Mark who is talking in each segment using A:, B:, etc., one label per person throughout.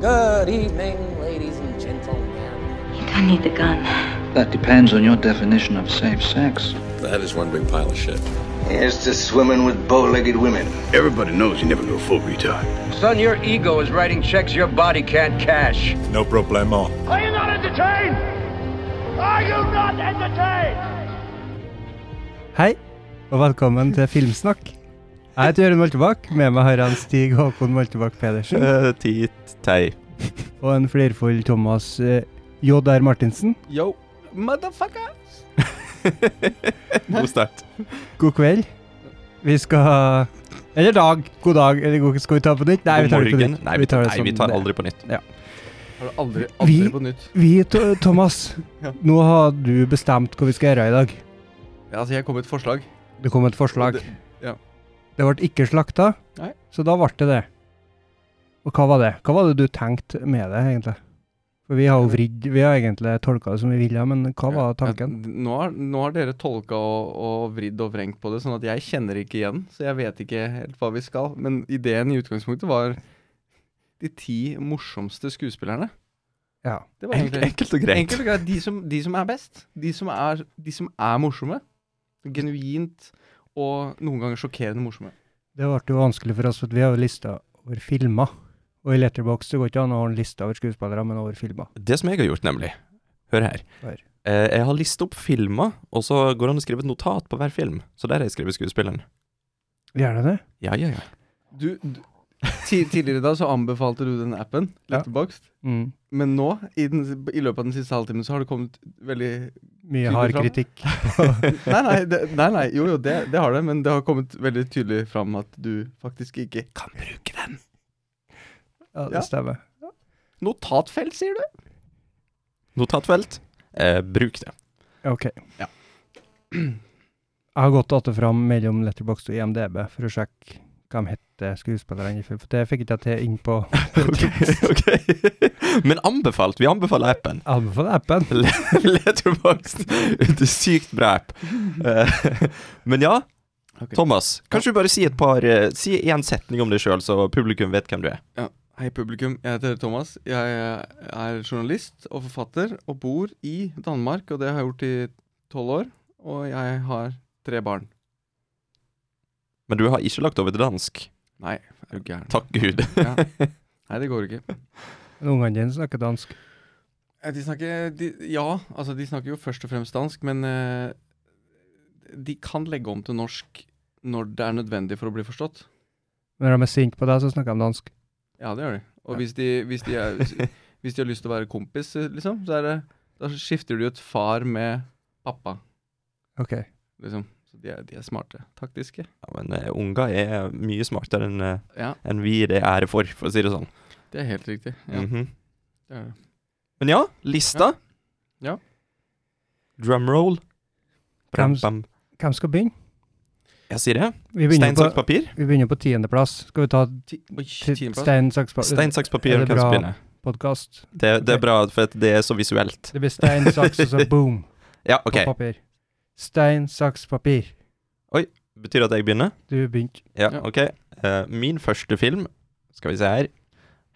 A: Good evening, ladies and gentlemen.
B: You don't need the gun.
C: That depends on your definition of safe sex.
D: That is one big pile of shit.
E: Here's to swimming with bow-legged women.
F: Everybody knows you never go full retard.
G: Son, your ego is writing checks your body can't cash.
H: No problemo.
I: Are you not entertained? Are you not entertained?
J: Hei, og velkommen til Filmsnakk. Jeg heter Jørund Moltebakk, med meg har jeg en Stig Håkon Moltebakk Pedersen
K: Eh, Tit tei.
J: og en flirfull Thomas eh, J.R. Martinsen.
K: Yo, motherfucker! God start.
J: God kveld. Vi skal Eller dag. God dag. Eller god, skal vi ta det på nytt? Nei, vi tar det på nytt.
K: Nei, vi tar, nei,
J: som
K: vi tar
J: det.
K: aldri på nytt.
L: Har du aldri, aldri
J: Vi-
L: på nytt?
J: Vi, Tho- Thomas,
L: Ja.
J: nå har du bestemt hva vi skal gjøre i dag.
L: Ja, altså, jeg kom med et forslag.
J: Det kom et forslag.
L: Det- ja.
J: Det ble ikke slakta,
L: Nei.
J: så da ble det det. Og hva var det? Hva var det du tenkte med det, egentlig? For vi har jo vridd Vi har egentlig tolka det som vi ville, men hva var tanken?
L: Ja, nå, har, nå har dere tolka og, og vridd og vrengt på det, sånn at jeg kjenner ikke igjen. Så jeg vet ikke helt hva vi skal. Men ideen i utgangspunktet var de ti morsomste skuespillerne.
J: Ja.
L: Det var
K: Enk-
L: egentlig
K: Enkelt og greit.
L: enkelt og greit. De som, de som er best. De som er, de som er morsomme. Genuint og noen ganger sjokkerende morsomme.
J: Det ble jo vanskelig for oss, for vi har jo lista over filmer. Og i Letterbox det går ikke an å ha en liste over skuespillere, men over filmer.
K: Det som jeg har gjort, nemlig Hør her.
J: Hør.
K: Eh, jeg har listet opp filmer, og så går det an å skrive et notat på hver film. Så der har jeg skrevet skuespilleren.
J: Gjør det det?
K: Ja, ja, ja.
L: Du, du ti- Tidligere i dag så anbefalte du den appen,
J: Ja.
L: Letterboxd.
J: Mm.
L: Men nå, i, den, i løpet av den siste halvtimen, så har det kommet veldig
J: Mye
L: Tydelig
J: hard
L: fram.
J: kritikk.
L: Nei, nei, det, nei, nei jo, jo, det, det har det, men det har kommet veldig tydelig fram at du faktisk ikke kan bruke den.
J: Ja, det
L: Ja.
J: stemmer.
L: Notatfelt, sier du?
K: Notatfelt. Eh, bruk det.
J: Ok.
L: Ja.
J: Jeg har gått att fram mellom Letterboxd og IMDb for å sjekke hva de heter skuespillerne i film. For det fikk ikke jeg til inn på
K: Ok, ok. Men anbefalt. Vi anbefaler appen.
J: Anbefaler-appen.
K: Letterboxd. Det er Sykt bra app. Eh, men ja,
L: Ok.
K: Thomas. Kanskje du bare si et par eh, Si én setning om deg sjøl, så publikum vet hvem du er.
L: Hei, publikum. Jeg heter Thomas. Jeg eh, er journalist og forfatter og bor i Danmark, og det har jeg gjort i tolv år. Og jeg har tre barn.
K: Men du har ikke lagt over til dansk.
L: Nei, er du gæren.
K: Takk Gud.
L: Ja. Nei, det går ikke.
J: Men Ungene dine snakker dansk.
L: Eh, De snakker de, Ja, altså, de snakker jo først og fremst dansk, men eh, de kan legge om til norsk når det er nødvendig for å bli forstått.
J: Når de er sinte på deg, så snakker de dansk.
L: Ja, det gjør de. Og hvis, de, hvis, de er, hvis- hvis de har lyst til å være kompis, eh, liksom, så er det, da skifter de ut far med pappa,
J: Ok.
L: liksom. Så de er, de er smarte. Taktiske.
K: Ja, men eh, unger er mye smartere enn eh,
L: Ja,
K: enn vi gir det ære for, for å si det sånn.
L: det er helt riktig. Ja,
K: Mhm.
L: det er det.
K: Men ja, lista.
L: Ja.
K: Drumroll.
J: Hvem
K: Bam,
J: s-
K: bam.
J: Hvem skal begynne?
K: Jeg sier det.
J: Vi
K: Stein,
J: begynner
K: saks,
J: på,
K: papir.
J: vi begynner på tiendeplass. Skal vi ta
L: Ti, oi,
J: ti-
L: tiendeplass.
J: stein, saks,
K: Stein,
J: papir?
K: saks,
J: Er
K: papir.
J: det
K: Hvem
J: bra?
K: som begynner?
J: Podkast.
K: Det, det
J: Ok.
K: er bra, for at det er så visuelt.
J: Det blir stein, saks, og så boom
K: Ja, OK.
J: på papir. Stein, saks, papir.
K: Betyr det at jeg begynner?
J: Du begynte.
K: Ja,
L: Ja.
K: OK. Eh, min første film Skal vi se her.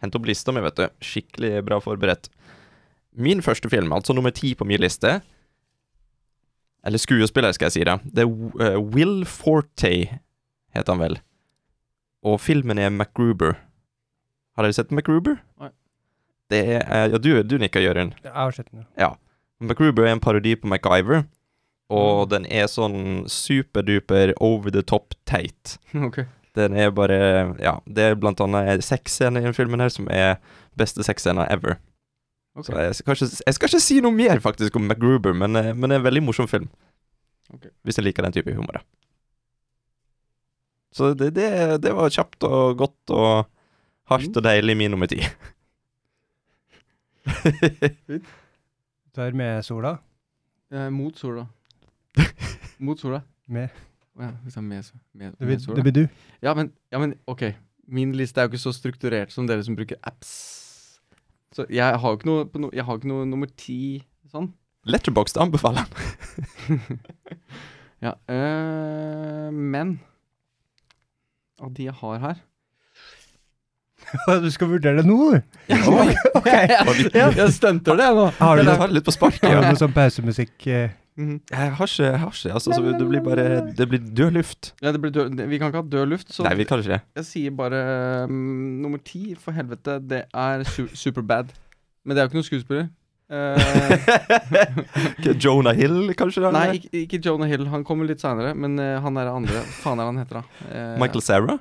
K: Hent opp lista mi, vet du. Skikkelig bra forberedt. Min første film, altså nummer ti på min liste Eller skuespiller, skal jeg si det. Det er W- eh, Will Forte, heter han vel. Og filmen er MacGruber. Har dere sett MacGruber?
L: Nei.
K: Det er eh, Ja, du, du nikker, Jørund.
J: Jeg har sett den.
K: MacGruber er en parodi på MacGyver, og den er sånn superduper over the top teit.
L: Ok.
K: Den er bare Ja, det er blant annet sexscener i den filmen her som er beste sexscena ever.
L: ok.
K: Så jeg skal, ikke, jeg skal ikke si noe mer faktisk om MacGruber, men, eh, men det er en veldig morsom film.
L: Ok.
K: Hvis jeg liker den type humor, da. Så det, det, det var kjapt og godt og
L: Mm.
K: hardt og deilig min nummer ti.
J: Du tar med sola.
L: Eh, mot sola. Mot sola.
J: Med.
L: Å Ja, hvis jeg er med, så- med,
J: Det blir,
L: med sola.
J: det blir du.
L: Ja, men, ja, men ok. Min liste er jo ikke så strukturert som dere som bruker apps. Så jeg har jo ikke noe, på no, jeg har ikke noe nummer ti sånn.
K: Letterboxd anbefaler den.
L: Ja, eh, øh, men Av de jeg har her
J: Du skal vurdere det nå, du?
L: Jeg stunter det nå.
J: Har du
K: Jeg
J: noe,
K: tar det litt på sparket.
J: har du
K: Ja.
J: noe sånn pausemusikk? eh?
L: Mhm.
K: Jeg har ikke, jeg har ikke altså, så Det blir bare Det blir død luft.
L: Ja, det blir død, vi kan ikke ha død luft, så
K: Nei, vi klarer ikke det.
L: jeg sier bare mm, nummer ti, for helvete, det er su Superbad. Men det er jo ikke noen skuespiller. Eh,
K: Ikke Jonah Hill, kanskje? da?
L: nei, ikke, ikke Jonah Hill. Han kommer litt seinere, men eh, han er andre. Hva faen er han heter, da? Eh,
K: Michael Sarah?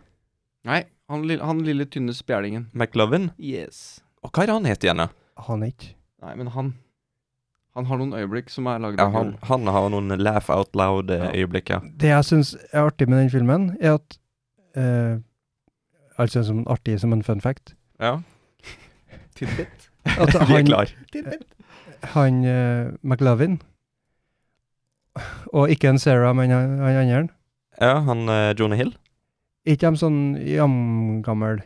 L: Nei, han, lille- han lille tynne spjælingen.
K: McLovin?
L: Yes.
K: Og hva er det han het igjen, da?
J: Han ikke.
L: Nei, men han Han har noen øyeblikk som er lagd
K: Ja,
L: av
K: han,
L: gull.
K: han har noen laugh out loud-øyeblikk, ja.
J: Det jeg syns er artig med den filmen, er at eh, Altså som artig som en fun fact.
K: ja.
L: Tidbit.
J: At
K: Vi er
J: han,
K: klar.
J: han eh, McLovin Og ikke en Sarah, men han, han andre.
K: Ja, han eh, Jonah Hill?
J: Er ikke de sånn jamgammel?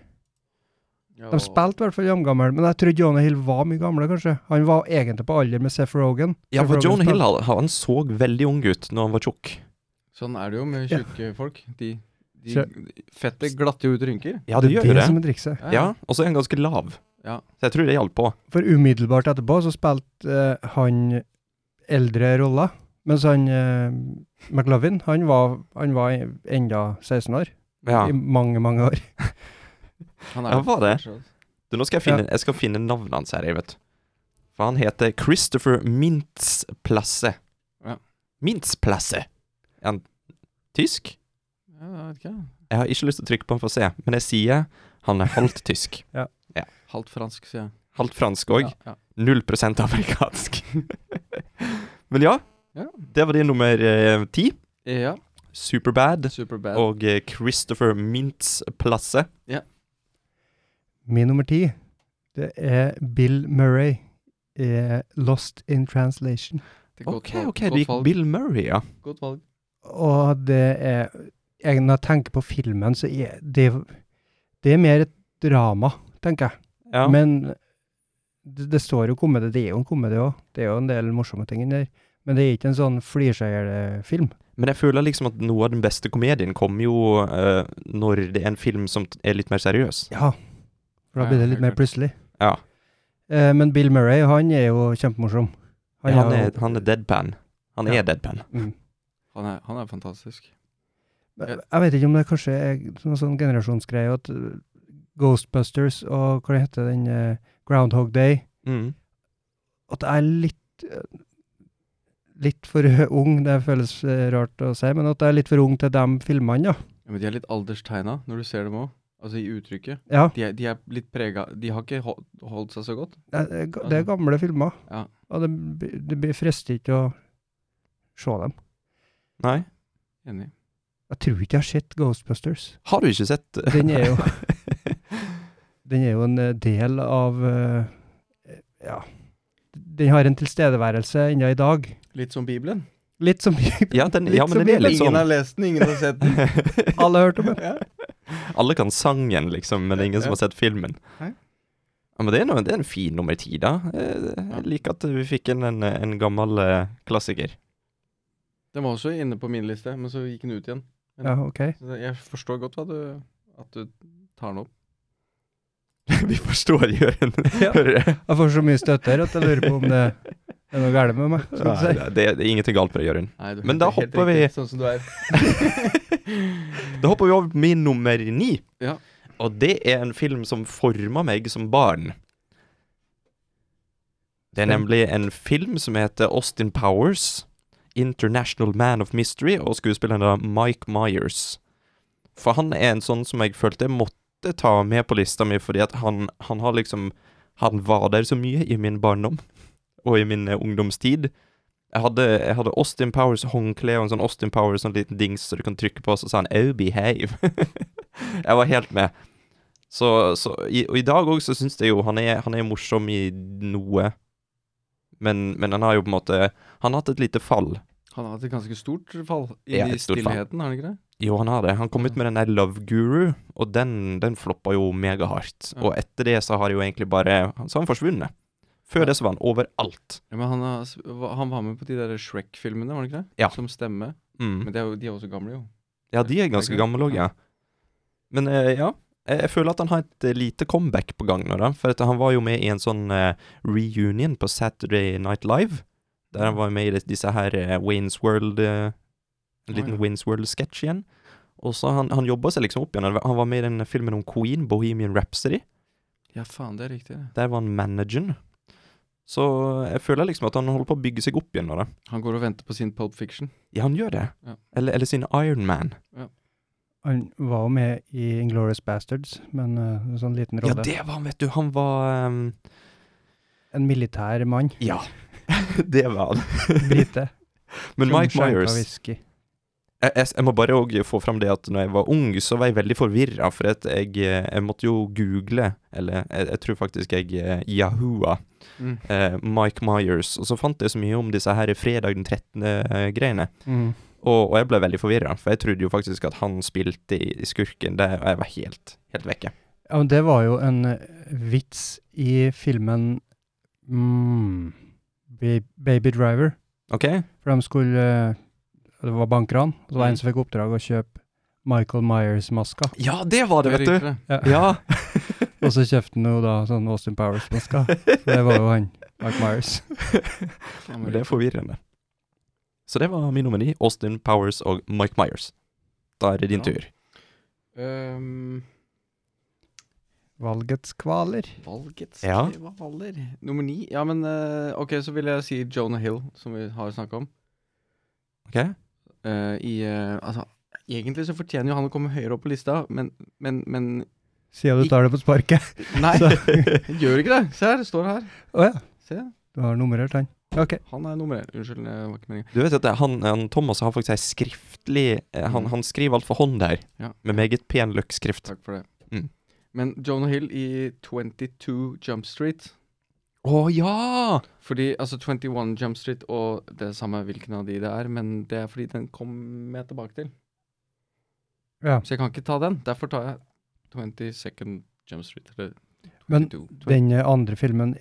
J: De spilte i hvert fall jamgammel, men jeg tror Jonah Hill var mye gamle, kanskje. Han var egentlig på alder med Seth Rogan.
K: Ja,
J: Seth
K: for
J: Rogen
K: Jonah Hill
J: spilte-
K: han, han så veldig ung ut når han var tjukk.
L: Sånn er det jo med
J: Ja.
L: tjukke folk. De, de
J: Kjø-
L: Fettet glatter jo ut rynker.
K: Ja, det gjør jo
J: det
K: det.
J: som er trikset.
K: Ja, og så er han ganske lav.
L: Ja.
K: Så jeg tror det hjalp på.
J: For umiddelbart etterpå så spilte eh, han eldre roller, mens han eh, McLovin, han var, han var enda 16 år.
K: Ja.
J: I mange, mange år.
L: Han
K: Ja, hva er det?
L: fortsatt-
K: Du, nå skal jeg finne, jeg skal finne navnet hans her, jeg vet. For han heter Christopher Mintzplasse.
L: Ja.
K: Mintzplasse. Er han tysk?
L: Ja, jeg vet ikke.
K: Jeg har ikke lyst til å trykke på han for å se, men jeg sier han er halvt tysk.
L: Halvt fransk, sier jeg.
K: Halvt fransk òg.
L: Ja, ja.
K: Null prosent amerikansk. men ja,
L: Ja.
K: det var din nummer eh, ti.
L: ja.
K: Superbad
L: Superbad.
K: og eh, Christopher Mintzplasse.
J: Min nummer ti, det er Bill Murray i Lost in Translation.
L: Det er godt
K: OK,
L: valg,
K: ok,
L: godt
K: det gikk
L: valg,
K: Bill Murray, ja.
L: Godt valg.
J: Og det er jeg, Når jeg tenker på filmen, så er det Det er mer et drama, tenker jeg.
K: ja.
J: Men det, det står jo komedie. Det er jo en komedie òg. Det er jo en del morsomme ting inni der. Men det er ikke en sånn flirseier-film.
K: Men jeg føler liksom at noe av den beste komedien kommer jo eh, når det er en film som t- er litt mer seriøs.
J: Ja. For da
L: Ja,
J: blir det
L: helt
J: litt mer
L: klart.
J: plutselig.
K: Ja.
J: Eh, men Bill Murray, han er jo kjempemorsom.
K: Han,
J: jo-
K: er, han er deadpan. Han
J: Ja.
K: er deadpan.
J: mm.
L: Han er, han er fantastisk.
J: Jeg jeg vet ikke om det kanskje er noen sånn generasjonsgreie at uh, Ghostbusters og hva det heter den eh, Groundhog Day
K: Mm.
J: At jeg er litt eh, Litt for ung, det føles eh, rart å si, men at jeg er litt for ung til de filmene, ja.
L: Ja, men de er litt alderstegna når du ser dem òg. Altså i uttrykket.
J: ja
L: De er, de er litt prega De har ikke hol- holdt seg så godt.
J: det, er, eh, ga- det er gamle filmer,
L: Ja.
J: og det, b- det blir frister ikke å se dem.
K: Nei.
L: Enig.
J: Jeg tror ikke jeg har sett Ghostbusters.
K: Har du ikke sett
J: Den er jo Den er jo en eh, del av eh, Ja. Den har en tilstedeværelse ennå i dag.
L: Litt som Bibelen.
J: Litt som
K: ja, den, ja, men
J: Litt som
K: den er litt
L: Ingen
K: sånn
L: har lest den, ingen har sett den.
J: alle har hørt om. det.
L: ja.
K: Alle kan sangen, liksom, men det er ingen som har sett filmen.
L: Nei.
K: Ja, men det er, noe, det er en fin nummer ti, da. Eh, Jeg liker at vi fikk inn en, en gammel eh, klassiker.
L: Den var også inne på min liste, men så gikk den ut igjen.
J: Ja, OK.
L: Så det- Jeg forstår godt hva du, at du tar den opp.
K: vi forstår Jørund.
J: Ja.
K: Hører du?
J: Jeg får så mye støtt her at jeg lurer på om det er noe galt med meg. Skal
K: Nei,
J: du si.
K: det, det er ingenting galt med det, Jørund.
L: Nei, du,
K: Men da
L: helt
K: hopper
L: riktig,
K: vi-
L: Sånn som du er.
K: Da hopper vi over til min nummer ni.
L: Ja.
K: Og det er en film som forma meg som barn. Det er nemlig en film som heter Austin Powers, International Man of Mystery, og skuespilleren er Mike Myers. For han er en sånn som jeg følte jeg måtte ta med på lista mi, fordi at han, han har liksom Han var der så mye i min barndom og i min eh, ungdomstid. Jeg hadde, jeg hadde Austin Powers håndkle og en sånn Austin Powers sånn liten dings som du kan trykke på, så sa han 'Oh, behave'. jeg var helt med. Så, så i, Og i dag òg så syns jeg jo han er, han er morsom i noe, men, men han har jo på en måte Han har hatt et lite fall.
L: Han har hatt et ganske stort fall i
K: Ja,
L: de
K: et stort fall.
L: stillheten, har han ikke det?
K: Jo, han har det. Han kom ut med den der Love Guru, og den, den floppa jo megahardt.
L: Ja.
K: Og etter det så har jo egentlig bare Så har han forsvunnet. Før
L: Ja.
K: det så var han overalt.
L: Ja, men han, har, s- va- han var med på de der Shrek-filmene, var han ikke det?
K: Ja.
L: Som stemme.
K: Mm.
L: Men det er jo, de er også gamle, jo.
K: Ja, de er ganske
L: Ikke?
K: gamle òg, ja. Men eh, ja. Jeg jeg føler at han har et eh, lite comeback på gang nå, da. For at han var jo med i en sånn eh, reunion på Saturday Night Live. Der han var med i det- disse her eh, Wayne's World eh, En liten
L: ja.
K: Wayne's World-sketsj igjen. Og så han, han jobba seg liksom opp igjen. Han var- Han var med i den filmen om Queen, Bohemian Rhapsody.
L: Ja, faen, det er riktig. det.
K: Der var han manageren. Så jeg føler liksom at han holder på å bygge seg opp igjen nå, da.
L: Han går og venter på sin Pulp Fiction.
K: Ja, han gjør det.
L: Ja.
K: Eller, eller sin Iron Man.
J: Han var jo med i Inglorious Bastards, men eh, en sånn liten
K: Ja,
J: rolle.
K: det var han, vet du. Han var ehm,
J: En militær mann.
K: Ja. det var han.
J: Brite.
K: Men
J: som
K: Mike
J: skjenka
K: Myers
J: whisky.
K: jeg, jeg, jeg må bare òg få fram det at når jeg var ung, så var jeg veldig forvirra, for at jeg, eh, jeg måtte jo google, eller jeg, jeg tror faktisk jeg eh, yahooa
L: Mm.
K: eh, Mike Myers, og så fant jeg så mye om disse her fredag den 13.-greiene.
J: Mm.
K: Og, og jeg ble veldig forvirra, for jeg trodde jo faktisk at han spilte i, i Skurken, det, og jeg var helt, helt vekke.
J: Ja, men det var jo en eh, vits i filmen mm, Ba- Baby Driver.
K: OK?
J: For de skulle eh, Det var bankran, og det var en
K: Mm.
J: som fikk oppdrag å kjøpe Michael Myers-maska.
K: Ja, det var det,
L: er
K: vet du!
L: riktig,
K: Ja.
J: Og så kjøpte han jo da sånn Austin Powers-maska. For det var jo han, Mike Myers.
L: det. Ja,
K: Men
L: men
K: det er forvirrende. Så det var min nomini, Austin Powers og Mike Myers. Da er det din
L: Bra.
K: tur.
L: Øhm,
J: Valgets kvaler.
L: valgets
K: Ja.
L: kvaler. Nummer ni. Ja, men eh, OK, så vil jeg si Jonah Hill, som vi har snakka om.
K: Ok?
L: Eh, I eh, Altså, egentlig så fortjener jo han å komme høyere opp på lista, men, men, men
J: Siden du tar det på sparket.
L: Nei,
J: Så-
L: gjør ikke det. Se her, det står her.
J: Å ja,
L: Se,
J: du har nummerert han. Ok.
L: han er nummer én. Unnskyld, det var ikke meningen.
K: Du vet at det, han, han Thomas har faktisk ei skriftlig eh, Han,
L: Mm.
K: han skriver alt for hånd der,
L: Ja,
K: med meget pen løkkskrift.
L: takk for det.
K: Mm.
L: Men Jonah Hill i 22 Jump Street
K: Å ja!
L: Fordi, altså 21 Jump Street og det er samme hvilken av de det er, men det er fordi den kom jeg tilbake til.
J: Ja.
L: Så jeg kan ikke ta den. Derfor tar jeg 22nd Jump Street. Eller
J: Men
L: 22.
J: den eh, andre filmen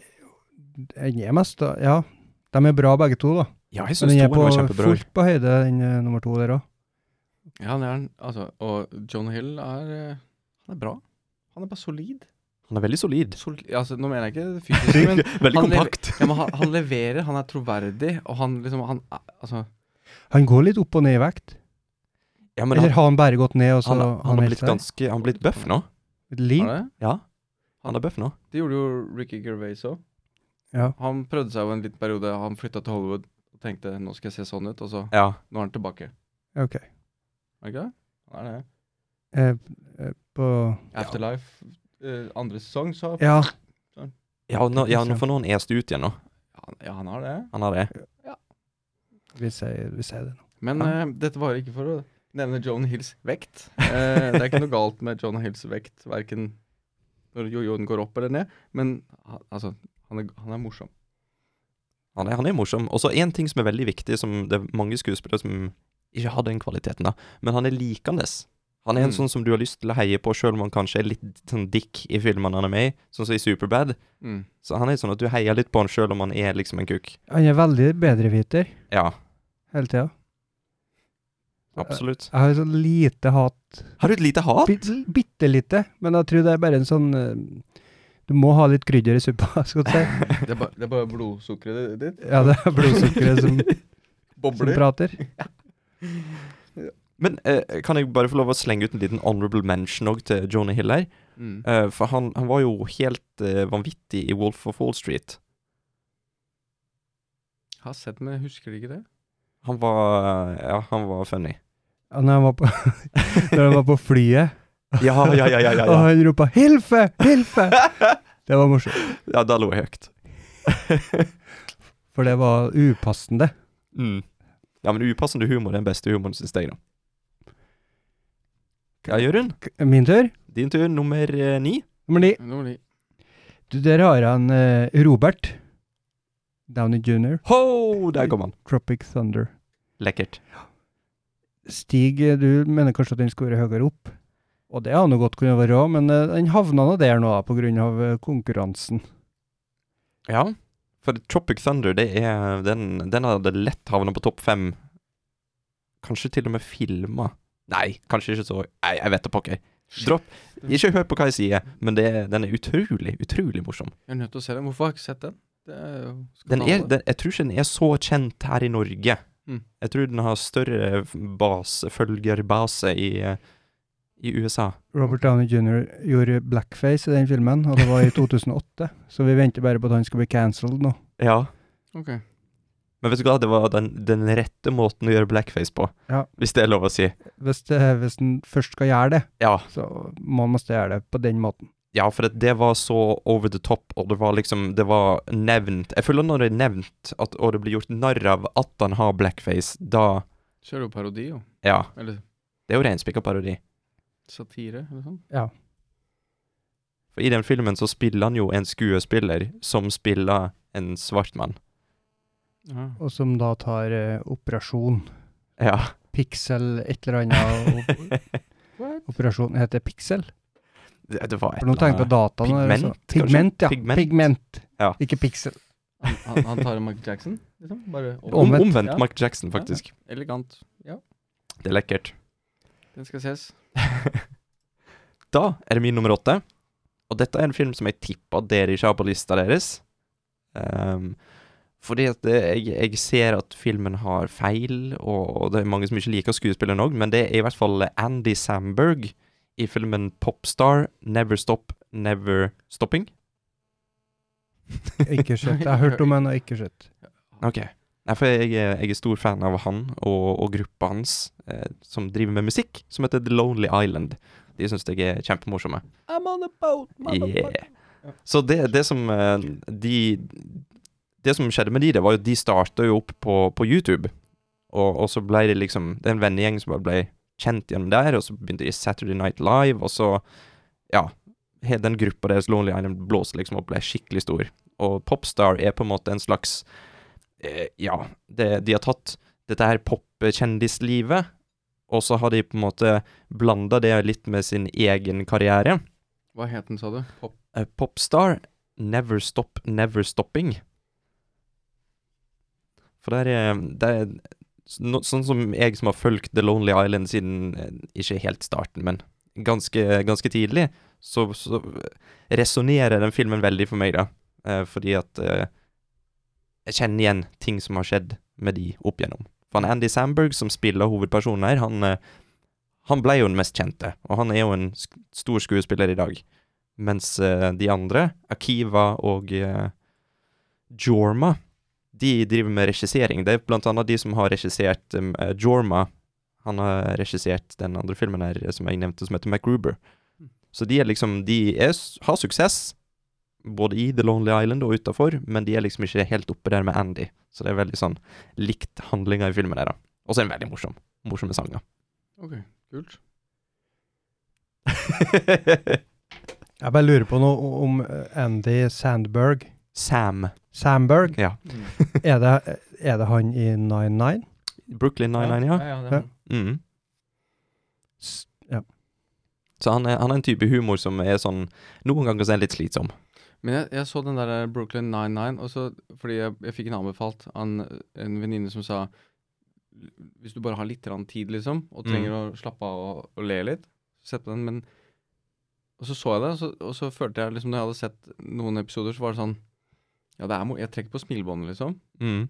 J: Den er mest da, Ja, de er bra begge to, da.
K: Ja, jeg
J: Men
K: syns
J: den er
K: toen
J: på
K: var kjempebra.
J: fullt på høyde, den eh, nummer to der òg.
L: Ja, han er den. Altså, og Jonah Hill er eh, Han er bra. Han er bare solid.
K: Han er veldig solid.
L: Soli altså, nå mener jeg ikke det fysiske, men
K: Veldig
L: Han lever-
K: kompakt.
L: Ja, men han, han leverer, han er troverdig, og han liksom han, er- Altså,
J: Han går litt opp og ned i vekt.
K: Ja, men
J: Eller
K: han,
J: har han bare gått ned, og så
K: han, han har
J: helt
K: blitt
J: der?
K: ganske Han har blitt bøff nå.
J: Litt lean?
L: har det?
K: Ja, han er bøff nå.
L: det gjorde jo Ricky Gervais òg.
J: Ja.
L: Han prøvde seg jo en liten periode, han flytta til Hollywood og tenkte 'nå skal jeg se sånn ut', og så
K: Ja.
L: nå er han tilbake.
J: Ok.
L: Er det ikke det? Han er det.
J: Eh, eh, på
L: Afterlife, eh, andre sesong, så
J: Ja,
K: Ja, nå, ja, nå får noen est ut igjen nå.
L: han, Ja, han har det.
K: Han har det.
J: vi sier, vi sier det nå.
L: Men
K: Ja.
L: eh, dette var ikke for å nevne Joan Hills vekt. Eh, det er ikke noe galt med Joan Hills vekt, verken når jojoen går opp eller ned, men han- altså, han er, han er morsom.
K: Han er, han er morsom. Og så en ting som er veldig viktig, som det er mange skuespillere som ikke har den kvaliteten, da, men han er likandes. Han er en
L: Mm.
K: sånn som du har lyst til å heie på, sjøl om han kanskje er litt sånn dick i filmene han er med i, sånn som i Superbad.
L: Mm.
K: Så han er sånn at du heier litt på han sjøl om han er liksom en kuk.
J: Han er veldig bedreviter
K: Ja,
J: hele tida.
K: absolutt.
J: Jeg har så lite hat.
L: Eh,
K: Har du et lite hat?
J: Bitte, bitte lite, men jeg tror det er bare en sånn eh, Du må ha litt krydder i suppa, skal du si.
L: Det er, bare, det er bare blodsukkeret ditt.
J: Ja, det er blodsukkeret som, som prater.
K: Men eh, kan jeg bare få lov å slenge ut en liten honorable mention òg til Jonah Hill her?
L: Mm.
K: Eh, for han, han var jo helt eh, vanvittig i Wolf of Wall Street.
L: Jeg har sett den, men jeg husker ikke det.
K: Han var Ja, han var funny.
J: Ja, når, han var på, når han var på flyet,
K: Ja, ja, ja, ja, ja,
J: og
K: ja.
J: han ropa 'Hilfe! Hilfe!' Det var morsomt,
K: Ja, da lå jeg høyt.
J: for det var upassende.
K: Mm. Ja, men upassende humor er den beste humoren, syns jeg, da. Ja, Jørund.
J: K- Min tur?
K: Din tur, nummer eh, ni.
J: Nummer ni.
L: Nå blir-
J: Du, der har han eh, Robert Downey jr.
K: Ho, der kom han.
J: Tropic Thunder.
K: Lekkert.
J: Stig, eh, du mener kanskje at den skulle være høyere opp? Og det hadde godt kunne være òg, men eh, den havna nå der nå, da, på grunn av eh, konkurransen.
K: Ja. For Tropic Thunder, det er Den, den hadde lett havna på topp fem. Kanskje til og med filma. Nei, kanskje ikke så Nei, jeg vet da pokker. Dropp. Ikke hør på hva jeg sier, men det, er- den er utrolig, utrolig morsom.
L: Jeg er nødt til å se den. Hvorfor har jeg ikke sett den? Det er jo
K: Den er,
L: skandale.
K: den, jeg tror ikke den er så kjent her i Norge.
L: Mm.
K: Jeg tror den har større base, følgerbase i, eh, i USA.
J: Robert Downey jr. gjorde blackface i den filmen, og det var i 2008. så vi venter bare på at han skal bli cancelled nå.
K: Ja.
L: Ok.
K: Men vet du hva, det var den, den rette måten å gjøre blackface på,
J: Ja.
K: hvis det er lov å si.
J: Hvis, det, hvis han først skal gjøre det,
K: Ja,
J: så må man gjøre det på den måten.
K: ja for det, det var så over the top, og det var liksom Det var nevnt Jeg føler når det er nevnt, at, og det blir gjort narr av at han har blackface, da
L: Så er det jo parodi, jo.
K: Ja.
L: Eller
K: Det er jo renspikka parodi.
L: satire, eller sånn.
K: For i den filmen så spiller han jo en skuespiller som spiller en svart mann.
L: Ja.
J: Og som da tar eh, operasjon.
K: Ja.
J: Pixel et eller annet.
L: What?
J: op- operasjon heter det Pixel.
K: Det, det var et
J: For nå tenker jeg på dataen. og det er
K: Pigment,
J: så- Pigment, ja.
K: kanskje? Pigment.
J: Pigment.
K: Ja.
J: Ikke Pixel.
L: Han, han, han tar en Michael Jackson, liksom? Bare opp.
K: Om,
J: Omvendt.
K: omvendt
L: Ja.
K: Mark Jackson, faktisk.
L: Elegant.
K: Det er lekkert.
L: Den skal ses.
K: Da er det min nummer åtte. Og dette er en film som jeg tipper at dere ikke har på lista deres. Ehm, fordi at det, jeg, jeg ser at filmen har feil, og, og det er mange som ikke liker skuespilleren òg, men det er i hvert fall Andy Samberg i filmen Popstar Never Stop Never Stopping.
J: Ikke sett. Jeg har hørt om den og ikke sett.
K: Ok. Nei, for jeg, er- jeg er stor fan av han og, og gruppa hans, eh, som driver med musikk, som heter The Lonely Island. De syns jeg er kjempemorsomme.
L: I'm on a boat, motherfucker.
K: Yeah. Så det, det som eh, de Det som skjedde med de, det var jo at de starta jo opp på, på YouTube, og, og så ble det liksom Det er en vennegjeng som bare ble kjent gjennom der, og så begynte de i Saturday Night Live, og så Ja. Hele den gruppa deres, Lonely Island, blåste liksom opp, ble skikkelig stor. Og Popstar er på en måte en slags eh, Ja, det, de har tatt dette her popkjendislivet, og så har de på en måte blanda det litt med sin egen karriere.
L: Hva het den, sa du? Pop.
K: Eh, Popstar, Never Stop, Never Stopping. For der er, der er s- no, Sånn som jeg som har fulgt The Lonely Island siden eh, Ikke helt starten, men ganske, ganske tidlig, så, så resonnerer den filmen veldig for meg, da. Eh, fordi at eh, Jeg kjenner igjen ting som har skjedd med de opp igjennom. For han Andy Sandberg, som spiller hovedpersonen her, han, eh, han ble jo den mest kjente, og han er jo en sk stor skuespiller i dag. Mens eh, de andre, Akiva og eh, Jorma, de driver med regissering. Det er blant annet de som har regissert um, eh, Jorma. Han har regissert den andre filmen her eh, som jeg nevnte, som heter MacGruber. Så de er liksom De er, s- har suksess, både i The Lonely Island og utafor, men de er liksom ikke helt oppe der med Andy. Så det er veldig sånn likt handlinga i filmen der, da. Og så er den veldig morsom. Morsomme sanger.
L: Ok, kult.
J: Jeg bare lurer på noe om eh, Andy Sandberg.
K: Sam.
J: Sandberg?
K: Ja.
J: Er det, er det han i 99?
K: Brooklyn 99, ja.
L: ja, ja, det
J: Ja.
L: er han.
K: Mm.
J: S- Ja.
K: Så han er, han er en type humor som er sånn Noen ganger så er han litt slitsom.
L: Men jeg, jeg så den der eh, Brooklyn 99, og så, fordi jeg, jeg fikk en anbefalt av en, en venninne som sa Hvis du bare har litt grann tid, liksom,
K: Mm.
L: og trenger å slappe av og, og le litt, sett på den. Men Og så så jeg det, og så, og så følte jeg liksom Når jeg hadde sett noen episoder, så var det sånn Ja, det er mo jeg trekker på smilebåndet, liksom.
K: Mm.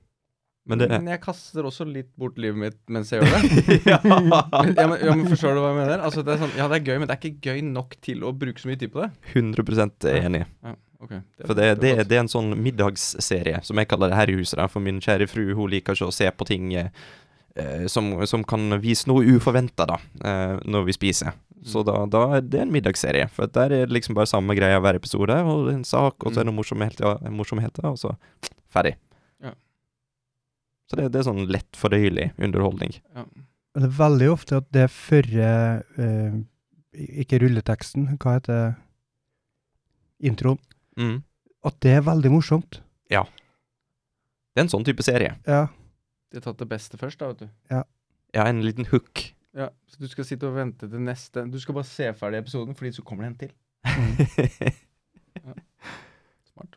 K: Men det
L: jeg kaster også litt bort livet mitt mens jeg gjør det.
K: ja.
L: Men, ja, men, ja, men Forstår du hva jeg mener? Altså, det er sånn, ja, det er gøy, men det er ikke gøy nok til å bruke så mye tid på det.
K: 100 enig.
L: Ja, ok.
K: For det, det,
L: var-
K: det er en sånn middagsserie, som jeg kaller det her i huset. da, For min kjære fru hun liker ikke å se på ting eh, eh, som, som kan vise noe uforventa, da, eh, når vi spiser. Så da, da er det en middagsserie. For der er det liksom bare samme greia hver episode, og en sak, og så er det noe morsomhet, ja, morsomheter, og så ferdig.
L: Ja.
K: Så det, det er sånn lett fordøyelig underholdning.
J: Men Det er veldig ofte at det førre eh, i- Ikke rulleteksten, hva heter introen?
K: Mm.
J: At det er veldig morsomt.
K: Det er en sånn type serie.
J: Ja.
L: De har tatt det beste først, da, vet du.
K: Ja, en liten hook.
L: Ja, Så du skal sitte og vente til neste Du skal bare se ferdig episoden, fordi så kommer det en til. Smart.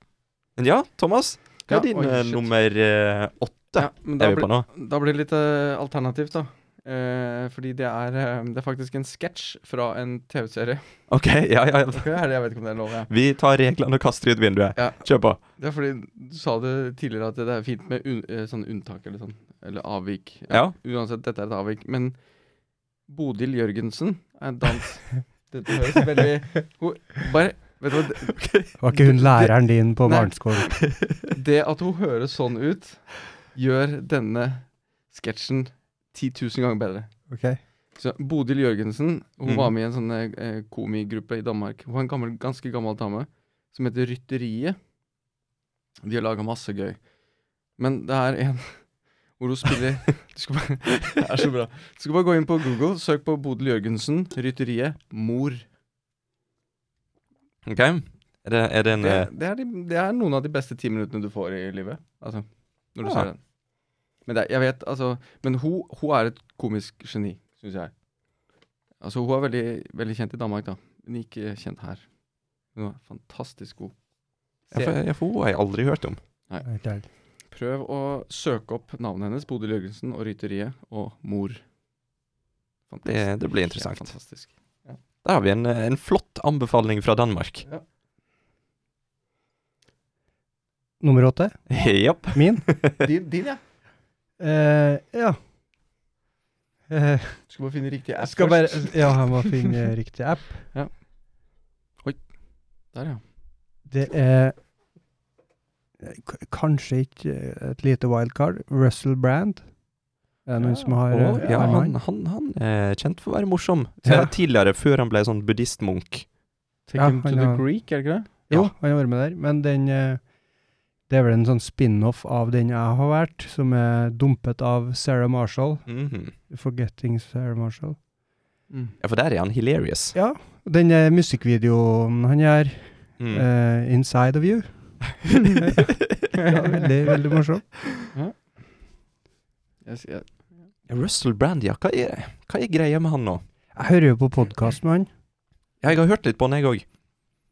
K: Men ja, Thomas, hva
L: Ja,
K: er din
L: oi,
K: eh,
L: shit.
K: nummer eh, åtte?
L: men
K: er vi på nå?
L: Da blir det litt eh, alternativt, da. Eh, fordi det er, eh, det er faktisk en sketsj fra en TV-serie.
K: OK, ja, ja. ja.
L: Ok, er det- Jeg vet ikke om det er lov. Ja.
K: Vi tar reglene og kaster ut vinduet.
L: Ja.
K: Kjør på.
L: Det er fordi Du sa det tidligere at det er fint med un eh, sånne unntak eller sånn. Eller avvik.
K: Ja.
L: Uansett, dette er et avvik. Men Bodil Jørgensen er dans... Dette høres veldig hun, Bare Vet du hva? det-
J: Var ikke hun læreren din på
L: Nei.
J: barneskolen?
L: Det at hun høres sånn ut, gjør denne sketsjen 10 000 ganger bedre.
J: Ok.
L: Så Bodil Jørgensen Hun
K: Mhm.
L: var med i en sånn eh, komigruppe i Danmark. Hun var en gammel, ganske gammel dame som heter Rytteriet. De har laga masse gøy. Men det er en hvor hun spiller du skal bare, Det er så bra. Du skal bare gå inn på Google, søk på Bodil Jørgensen, Rytteriet, mor.
K: OK. Er det, er det en
L: Det,
K: eh,
L: det, er de, det er noen av de beste ti minuttene du får i livet. Altså, når du
K: Ja.
L: ser den. Men det, er- jeg vet, altså Men hun, hun er et komisk geni, syns jeg. Altså, hun er veldig, veldig kjent i Danmark, da. Men ikke kjent her. Hun er fantastisk god.
K: ja, for, ja, for hun har jeg aldri hørt om.
J: Nei, det er-
L: Prøv å søke opp navnet hennes, Bodil Jørgensen og Rytteriet og Mor.
K: Det, det blir
L: Ja,
K: interessant.
L: fantastisk.
K: Da har vi en, eh, en flott anbefaling fra Danmark.
L: Ja.
J: Nummer åtte?
K: Japp.
J: Min?
L: Din, din, ja.
J: Eh, ja. Eh,
L: Du skal bare finne riktig app
J: jeg skal bare
L: først.
J: Ja, jeg må finne riktig app.
L: Der, ja.
J: Det er eh, k Kanskje ikke eh, et lite wildcard. Russell Brand. Er det noen som har
K: Å,
J: eh,
K: ja,
J: har
K: han, han, han er kjent for å være morsom.
J: Ja.
K: Eh, Tidligere, før han ble sånn buddhistmunk.
L: Take
J: Ja,
L: him to
J: han
L: the
J: har-
L: Greek, er det ikke det?
J: Jo, han har vært med der, men den eh, Det er vel en sånn spin-off av den jeg har vært, som er dumpet av Sarah Marshall.
K: Mhm.
J: 'Forgetting Sarah Marshall'.
K: Ja, for der er han hilarious.
J: Ja. Den eh, musikkvideoen han gjør,
K: Mm.
J: eh, 'Inside of You'. ja, veldig, veldig morsom.
L: Jeg sier-
K: Ja, Russell Brand, ja. Hva er, hva er greia med han nå?
J: Jeg hører jo på podkast med han.
K: Ja, jeg har hørt litt på han, jeg òg.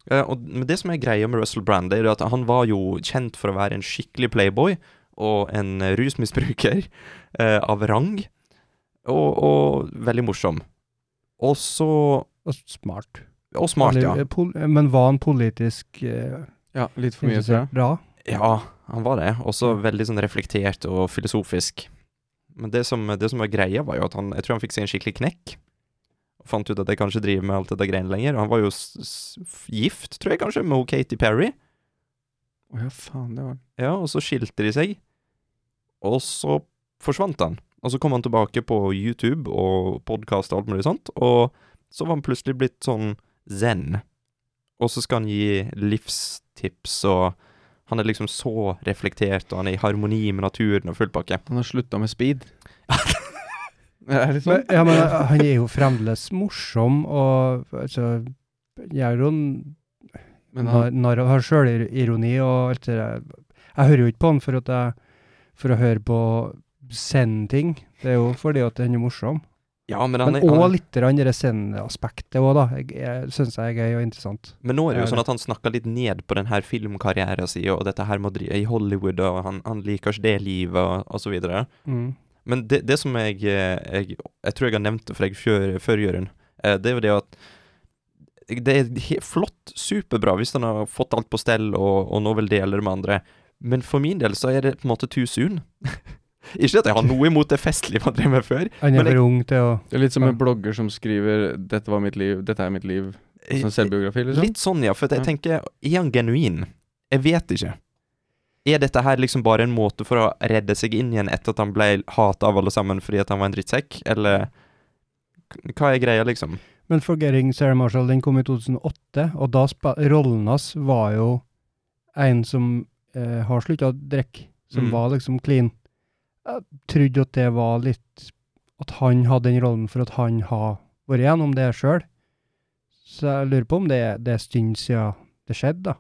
K: og men det som er greia med Russell Brand, det er jo at han var jo kjent for å være en skikkelig playboy og en eh, rusmisbruker eh, av rang, og, og veldig morsom. Og så
J: Og smart.
K: Og smart, ja.
J: Eller, eh, pol men var han politisk eh,
L: Ja, litt for mye, tror jeg.
J: interessert da?
K: Ja, han var det. Også veldig sånn reflektert og filosofisk. Men det som, det som var greia, var jo at han Jeg tror han fikk seg en skikkelig knekk. Og fant ut at jeg kanskje driver med alt dette greiene lenger. Han var jo s s f- gift, tror jeg kanskje, med hun Katy Perry.
L: Å ja, faen, det var
K: Ja, og så skilte de seg. Og så forsvant han. Og så kom han tilbake på YouTube og podkast og alt mulig sånt. Og så var han plutselig blitt sånn zen. Og så skal han gi livstips, og han er liksom så reflektert, og han er i harmoni med naturen og full pakke.
L: Han har slutta med speed. er det
J: Men,
L: sånn?
J: ja, men eh, han er jo fremdeles morsom, og altså Gjør jo n-
L: Men
J: nar-
L: han,
J: narr og har sjølironi og alt det der. Jeg hører jo ikke på han for, at jeg, for å høre på sending. Det er jo fordi at han er morsom.
K: Ja, men, han
J: Men
K: er, han
J: òg
K: er,
J: litt grann det sendeaspektet òg, da. Jeg, jeg syns jeg er gøy og interessant.
K: men nå er det jo
J: Ja,
K: sånn at han snakker litt ned på den her filmkarrieren sin, og dette her med å drive i Hollywood, og han, han liker ikke det livet, og, og så videre. Men det, det som jeg, eh, jeg Jeg tror jeg har nevnt det for deg før, før Jørund. Eh, Det er jo det at Det er he- flott, superbra, hvis han har fått alt på stell og, og nå vil dele det med andre. Men for min del så er det på en måte too soon. Ikke at jeg har noe imot det festlige man drev med før.
J: Han
K: Men
J: er
K: jeg-
J: for ung til å
L: det er litt som en
J: Ja.
L: blogger som skriver 'Dette var mitt liv', 'Dette er mitt liv'. Sånn selvbiografi, liksom.
K: Litt sånn, ja. For at jeg
L: Ja.
K: tenker Er han genuin? Jeg vet ikke. Er dette her liksom bare en måte for å redde seg inn igjen etter at han ble hata av alle sammen fordi at han var en drittsekk, eller k- Hva er greia, liksom?
J: Men 'Forgetting Sarah Marshall' den kom i 2008, og da spa rollen hans var jo en som eh, har slutta å drikke, som
K: Mm.
J: var liksom clean. Jeg trodde at det var litt At han hadde den rollen for at han har vært gjennom det sjøl. Så jeg lurer på om det, er- det er en stund siden det skjedde, da.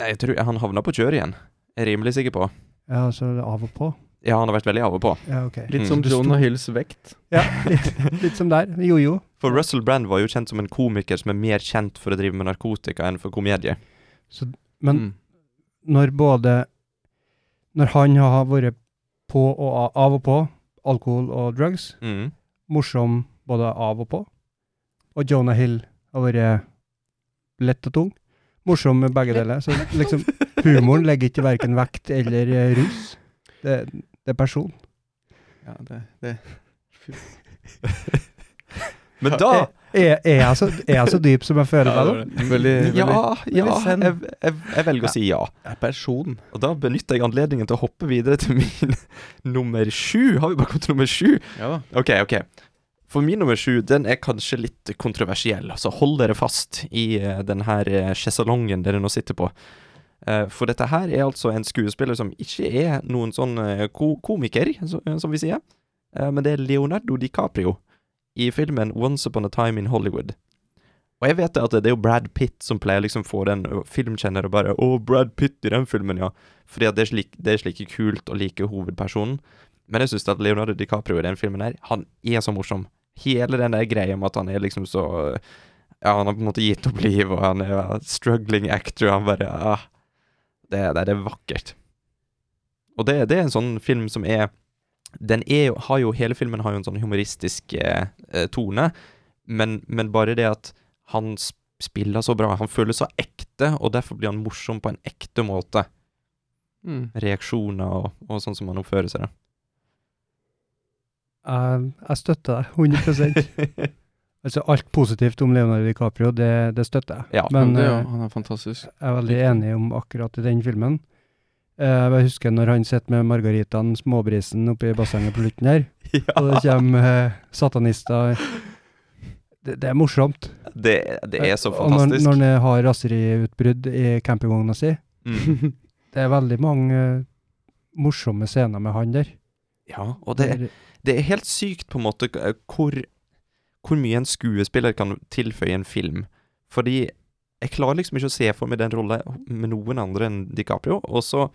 K: Nei, jeg tror han havna på kjøret igjen. Jeg er rimelig sikker på.
J: Ja, altså av og på.
K: Ja, han har vært veldig av og på.
J: Ja, ok.
L: Litt
K: Mm.
L: som
J: Du
L: Jonah Hills vekt.
J: Ja, litt, litt som der. Jojo.
K: For Russell Brand var jo kjent som en komiker som er mer kjent for å drive med narkotika enn for komedie.
J: Men
L: Mm.
J: når både Når han har vært på og av, av og på alkohol og drugs,
K: Mm.
J: morsom både av og på. Og Jonah Hill har vært lett og tung. Morsom med begge deler. Så liksom, humoren legger ikke verken vekt eller eh, rus. Det, det er person.
L: Ja, det, det.
K: Men da
J: Eh, Er, er, jeg så, er jeg så dyp som jeg føler meg, da?
L: Veldig,
K: Ja, ja,
L: send.
K: jeg, jeg, jeg velger å si ja.
L: person.
K: Og da benytter jeg anledningen til å hoppe videre til min nummer sju. Har vi bare kommet til nummer sju?
L: Ja da.
K: Ok, ok. For min nummer sju, den er kanskje litt kontroversiell. Altså, hold dere fast i eh, den her eh, sjeselongen dere nå sitter på. Eh, For dette her er altså en skuespiller som ikke er noen sånn eh, ko komiker, så- eh, som vi sier. Eh, Men det er Leonardo DiCaprio i filmen Once Upon a Time in Hollywood. Og jeg vet det at det er jo Brad Pitt som pleier liksom få den ø, filmkjenner og bare 'Å, Brad Pitt i den filmen, ja'. Fordi at det er slik, det er slik kult å like hovedpersonen. Men jeg syns at Leonardo DiCaprio i den filmen her, han er så morsom. Hele den der greia med at han er liksom så Ja, han har på en måte gitt opp livet, og han er ja, struggling actor, og han bare ah, det, det, det er vakkert. Og det, det er en sånn film som er Den er jo, har jo Hele filmen har jo en sånn humoristisk eh, eh, tone, men, men bare det at han sp- spiller så bra, han føles så ekte, og derfor blir han morsom på en ekte måte.
L: Mm.
K: Reaksjoner og, og sånn som han oppfører seg. da.
J: Jeg, jeg støtter deg 100 Altså Alt positivt om Leonardo DiCaprio, det, det støtter jeg.
K: Ja,
J: Men
L: Men, det,
J: eh,
L: ja, han er fantastisk.
J: jeg er veldig enig om akkurat i den filmen. Eh, jeg husker når han sitter med margaritaen, småbrisen, oppi bassenget på slutten her,
K: Ja,
J: og det kommer eh, satanister det, det er morsomt.
K: det, det er så
J: Og når,
K: fantastisk.
J: når han har raseriutbrudd i campingvogna si.
K: Mm.
J: Det er veldig mange eh, morsomme scener med han der.
K: Ja, og det, det er helt sykt på en måte eh, hvor, hvor mye en skuespiller kan tilføye en film. Fordi jeg klarer liksom ikke å se for meg den rolla med noen andre enn DiCaprio. Og så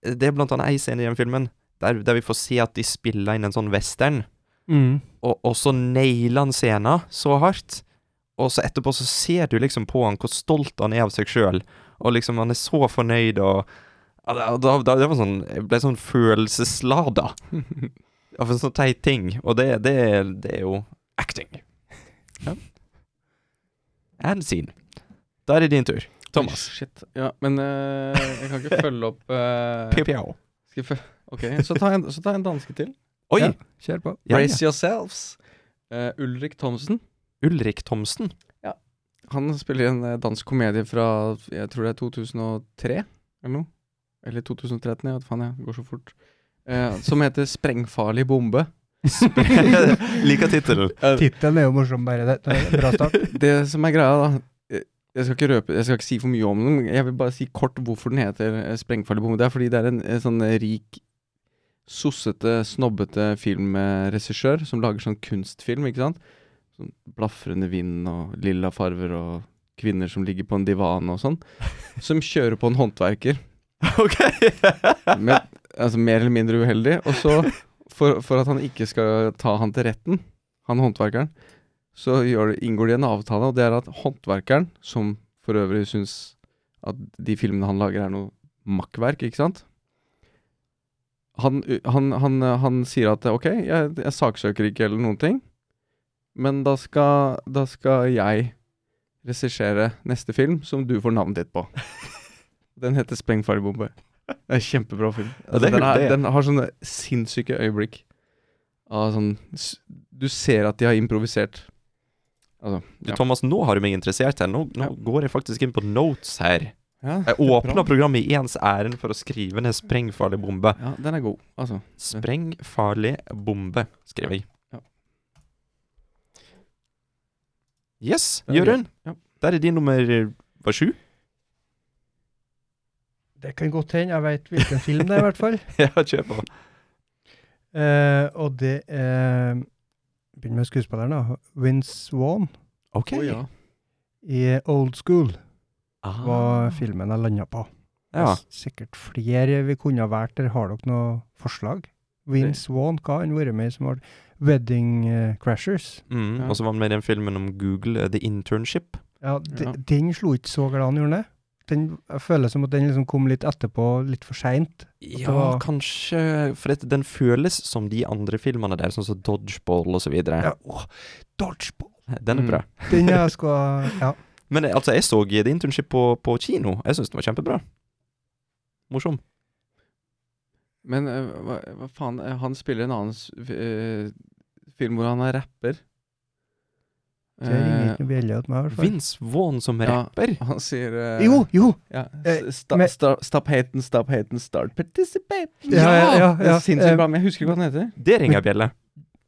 K: eh, Det er blant annet ei scene i den filmen der, der vi får se at de spiller inn en sånn western,
J: Mm.
K: og, og så nailer han scenen så hardt. Og så etterpå så ser du liksom på han hvor stolt han er av seg sjøl, og liksom han er så fornøyd og ja, da, da, da, Det var sånn Jeg ble sånn følelseslada av en sånn teit ting. Og det, det, det er jo acting. Ja. And scene. Da er det din tur. Thomas.
L: Shit. Ja, men eh, jeg kan ikke følge opp eh,
K: Pew, pew.
L: skal jeg føl- Ok, så ta, en, så ta en danske til.
K: Oi!
J: Ja. Kjør på.
K: Ja, ja.
L: Brace yourselves. Eh, Ulrik Thomsen.
K: Ulrik Thomsen.
L: Han spiller i en eh, dansk komedie fra jeg tror det er 2003 eller noe. Eller 2013, jeg vet faen, jeg. Det går så fort. Eh, som heter 'Sprengfarlig bombe'.
K: Liker tittelen.
J: Tittelen er jo morsom, bare. Det, det er en bra start.
L: Det som er greia, da eh, jeg skal, ikke røpe, jeg skal ikke si for mye om den, men jeg vil bare si kort hvorfor den heter eh, 'Sprengfarlig bombe'. Det er fordi det er en, en sånn eh, rik, sossete, snobbete filmregissør som lager sånn kunstfilm, ikke sant? Sånn blafrende vind og lilla farver og kvinner som ligger på en divan og sånn. Som kjører på en håndverker.
K: OK!
L: med, altså mer eller mindre uheldig. Og så, for, for at han ikke skal ta han til retten, han håndverkeren, så gjør det, inngår de en avtale, og det er at håndverkeren, som for øvrig syns at de filmene han lager, er noe makkverk, ikke sant? Han, han, han, eh, han sier at ok, jeg, jeg saksøker ikke eller noen ting, men da skal, da skal jeg regissere neste film som du får navnet ditt på. Den heter 'Sprengfarlig bombe'. Det er en kjempebra film. Altså,
K: Ja, det er
L: den,
K: kult, det.
L: den har sånne sinnssyke øyeblikk. Av sånn, s- du ser at de har improvisert. Altså,
K: Du,
L: ja.
K: Thomas, nå har du meg interessert her. Nå, nå
L: Ja.
K: går jeg faktisk inn på notes her.
L: Ja,
K: Jeg åpna programmet i ens ærend for å skrive ned 'sprengfarlig bombe'.
L: Ja, den er god, altså.
K: 'Sprengfarlig bombe', skrev jeg.
L: Ja.
K: Yes,
L: Den er
K: Jørund.
L: Ja.
K: Der er din nummer eh, var sju.
J: Det kan godt hende. Jeg veit hvilken film det er, i hvert fall.
K: Ja, kjør på.
J: Eh, og det er Begynn med skuespilleren, da. Vince Vaughn
K: OK.
L: Å, ja.
J: i Old School
K: Ah.
J: var filmen jeg landa på.
K: Ja.
J: Det er Sikkert flere vi kunne ha valgt. Der har dere noe forslag? Vince Vaughn, hva har han vært med i som var Wedding eh, Crashers?
K: Mm,
L: Ja.
K: Og så var han med i den filmen om Google, eh, The Internship.
J: Ja, de,
L: Ja.
J: Den slo ikke så glad han gjorde det. den, jeg føler som at den liksom kom litt etterpå, litt for seint. det
K: Ja,
J: var-
K: kanskje, for at den føles som de andre filmene der, sånn som Dodgeball og så videre.
J: Ja, åh, dodgeball!
K: Den er
L: Mm.
K: bra.
J: Den jeg skal Ja.
K: Men eh, altså, jeg så The Internship på, på kino. Jeg syns den var kjempebra. Morsom.
L: Men eh, hva, hva faen eh, Han spiller en annen s- f- eh, film hvor han er rapper.
J: Det ringer
L: Eh,
J: ikke noe bjelle hos meg, i hvert fall.
K: Vince Vaughn som
L: Ja.
K: rapper.
L: han sier eh,
J: Jo, jo!
L: Ja.
J: Eh,
L: s- sta,
J: men-
L: sta, stop hating, stop hating, start participating.
J: Ja, ja, ja,
L: Det
J: ja.
L: er sinnssykt
J: Eh,
L: bra, men jeg husker ikke hva den heter.
K: Det ringer ei bjelle.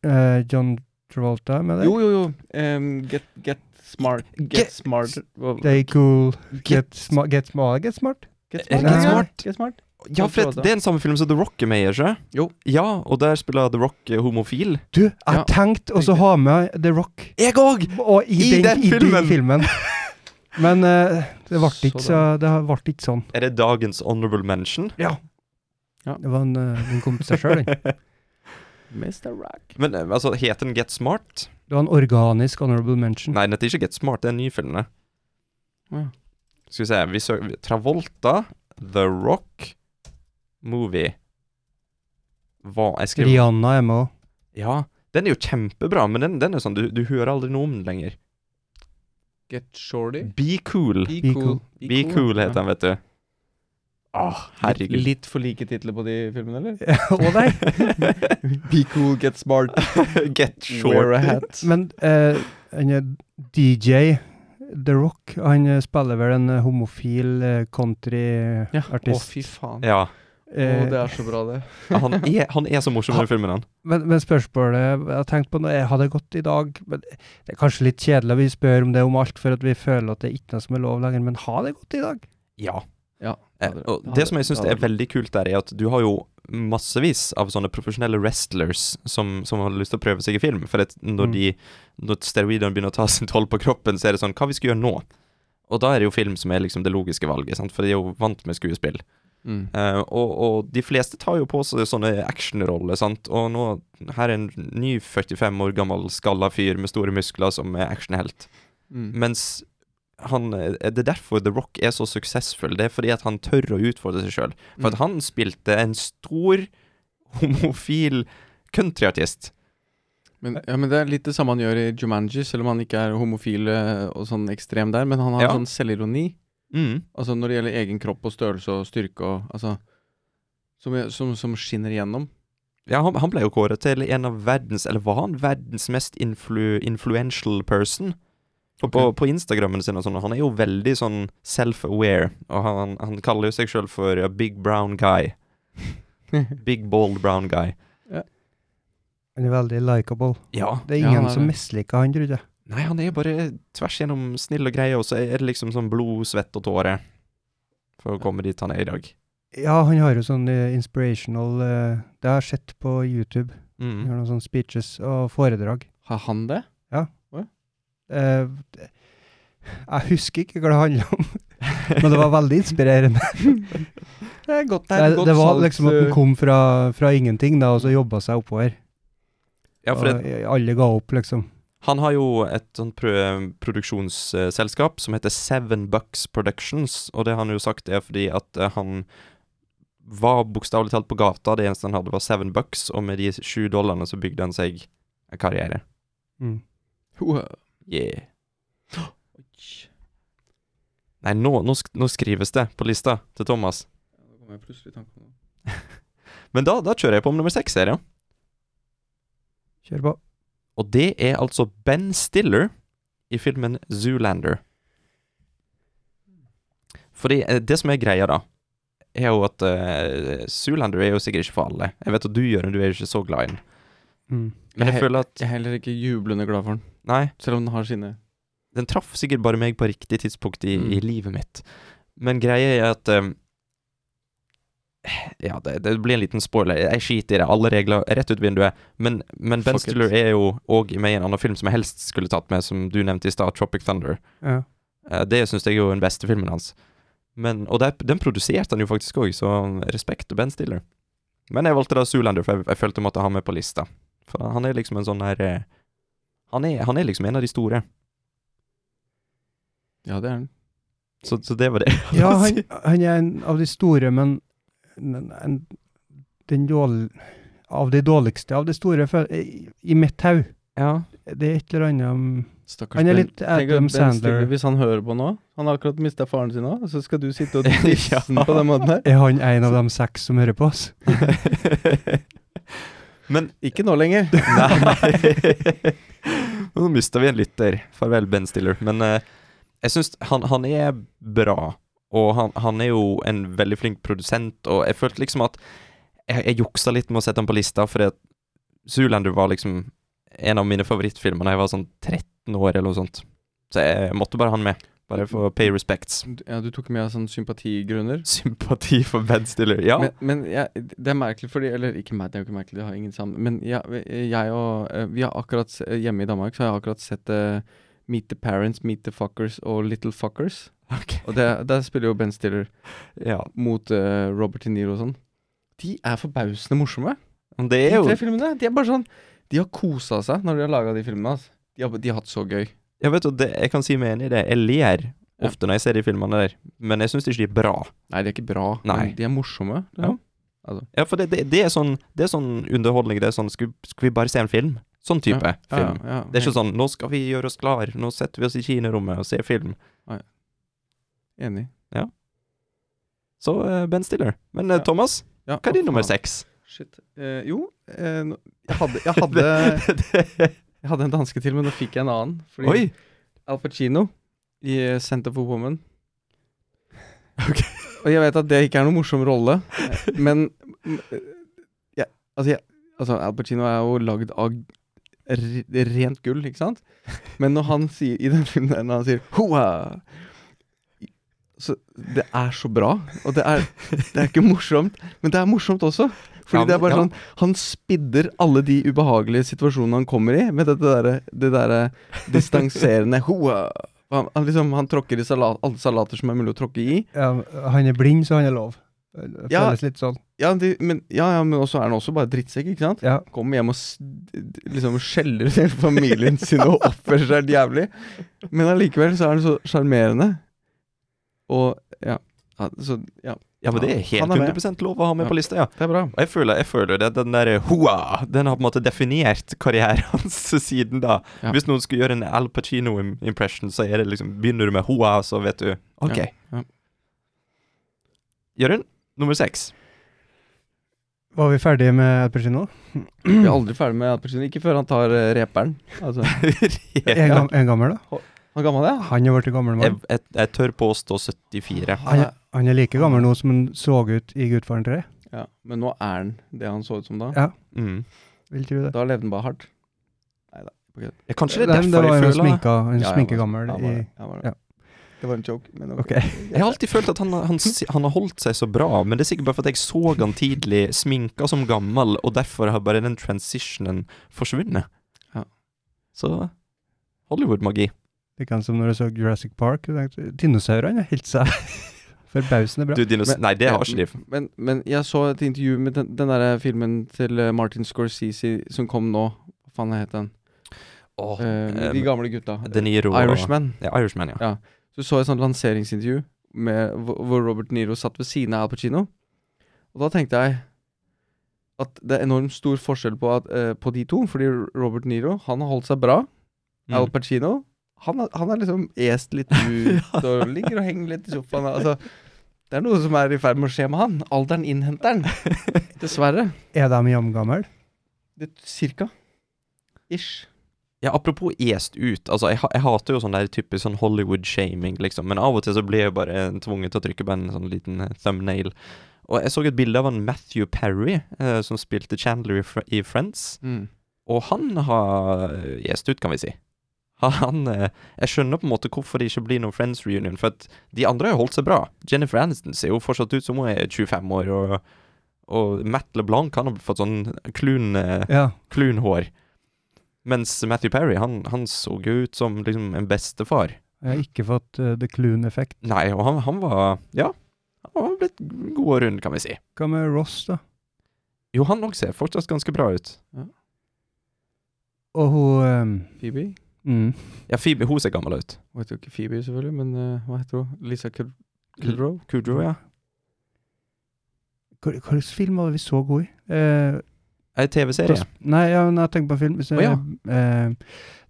J: Eh, John Travolta med det.
L: Jo, jo, jo. em, get, get smart. Get,
K: Get-
L: smart. hva-
J: They cool. Get, sma get smart. Get smart.
L: Get
K: Eh,
L: smart.
J: Get
K: Smart.
L: Get smart.
K: Ja, for at det er den samme film som The Rock er med i, ikke
L: Jo.
K: Ja, og der spiller The Rock eh, homofil.
J: Du, jeg
L: Ja.
J: tenkte også å ha med The Rock
K: Jeg òg!
J: og i, den, i filmen. filmen. Men eh, det ble
L: Så
J: ikke, så, det ble ikke sånn.
K: Er det dagens honorable mention?
J: Det var en, eh, den kom til seg sjøl, den.
L: Mr. Rock.
K: Men eh, altså, heter den Get Smart?
J: Det var en organisk honorable mention.
K: Nei, den heter ikke Get Smart, det er en ny film. det.
L: Ja.
K: Skal vi se vi sø vi- Travolta, The Rock, movie Hva Jeg skriver
J: Rihanna er med òg.
K: Ja, den er jo kjempebra, men den, den er sånn, du, du hører aldri noe om den lenger.
L: Get shorty.
K: Be cool.
L: Be,
J: Be
L: cool.
K: Be cool heter den, vet du. Åh,
L: Herregud.
K: herregud.
L: Litt for like titler på de filmene, eller?
J: Og deg.
L: Be cool, get smart,
K: Get
L: wear
K: short.
L: a hat.
J: Men eh, han er DJ The Rock, han eh, spiller vel en eh, homofil eh,
L: Ja. Å,
J: countryartist.
L: fy faen.
K: Ja.
L: Å, det
J: eh,
L: er så bra, det.
K: Han er, han er så morsom i den filmen, han.
J: men, men spørsmålet jeg tenkte på nå, er, har det gått i dag men Det er kanskje litt kjedelig at vi spør om det om alt, for at vi føler at det er ikke noe som er lov lenger, men har det gått i dag?
K: Ja.
L: Ja.
K: Eh, og det som jeg syns er veldig kult der, er at du har jo massevis av sånne profesjonelle wrestlers som, som har lyst til å prøve seg i film. For at når,
J: Mm.
K: de, når steroidene begynner å ta sin toll på kroppen, så er det sånn Hva vi skal gjøre nå? Og da er det jo film som er liksom det logiske valget, sant? for de er jo vant med skuespill.
L: Mm.
K: Eh, og, og de fleste tar jo på seg sånne actionroller, sant. Og nå, her er en ny 45 år gammel skalla fyr med store muskler som er actionhelt.
L: Mm.
K: Mens han eh, Det er derfor The Rock er så suksessfull. Det er fordi at han tør å utfordre seg sjøl. For
L: Mm.
K: at han spilte en stor homofil countryartist.
L: Men, ja, men det er litt det samme han gjør i Jumanji, selv om han ikke er homofil eh, og sånn ekstrem der. Men han har
K: Ja.
L: sånn selvironi.
K: Mm.
L: Altså når det gjelder egen kropp og størrelse og styrke og altså Som, som, som skinner igjennom.
K: Ja, han, han ble jo kåret til en av verdens Eller var han verdens mest influ, influential person? På, på, på Instagrammen sin og sånn. Han er jo veldig sånn self-aware. Og han, han kaller jo seg sjøl for a big brown guy. Big bald brown guy.
J: Han er veldig likable.
K: Ja.
J: Det er
L: Ja,
J: ingen
L: han er
J: som
L: det.
J: misliker han, trodde jeg.
K: Nei, han er bare tvers gjennom snill og grei, og så er det liksom sånn blod, svett og tårer. For å komme dit han er i dag.
J: Ja, han har jo sånn eh, inspirational eh, Det har jeg sett på YouTube. Han
K: Mm.
J: har noen sånne speeches og foredrag.
L: Har han det?
J: Eh, det- jeg husker ikke hva det handla om, men det var veldig inspirerende.
L: Det er godt eh. Mm.
J: Det, det var liksom at den kom fra, fra ingenting, da, og så jobba seg oppover.
K: Ja, for det,
J: og alle ga opp, liksom.
K: Han har jo et sånt pro produksjonsselskap som heter Seven Bucks Productions, og det har han jo sagt er fordi at eh, han var bokstavelig talt på gata, det eneste han hadde var seven bucks, og med de sju dollarene så bygde han seg en karriere.
J: Mm.
K: Yeah. Nei, nå, nå, sk nå skrives det på lista til Thomas. Men da, da kjører jeg på om nummer seks her, ja.
J: Kjør på.
K: Og det er altså Ben Stiller i filmen Zoolander. Fordi eh, det som er greia, da, er jo at eh, Zoolander er jo sikkert ikke for alle. Jeg vet at du, Jørund, du er jo ikke så glad i den.
J: Mm.
K: Men jeg
L: Jeg-
K: føler at
L: Jeg er heller ikke jublende glad for den,
K: Nei,
L: selv om den har sine
K: den traff sikkert bare meg på riktig tidspunkt i,
L: Mm.
K: i livet mitt. Men greia er at eh, Ja, det, det blir en liten spoiler. Jeg skiter i det. Alle regler rett ut vinduet. Men, men Ben
L: Fuck it.
K: Stiller er jo òg med i en annen film som jeg helst skulle tatt med, som du nevnte i stad, 'Tropic Thunder'.
J: Ja.
K: Eh, Det syns jeg er jo den beste filmen hans. Men, og der, den produserte han jo faktisk òg, så respekt til Ben Stiller. Men jeg valgte da Zoolander, for jeg, jeg følte jeg måtte ha med på lista. For han- han er liksom en sånn her eh, han er, han er liksom en av de store.
L: Ja, det er den.
K: Så, så det var det.
J: Ja, han, han er en av de store, men en, en, den dårl, av de dårligste av de store, føl- i, i mitt hau.
L: Ja.
J: Det er et eller annet um,
L: Stakkars
J: Han er
L: Ben-
J: litt
L: Tenk at
J: Adam
L: Ben Stiller,
J: Sandler.
L: Hvis han hører på nå Han har akkurat mista faren sin nå, og så skal du sitte og disse
K: Ja.
L: den på den måten her?
J: Er han en av de seks som hører på oss?
K: Men
L: Ikke nå lenger.
K: Nei. Nå mista vi en lytter. Farvel, Ben Stiller. Men eh, jeg syns han, han er bra, og han, han er jo en veldig flink produsent, og jeg følte liksom at Jeg, jeg juksa litt med å sette han på lista, fordi at Zoolander var liksom en av mine favorittfilmer da jeg var sånn 13 år, eller noe sånt. Så jeg måtte bare ha han med. Bare for å pay respects.
L: Ja, du tok med av sånne sympatigrunner.
K: Sympati for Ben Stiller. Ja.
L: Men, men jeg, det er merkelig fordi Eller ikke meg, det er jo ikke merkelig, det har ingen sammen Men jeg, jeg og eh, Vi har akkurat s- eh, Hjemme i Danmark så har jeg akkurat sett eh, Meet the Parents, Meet the Fuckers og Little Fuckers.
K: Ok.
L: Og det- der spiller jo Ben Stiller
K: ja.
L: mot eh, Robert De Niro og sånn. De er forbausende morsomme.
K: Men Det
L: De
K: er jo
L: tre filmene. De er bare sånn De har kosa seg når de har laga de filmene. Altså. De, har, de har hatt så gøy.
K: Jeg vet du, det, jeg kan si meg enig i det. Jeg ler
L: Ja.
K: ofte når jeg ser de filmene der, men jeg syns ikke de er bra.
L: Nei, de er ikke bra,
K: Nei.
L: men de er morsomme.
K: Ja.
L: liksom.
K: Ja, for det, det, det, er sånn, det er sånn underholdning. Det er sånn skal, skal vi bare se en film? Sånn type
L: Ja, ja,
K: film.
L: ja.
K: Det er ikke sånn 'nå skal vi gjøre oss klar', 'nå setter vi oss i kinorommet og ser film'.
L: Enig.
K: Så eh, Ben Stiller. Men eh,
L: Ja.
K: Thomas,
L: Ja,
K: hva er din
L: å,
K: nummer
L: faen.
K: seks?
L: Shit. Eh, jo, eh, nå- jeg hadde, jeg hadde Jeg hadde en danske til, men nå fikk jeg en annen. Fordi
K: Oi!
L: Al Pacino i eh, Center for Woman. Og jeg vet at det ikke er noen morsom rolle, eh, men mm, eh, jeg- altså, jeg, altså, Al Pacino er jo lagd av r- rent gull, ikke sant? Men når han sier i den filmen der, når han sier Hoa! Så det er så bra. Og det er, det er ikke morsomt, men det er morsomt også. Fordi
K: Ja,
L: det er bare
K: ja.
L: sånn Han spidder alle de ubehagelige situasjonene han kommer i, med dette derre det derre distanserende Hoa! Han, han, liksom, han tråkker i salat, alle salater som er mulig å tråkke i.
J: Ja, han er blind, så han er lov. Det
L: Ja.
J: føles litt sånn.
L: Ja, de, men, ja, ja, men også er han også bare drittsekk, ikke sant?
J: Ja.
L: Kommer hjem og s- d- d- liksom skjeller ut hele familien sin og oppfører seg helt jævlig. Men allikevel så er han så sjarmerende. Og ja. ja, Så ja,
K: Ja, men det er helt
L: Han er med.
K: 100 lov å ha med
L: Ja.
K: på lista, ja.
L: det er bra.
K: Og jeg føler, jeg føler det, den der hoa, den har på en måte definert karrieren hans siden da.
L: Ja.
K: Hvis noen skulle gjøre en Al Pacino-impression, så er det liksom, begynner du med hoa, så vet du, ok.
L: Ja, ja.
K: Jørgen, nummer seks.
J: Var vi ferdige med Al Pacino?
L: Vi er aldri ferdig med Alpersin. Ikke før han tar eh, reperen. Altså,
J: En, gam, en gammel, da?
L: han gammel er?
J: Han er blitt gammel
K: Jeg,
J: mann.
K: jeg, jeg tør påstå 74.
J: Han, er- han er like gammel nå som han så ut i Gudfaren 3.
L: Ja, men nå er han det han så ut som da.
J: Ja.
K: Mm.
J: Vil tro det.
L: Da levde han bare hardt.
K: Ja, Kanskje det er
J: Nei, men det
K: derfor
J: var
K: jeg
J: jo
K: føler...
J: sminka, en
L: Ja, ja,
J: sminkegammel
L: han var
J: i
L: det, han var det.
J: ja.
L: Det var en joke, men det var
J: Ok.
K: Jeg har alltid følt at han,
L: Hm?
K: han, s- han har holdt seg så bra, men det er sikkert bare for at jeg så han tidlig, sminka som gammel, og derfor har bare den transitionen forsvunnet.
L: Ja.
K: Så Hollywood-magi.
J: Like som når jeg så Jurassic Park. jeg tenkte, Dinosaurene holdt seg forbausende bra.
K: Du, dinos...
L: Men-
K: Nei, det har
L: Ja,
K: ikke de.
L: Men, men jeg så et intervju med den, den der filmen til eh, Martin Scorsese som kom nå. Hva faen het den?
K: Åh,
L: Eh, med de
K: eh,
L: gamle gutta.
K: De Niro og-
L: Irishman.
K: Ja, Irishman, ja.
L: Ja. Så så jeg et sånt lanseringsintervju med, hvor hvor Robert De Niro satt ved siden av Al Pacino. Og da tenkte jeg at det er enormt stor forskjell på, at, eh, på de to. Fordi Robert De Niro han har holdt seg bra.
K: Mm.
L: Al Pacino han, har- han er liksom est litt ut og ligger og henger litt i sofaen. Altså, det er noe som er i ferd med å skje med han. Alderen innhenter han. Dessverre.
J: Er de jamgamle?
L: Det er cirka. Ish.
K: ja. Apropos est ut. Altså, jeg, ha- jeg hater jo sånn der typisk sånn Hollywood-shaming, liksom. Men av og til så blir jeg bare tvunget til å trykke på en sånn liten eh, thumbnail. Og jeg så et bilde av han Matthew Perry, eh, som spilte Chandler i, Fr i Friends.
L: Mm.
K: Og han har gjest ut, kan vi si. Han, eh, jeg skjønner på en måte hvorfor det ikke blir noen Friends reunion, for at de andre har jo holdt seg bra. Jennifer Aniston ser jo fortsatt ut som hun er 25 år, og, og Matt LeBlanc han har fått sånn klun, eh,
J: Ja.
K: klunhår. Mens Matthew Perry, han, han så jo ut som liksom en bestefar.
J: Jeg har ikke fått eh, the Clune-effekt.
K: Nei, og han, han var Ja, han var blitt god og rund, kan vi si.
J: Hva med Ross, da?
K: Jo, han òg ser fortsatt ganske bra ut.
J: Og hun eh,
L: Phoebe?
J: Mm.
K: Ja, Phoebe, hun ser gammel ut.
L: Hun heter jo ikke Phoebe, selvfølgelig, men eh, hva heter hun? Lisa Kudrow? Kudrow?
K: Kujo, ja.
J: Hva hva slags film var det vi så god i? Eh,
K: Ei TV-serie.
J: nei, ja, men jeg tenker på film. Så,
K: Å,
J: eh,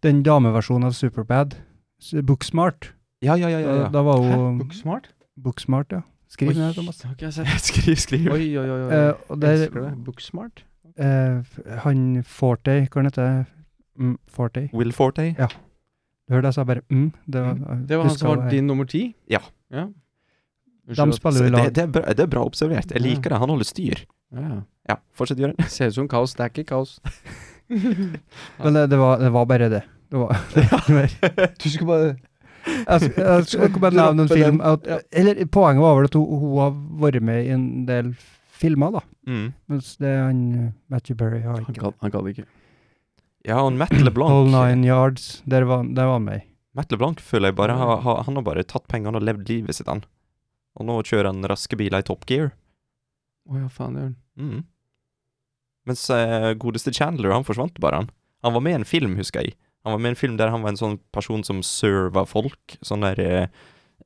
J: den dameversjonen av Superbad. S- Booksmart.
K: Ja, ja, ja, ja.
J: Da,
K: ja.
J: da var
L: Hæ?
J: hun
L: Booksmart?
J: Booksmart, ja. Skriv ned, Thomas.
L: det har ikke jeg sett.
K: Skriv, skriv.
L: Oi, oi, oi. oi.
J: Eh, og der,
L: Elsker det. Booksmart?
J: eh, f- han Forte, hva han heter mm, Forte.
K: Will Forte.
J: Du hørte jeg sa bare mm. Det var,
L: Det var han
J: husker
L: som var
J: jeg.
L: din nummer ti?
K: Ja.
L: ja.
J: De
L: Unnskyld at-
J: spiller jo i
K: Det,
J: lag.
K: det, er bra, det er bra observert. Jeg liker det. Han holder styr.
L: Ja.
K: Ja, fortsett, Jørgen.
L: Ser ut som kaos, det er ikke kaos.
J: Men det, det, var, det var bare det. Det var, det var ikke mer.
L: Du skal bare
J: Jeg sk- jeg skal ikke bare nevne en
L: Droppe den,
J: film at,
L: ja.
J: Eller poenget var vel at hun, hun har vært med i en del filmer, da.
K: Mm.
J: Mens det han eh, Matthew Berry har
L: Han
J: ikke.
L: gadd han gadd ikke.
K: Ja, og Matt LeBlanc
J: All Nine Yards, der var, der var han med. i.
K: Matt LeBlanc føler jeg bare har, har, Han har bare tatt pengene og levd livet sitt, han. Og nå kjører han raske biler i top gear.
L: Å ja, faen, Jørn.
K: Mm. Mens eh, godeste Chandler, han forsvant bare, han. Han var med i en film, husker jeg. Han var med i en film der han var en sånn person som serva folk. Sånn der eh,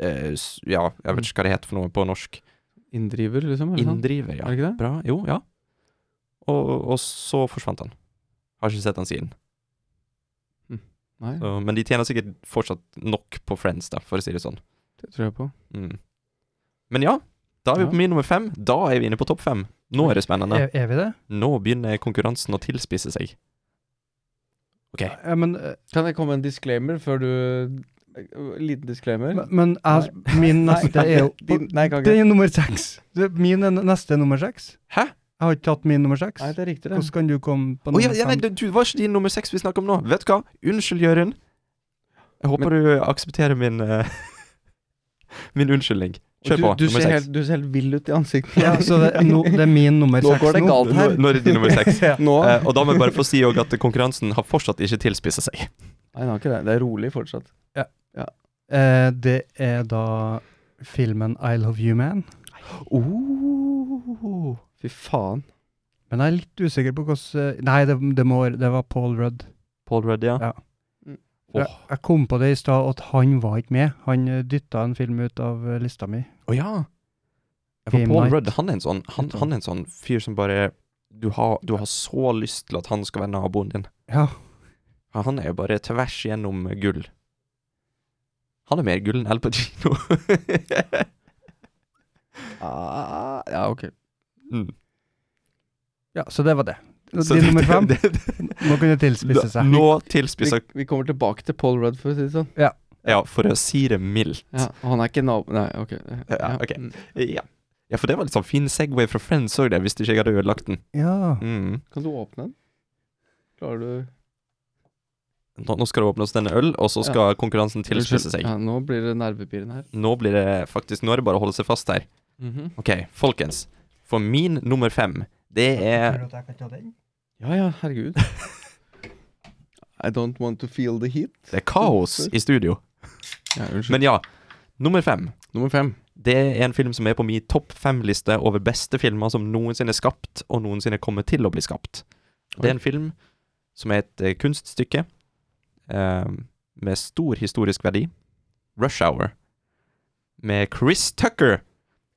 K: eh, s- Ja, jeg vet ikke hva det heter for noe på norsk.
L: Inndriver, liksom?
J: Mhm.
L: Eller sant?
K: Inndriver, ja.
L: Er det ikke det?
K: Bra. Jo, ja. Og, og så forsvant han. Har ikke sett han siden.
L: Nei,
K: Så, men de tjener sikkert fortsatt nok på Friends, da, for å si det sånn.
L: det tror jeg på.
K: Mm. Men ja, da er vi
L: Ja.
K: på min nummer fem. Da er vi inne på topp fem. Nå er det spennende.
J: E-, Er, er vi det?
K: Nå begynner konkurransen å tilspisse seg. Ok.
J: Ja, men, eh,
L: Kan jeg komme med en disclaimer før du Liten disclaimer?
J: men- altså- men jeg, min neste er jo
L: Din- Nei, kan
J: Det
L: ikke.
J: er nummer seks. Det- Min er n- neste er nummer seks.
K: Hæ?
J: Jeg har ikke tatt min nummer seks.
L: Nei, det er riktig, det.
J: Hvordan kan du komme på
K: Å
J: nummer
K: ja, ja, nei,
J: fem?
K: du, du var ikke din nummer seks vi snakker om nå. Vet du hva? Unnskyld, Jørund. Jeg håper du aksepterer min eh, Min unnskyldning.
L: Og
K: Kjør på.
L: Du, du,
K: nummer
L: ser
K: seks.
L: helt, du ser helt vill ut i ansiktet.
J: Ja, så det, nå- det er min nummer
L: Nå
J: seks
L: går det
J: nå.
L: galt her.
K: Nå, nå er det din nummer seks.
L: Nå
K: Eh, og da må jeg bare få si også at konkurransen har fortsatt ikke tilspisset seg.
L: Nei, den har ikke det. Det er rolig fortsatt.
J: Eh, det er da filmen I Love You Man.
L: Oh. Fy faen.
J: Men jeg er litt usikker på hvordan eh, Nei, det, det, må, det var Paul Rudd.
K: Paul Rudd, ja. Åh.
J: Jeg, jeg kom på det i stad, at han var ikke med. Han eh, dytta en film ut av eh, lista mi.
K: Å ja. Ja, for
J: Game
K: Paul
J: Night.
K: Rudd han er, en sånn, han, han er en sånn fyr som bare du har, du har så lyst til at han skal være naboen din.
J: Ja.
K: Ja, Han er jo bare tvers gjennom gull. Han er mer gull enn Al Pacino.
L: Ah, ja, ok.
K: mm.
J: ja, så det var det.
K: Så
J: Din
K: det-
J: nummer fem.
K: det- det-
J: Nå kan det tilspisse
K: da-
J: seg.
K: Nå
L: Vi,
K: tilspisser
L: vi kommer tilbake til Paul Rudd, for å si det sånn.
K: Ja, for å si det mildt.
L: Ja, og han er ikke nabo... Nei, ok.
K: Ja, ok.
L: Mm.
K: Ja. ja, for det var litt sånn fin Segway fra Friends òg, det, hvis ikke jeg hadde ødelagt den.
J: Ja.
K: Mm.
L: Kan du åpne den? Klarer du
K: Nå, nå skal det åpnes denne øl, og så skal konkurransen tilspisse seg.
L: Ja, nå blir det nervepirrende her.
K: Nå blir det faktisk Nå er det bare å holde seg fast her. Ok, folkens. For min nummer fem, det er
L: Ja ja, herregud. I don't want to feel the heat.
K: Det er kaos i studio.
L: Ja, unnskyld.
K: Men ja. Nummer fem.
L: Nummer fem.
K: Det er en film som er på min topp fem-liste over beste filmer som noensinne er skapt, og noensinne kommer til å bli skapt. Det er en film som er et eh, kunststykke eh, med stor historisk verdi. Rush Hour. Med Chris Tucker.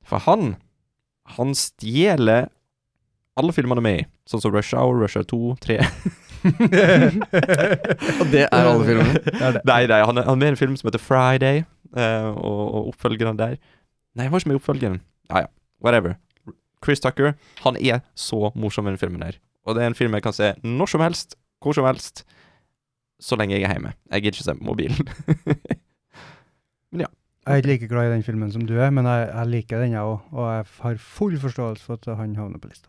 K: For han Han stjeler alle filmene han er med i. Sånn som Rush Hour, Rush Hour 2, 3
L: Og det er alle filmene.
K: Nei, nei, han er, han er med i en film som heter Friday, eh, og, og oppfølgeren der Nei, han var ikke med i oppfølgeren. Ja, ja, whatever. Chris Tucker, han er så morsom i den filmen her. Og det er en film jeg kan se når som helst, hvor som helst, så lenge jeg er hjemme. Jeg gidder ikke se på mobilen.
J: Jeg er ikke like glad i den filmen som du er, men jeg, jeg liker den, jeg òg. Og jeg har full forståelse for at han havner på lista.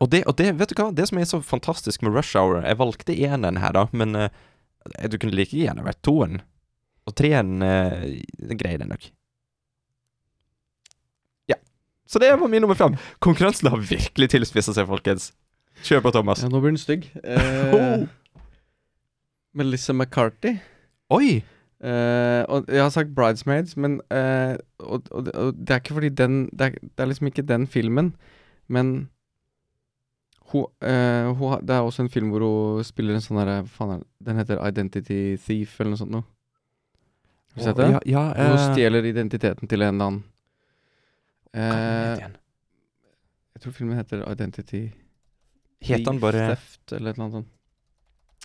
K: og, det, og det, vet du hva, det som er så fantastisk med Rush Hour Jeg valgte eneren her, da, men eh, du kunne like gjerne vært toen. Og treeren uh, greier det nok. Ja. Så det var min nummer fem. Konkurransen har virkelig tilspissa seg, folkens. Kjør på, Thomas.
L: Ja, nå blir den stygg. Eh,
K: Altså. Oh.
L: Melissa McCarthy.
K: Oi!
L: Eh, og jeg har sagt Bridesmaids, men eh, og, og, og det er ikke fordi den det er, det er liksom ikke den filmen, men Hun, eh, hun, har- det er også en film hvor hun spiller en sånn derre Faen, er det- den heter Identity Thief, eller noe sånt noe. Har du sett det?
K: Ja, ja,
L: Hvor hun
K: eh,
L: stjeler identiteten til en eller annen.
K: hva
L: Eh,
K: het den?
L: jeg tror filmen heter Identity
K: Het han
L: Thief,
K: bare
L: Theft, eller et eller annet sånt.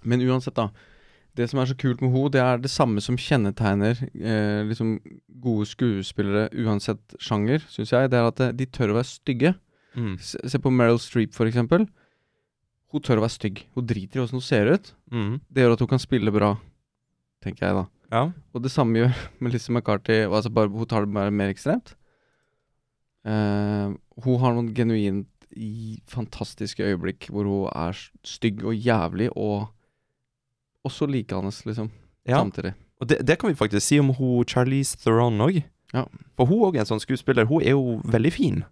L: Men uansett, da. Det som er så kult med henne, det er det samme som kjennetegner eh, liksom gode skuespillere uansett sjanger, syns jeg. Det er at eh, de tør å være stygge.
K: mm,
L: Se, se på Meryl Streep, for eksempel. Hun tør å være stygg. Hun driter i åssen hun ser ut.
K: mm,
L: Det gjør at hun kan spille bra, tenker jeg, da.
K: Ja.
L: Og det samme gjør Melissa McCarthy. og Altså bare, hun tar det bare mer ekstremt. Eh, hun har noen genuint i- fantastiske øyeblikk hvor hun er s- stygg og jævlig og også likende, liksom.
K: ja.
L: Samtidig.
K: Og det, det kan vi faktisk si om hun Charlize Theron òg.
L: Ja.
K: For hun òg er en sånn skuespiller. Hun er jo veldig fin.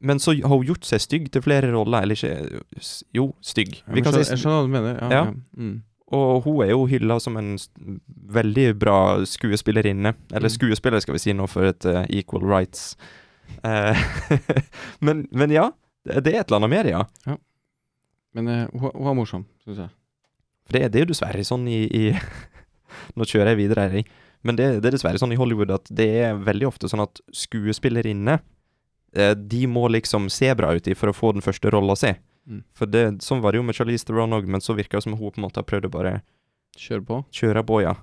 K: Men så har hun gjort seg stygg til flere roller. Eller ikke s- Jo, stygg. Vi
L: jeg,
K: kan
L: skjønner,
K: si
L: jeg skjønner hva du mener. Ja,
K: Ja.
L: ja. Mm.
K: Og hun er jo hylla som en s- veldig bra skuespillerinne. Eller
L: Mm.
K: skuespiller, skal vi si nå, for et eh, equal rights. Eh, men, men ja. Det det er et eller annet mer, ja.
L: Men eh, hun, hun er morsom, syns jeg.
K: For det, det er jo dessverre sånn i, i Nå kjører jeg videre, Eirik. Men det, det er dessverre sånn i Hollywood at det er veldig ofte sånn at skuespillerinne eh, De må liksom se bra ut i for å få den første rolla si.
L: Mm.
K: For det, sånn var det jo med Charlize Theron òg, men så virker det som hun på en måte har prøvd å bare
L: Kjør på.
K: kjøre på, ja.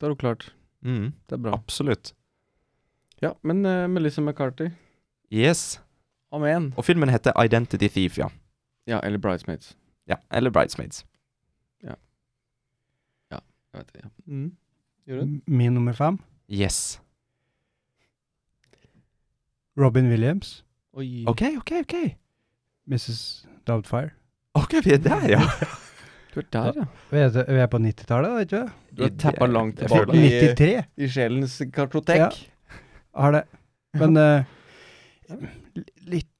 L: Da er hun klart.
K: Mm,
L: Det er bra.
K: absolutt.
L: Ja, men eh, Melissa McCarthy.
K: Yes.
L: Amen.
K: Og filmen heter Identity Thief, ja.
L: Ja, eller Bridesmaids.
K: ja. Eller Bridesmaids.
L: Jeg vet det, ja. Mm. Gjør du det?
J: M- Min nummer fem,
K: Yes.
J: Robin Williams,
L: Oi.
K: OK, OK, OK.
J: Mrs. Doubtfire.
K: Ok, Vi er der, ja.
L: Du er der, ja.
J: Vi er, vi er på 90-tallet, da, ikke sant?
L: Du har tappa langt
K: Jeg føler
L: tilbake.
K: det.
J: 93
L: I sjelens kartotek.
J: Ja. har det. Men eh, litt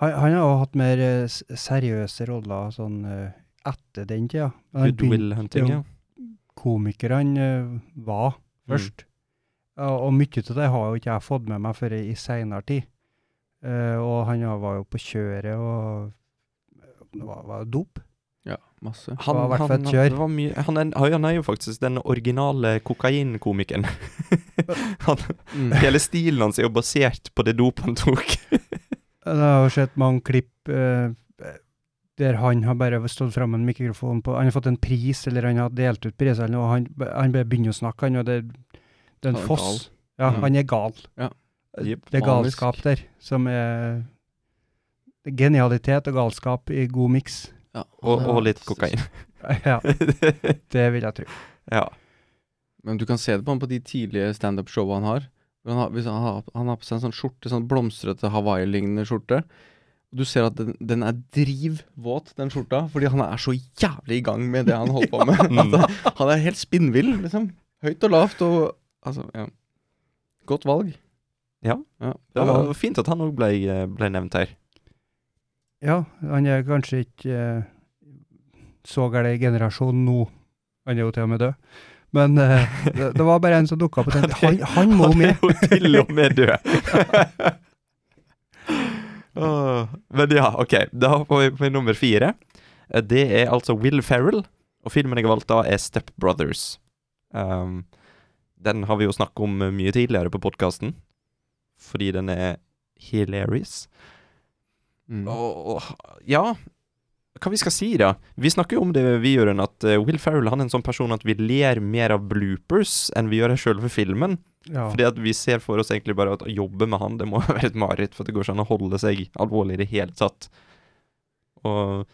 J: Han, han har jo hatt mer eh, s- seriøse roller sånn eh, etter den tida. Men han begynte-
K: Goodwill Hunting, ja.
J: komikerne eh, var først. Og, og mye av det har jo ikke jeg fått med meg før i seinere tid. Eh, og han ja, var jo på kjøret og det var, var jo dop.
L: Ja, masse.
K: Han,
J: Det var i hvert fall
K: han,
J: et kjør.
K: det var mye, han, er, han er jo faktisk den originale kokainkomikeren. han,
L: Mm.
K: hele stilen hans er jo basert på det dop han tok.
J: Jeg har sett mange klipp eh, der han har bare stått fram med en mikrofon på Han har fått en pris, eller han har delt ut pris, eller noe, og han, han bare begynner å snakke, han, og det, det er
L: Han
J: en
L: er
J: foss. Ja,
L: Mm.
J: han er gal.
L: Ja.
K: Jepp.
J: Det er
L: Manisk.
J: galskap der, som er det er Genialitet og galskap i god miks.
L: Ja,
K: Og,
L: han er
K: og litt kokain.
L: fantastisk.
J: Ja, det vil jeg tro.
K: ja.
L: Men du kan se det på han på de tidlige standup-showa han har. Hvor Han har, hvis han, har, han har på seg en sånn skjorte, sånn blomstrete Hawaii-lignende skjorte. Du ser at den, den er drivvåt, den skjorta, fordi han er så jævlig i gang med det han holder på med. Altså, han er helt spinnvill, liksom. Høyt og lavt og Altså, ja. Godt valg.
K: Ja.
L: ja
K: Det var fint at han òg ble, ble nevnt her.
J: Ja, han er kanskje ikke eh, så gæren i generasjon nå. Han er jo til og med død. Men eh, det, det var bare en som dukka opp og tenkte han, han må
K: Han er
J: med.
K: jo til og med død! Åh, Men ja, OK. Da får vi på nummer fire. Eh, Det er altså Will Ferrell, og filmen jeg har valgt da, er Step Brothers. Um, den har vi jo snakket om eh, mye tidligere på podkasten, fordi den er hilarious.
L: Mm.
K: Og, og ja Hva vi skal si, da? Vi snakker jo om det, vi gjør, enn at eh, Will Ferrell han er en sånn person at vi ler mer av bloopers enn vi gjør av selve filmen.
J: Ja.
K: Fordi at vi ser for oss egentlig bare at å jobbe med han, det må være et mareritt, for det går ikke an å holde seg alvorlig i det hele tatt. Og,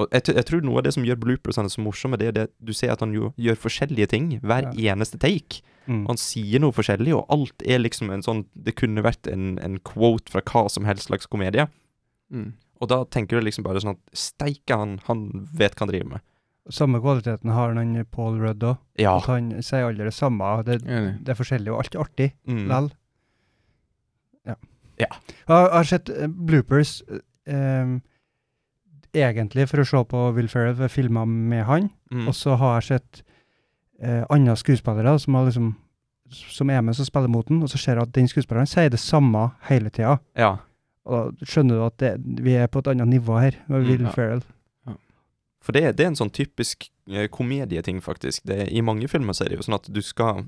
K: og jeg, t- jeg tror noe av det som gjør bloopersene så morsomme, det er det du ser at han jo gjør forskjellige ting hver eneste take.
J: Mm.
K: Og Han sier noe forskjellig, og alt er liksom en sånn Det kunne vært en, en quote fra hva som helst slags komedie.
L: Mm.
K: Og da tenker du liksom bare sånn at steike, han, han vet hva han driver med.
J: Samme kvaliteten har han eh, Paul Rudd òg.
K: Ja.
J: At han sier aldri det samme. Det,
L: Enig.
J: det er forskjellig, og alt er artig
K: Mm.
J: lell. Ja.
K: Ja.
J: Jeg har- jeg har sett eh, bloopers eh, egentlig for å se på Will Ferrell, for jeg filma med han.
K: Mm.
J: Og så har jeg sett eh, andre skuespillere som, har liksom, som er med som spiller mot den, og så ser jeg at den skuespilleren sier det samme hele tida.
K: Ja.
J: Og da skjønner du at det, vi er på et annet nivå her, med
L: Mm,
J: Will
L: ja.
J: Ferrell.
K: For det, det er en sånn typisk eh, komedieting, faktisk. Det er, I mange filmer så er det jo sånn at du skal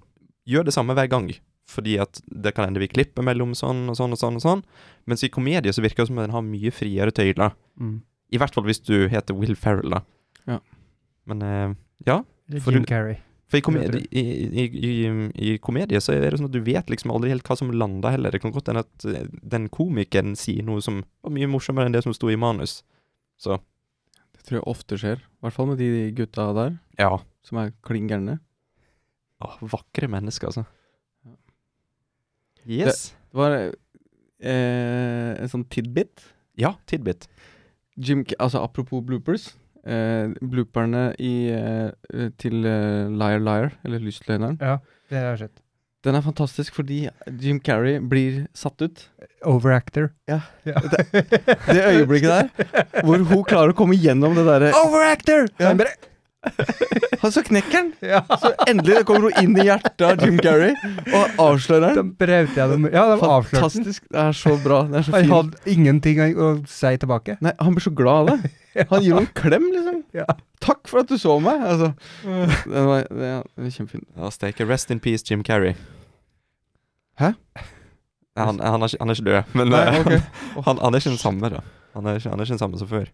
K: gjøre det samme hver gang. Fordi at det kan hende vi klipper mellom sånn og sånn og sånn. og sånn. Mens i komedie så virker det som om den har mye friere tøyler.
J: Mm.
K: I hvert fall hvis du heter Will Ferrell, da.
L: Ja.
K: Men eh, ja.
J: Eller
K: For
J: Jim
K: du-
J: Carrey.
K: For i komedie, i, i, i, i komedie så er det sånn at du vet liksom aldri helt hva som lander heller. Det kan godt hende at eh, den komikeren sier noe som var mye morsommere enn det som sto i manus. Så
L: Det tror jeg ofte skjer. I hvert fall med de gutta der,
K: ja.
L: som er klin gærne.
K: Åh, vakre mennesker, altså. Yes.
L: Det var eh, en sånn tidbit.
K: Ja, tidbit.
L: Jim, Ca- altså apropos bloopers. Eh, blooperne i, eh, til eh, Liar Liar, eller Lystløgneren,
J: Ja, det har jeg sett.
L: den er fantastisk fordi Jim Carrey blir satt ut.
J: Overactor.
L: Ja.
J: ja.
L: Det øyeblikket der, hvor hun klarer å komme gjennom det derre
J: Overactor!
L: Ja.
J: Han bare
L: Han så knekker den!
J: Ja.
L: Så endelig kommer hun inn i hjertet av Jim Carrey og avslører
J: De
L: den.
J: brøt gjennom Ja, de avslørte den.
L: Fantastisk. Det er så bra. Det er så
J: Han
L: fint.
J: hadde ingenting å- å si tilbake.
L: Nei, han blir så glad av det. Han gir henne en klem, liksom.
J: Ja.
L: Takk for at du så meg. Altså, det var, det var kjempefint.
K: Ja, steike. Rest in peace, Jim Carrey.
L: Hæ?
K: Nei, Han, han, er, ikke- han er ikke død, men
L: Nei,
K: eh,
L: ok.
K: han, han er ikke den samme, da. Han er ikke, han er ikke den samme som før.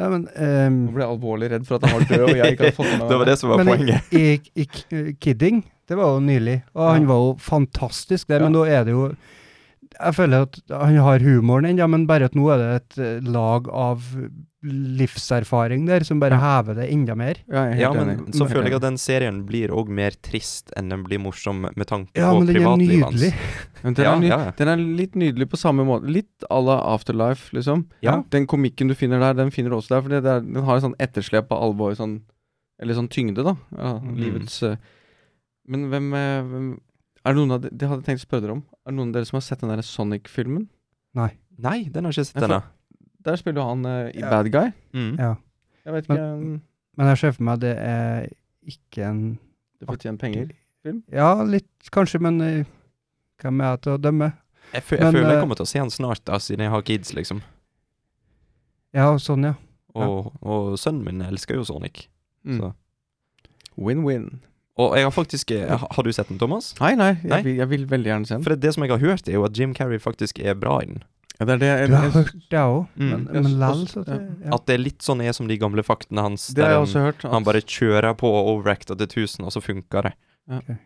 J: Nei, men ehm,
L: Nå ble jeg alvorlig redd for at han var død, og jeg ikke hadde fått med meg
K: Det var det som var
J: Men i,
K: poenget.
J: i, i K- eh, Kidding, det var jo nylig, og han
L: Ja.
J: var jo fantastisk der,
L: Ja.
J: men nå er det jo Jeg føler at han har humoren ennå, men bare at nå er det et eh, lag av livserfaring der som bare hever det enda mer.
L: Ja, jeg er helt
K: Ja,
L: enig.
K: men så føler jeg at den serien blir òg mer trist enn den blir morsom med tanke
J: Ja,
K: på
J: men den er
K: privatlivet hans.
J: nydelig.
L: Men den,
K: Ja,
L: er ny,
K: ja, ja.
L: den er litt nydelig på samme måte. Litt à la Afterlife, liksom.
K: Ja.
L: Den komikken du finner der, den finner du også der. For det det er, den har en sånn etterslep av alvor, sånn, eller sånn tyngde, da. Ja,
K: Mm.
L: Livets eh, Men hvem, eh, hvem Er det noen av de, Det hadde jeg tenkt å spørre dere om. Er det noen av dere som har sett den der Sonic-filmen?
J: Nei.
K: Nei, den har jeg ikke sett
L: Jeg
K: ennå.
L: Der spiller jo han eh, i
J: Ja.
L: Bad Guy.
K: Mm.
J: Ja.
L: Jeg vet
J: Men-
L: ikke um,
J: Men jeg ser for meg det er ikke en
L: Det fortjener penger.
J: Ja, litt kanskje, men eh, hvem er jeg til å dømme?
K: Jeg, fø jeg
J: Men,
K: føler jeg
J: eh,
K: kommer til å se han snart, da, siden jeg har kids, liksom.
J: Ja, sånn, ja.
K: Og, og sønnen min elsker jo Sonic.
L: Mm.
K: Så.
L: Win-win.
K: Og jeg har faktisk eh, ha- Har du sett den, Thomas?
L: Nei, nei, jeg,
K: Nei?
L: Vil, jeg vil veldig gjerne se den.
K: For det, det som jeg har hørt, er jo at Jim Carrey faktisk er bra i den.
L: Ja, det er det jeg,
J: Du har
L: jeg-
J: hørt det
K: Mm.
J: òg, men,
L: Jeg
J: men
L: har
J: lell,
L: også-
J: så det ja.
K: At det er litt sånn er som de gamle faktene hans.
L: det har
K: der
L: jeg
K: han-
L: også hørt. at-
K: han bare kjører på og overacter til 1000, og så funker det.
L: Ja.
J: Ok.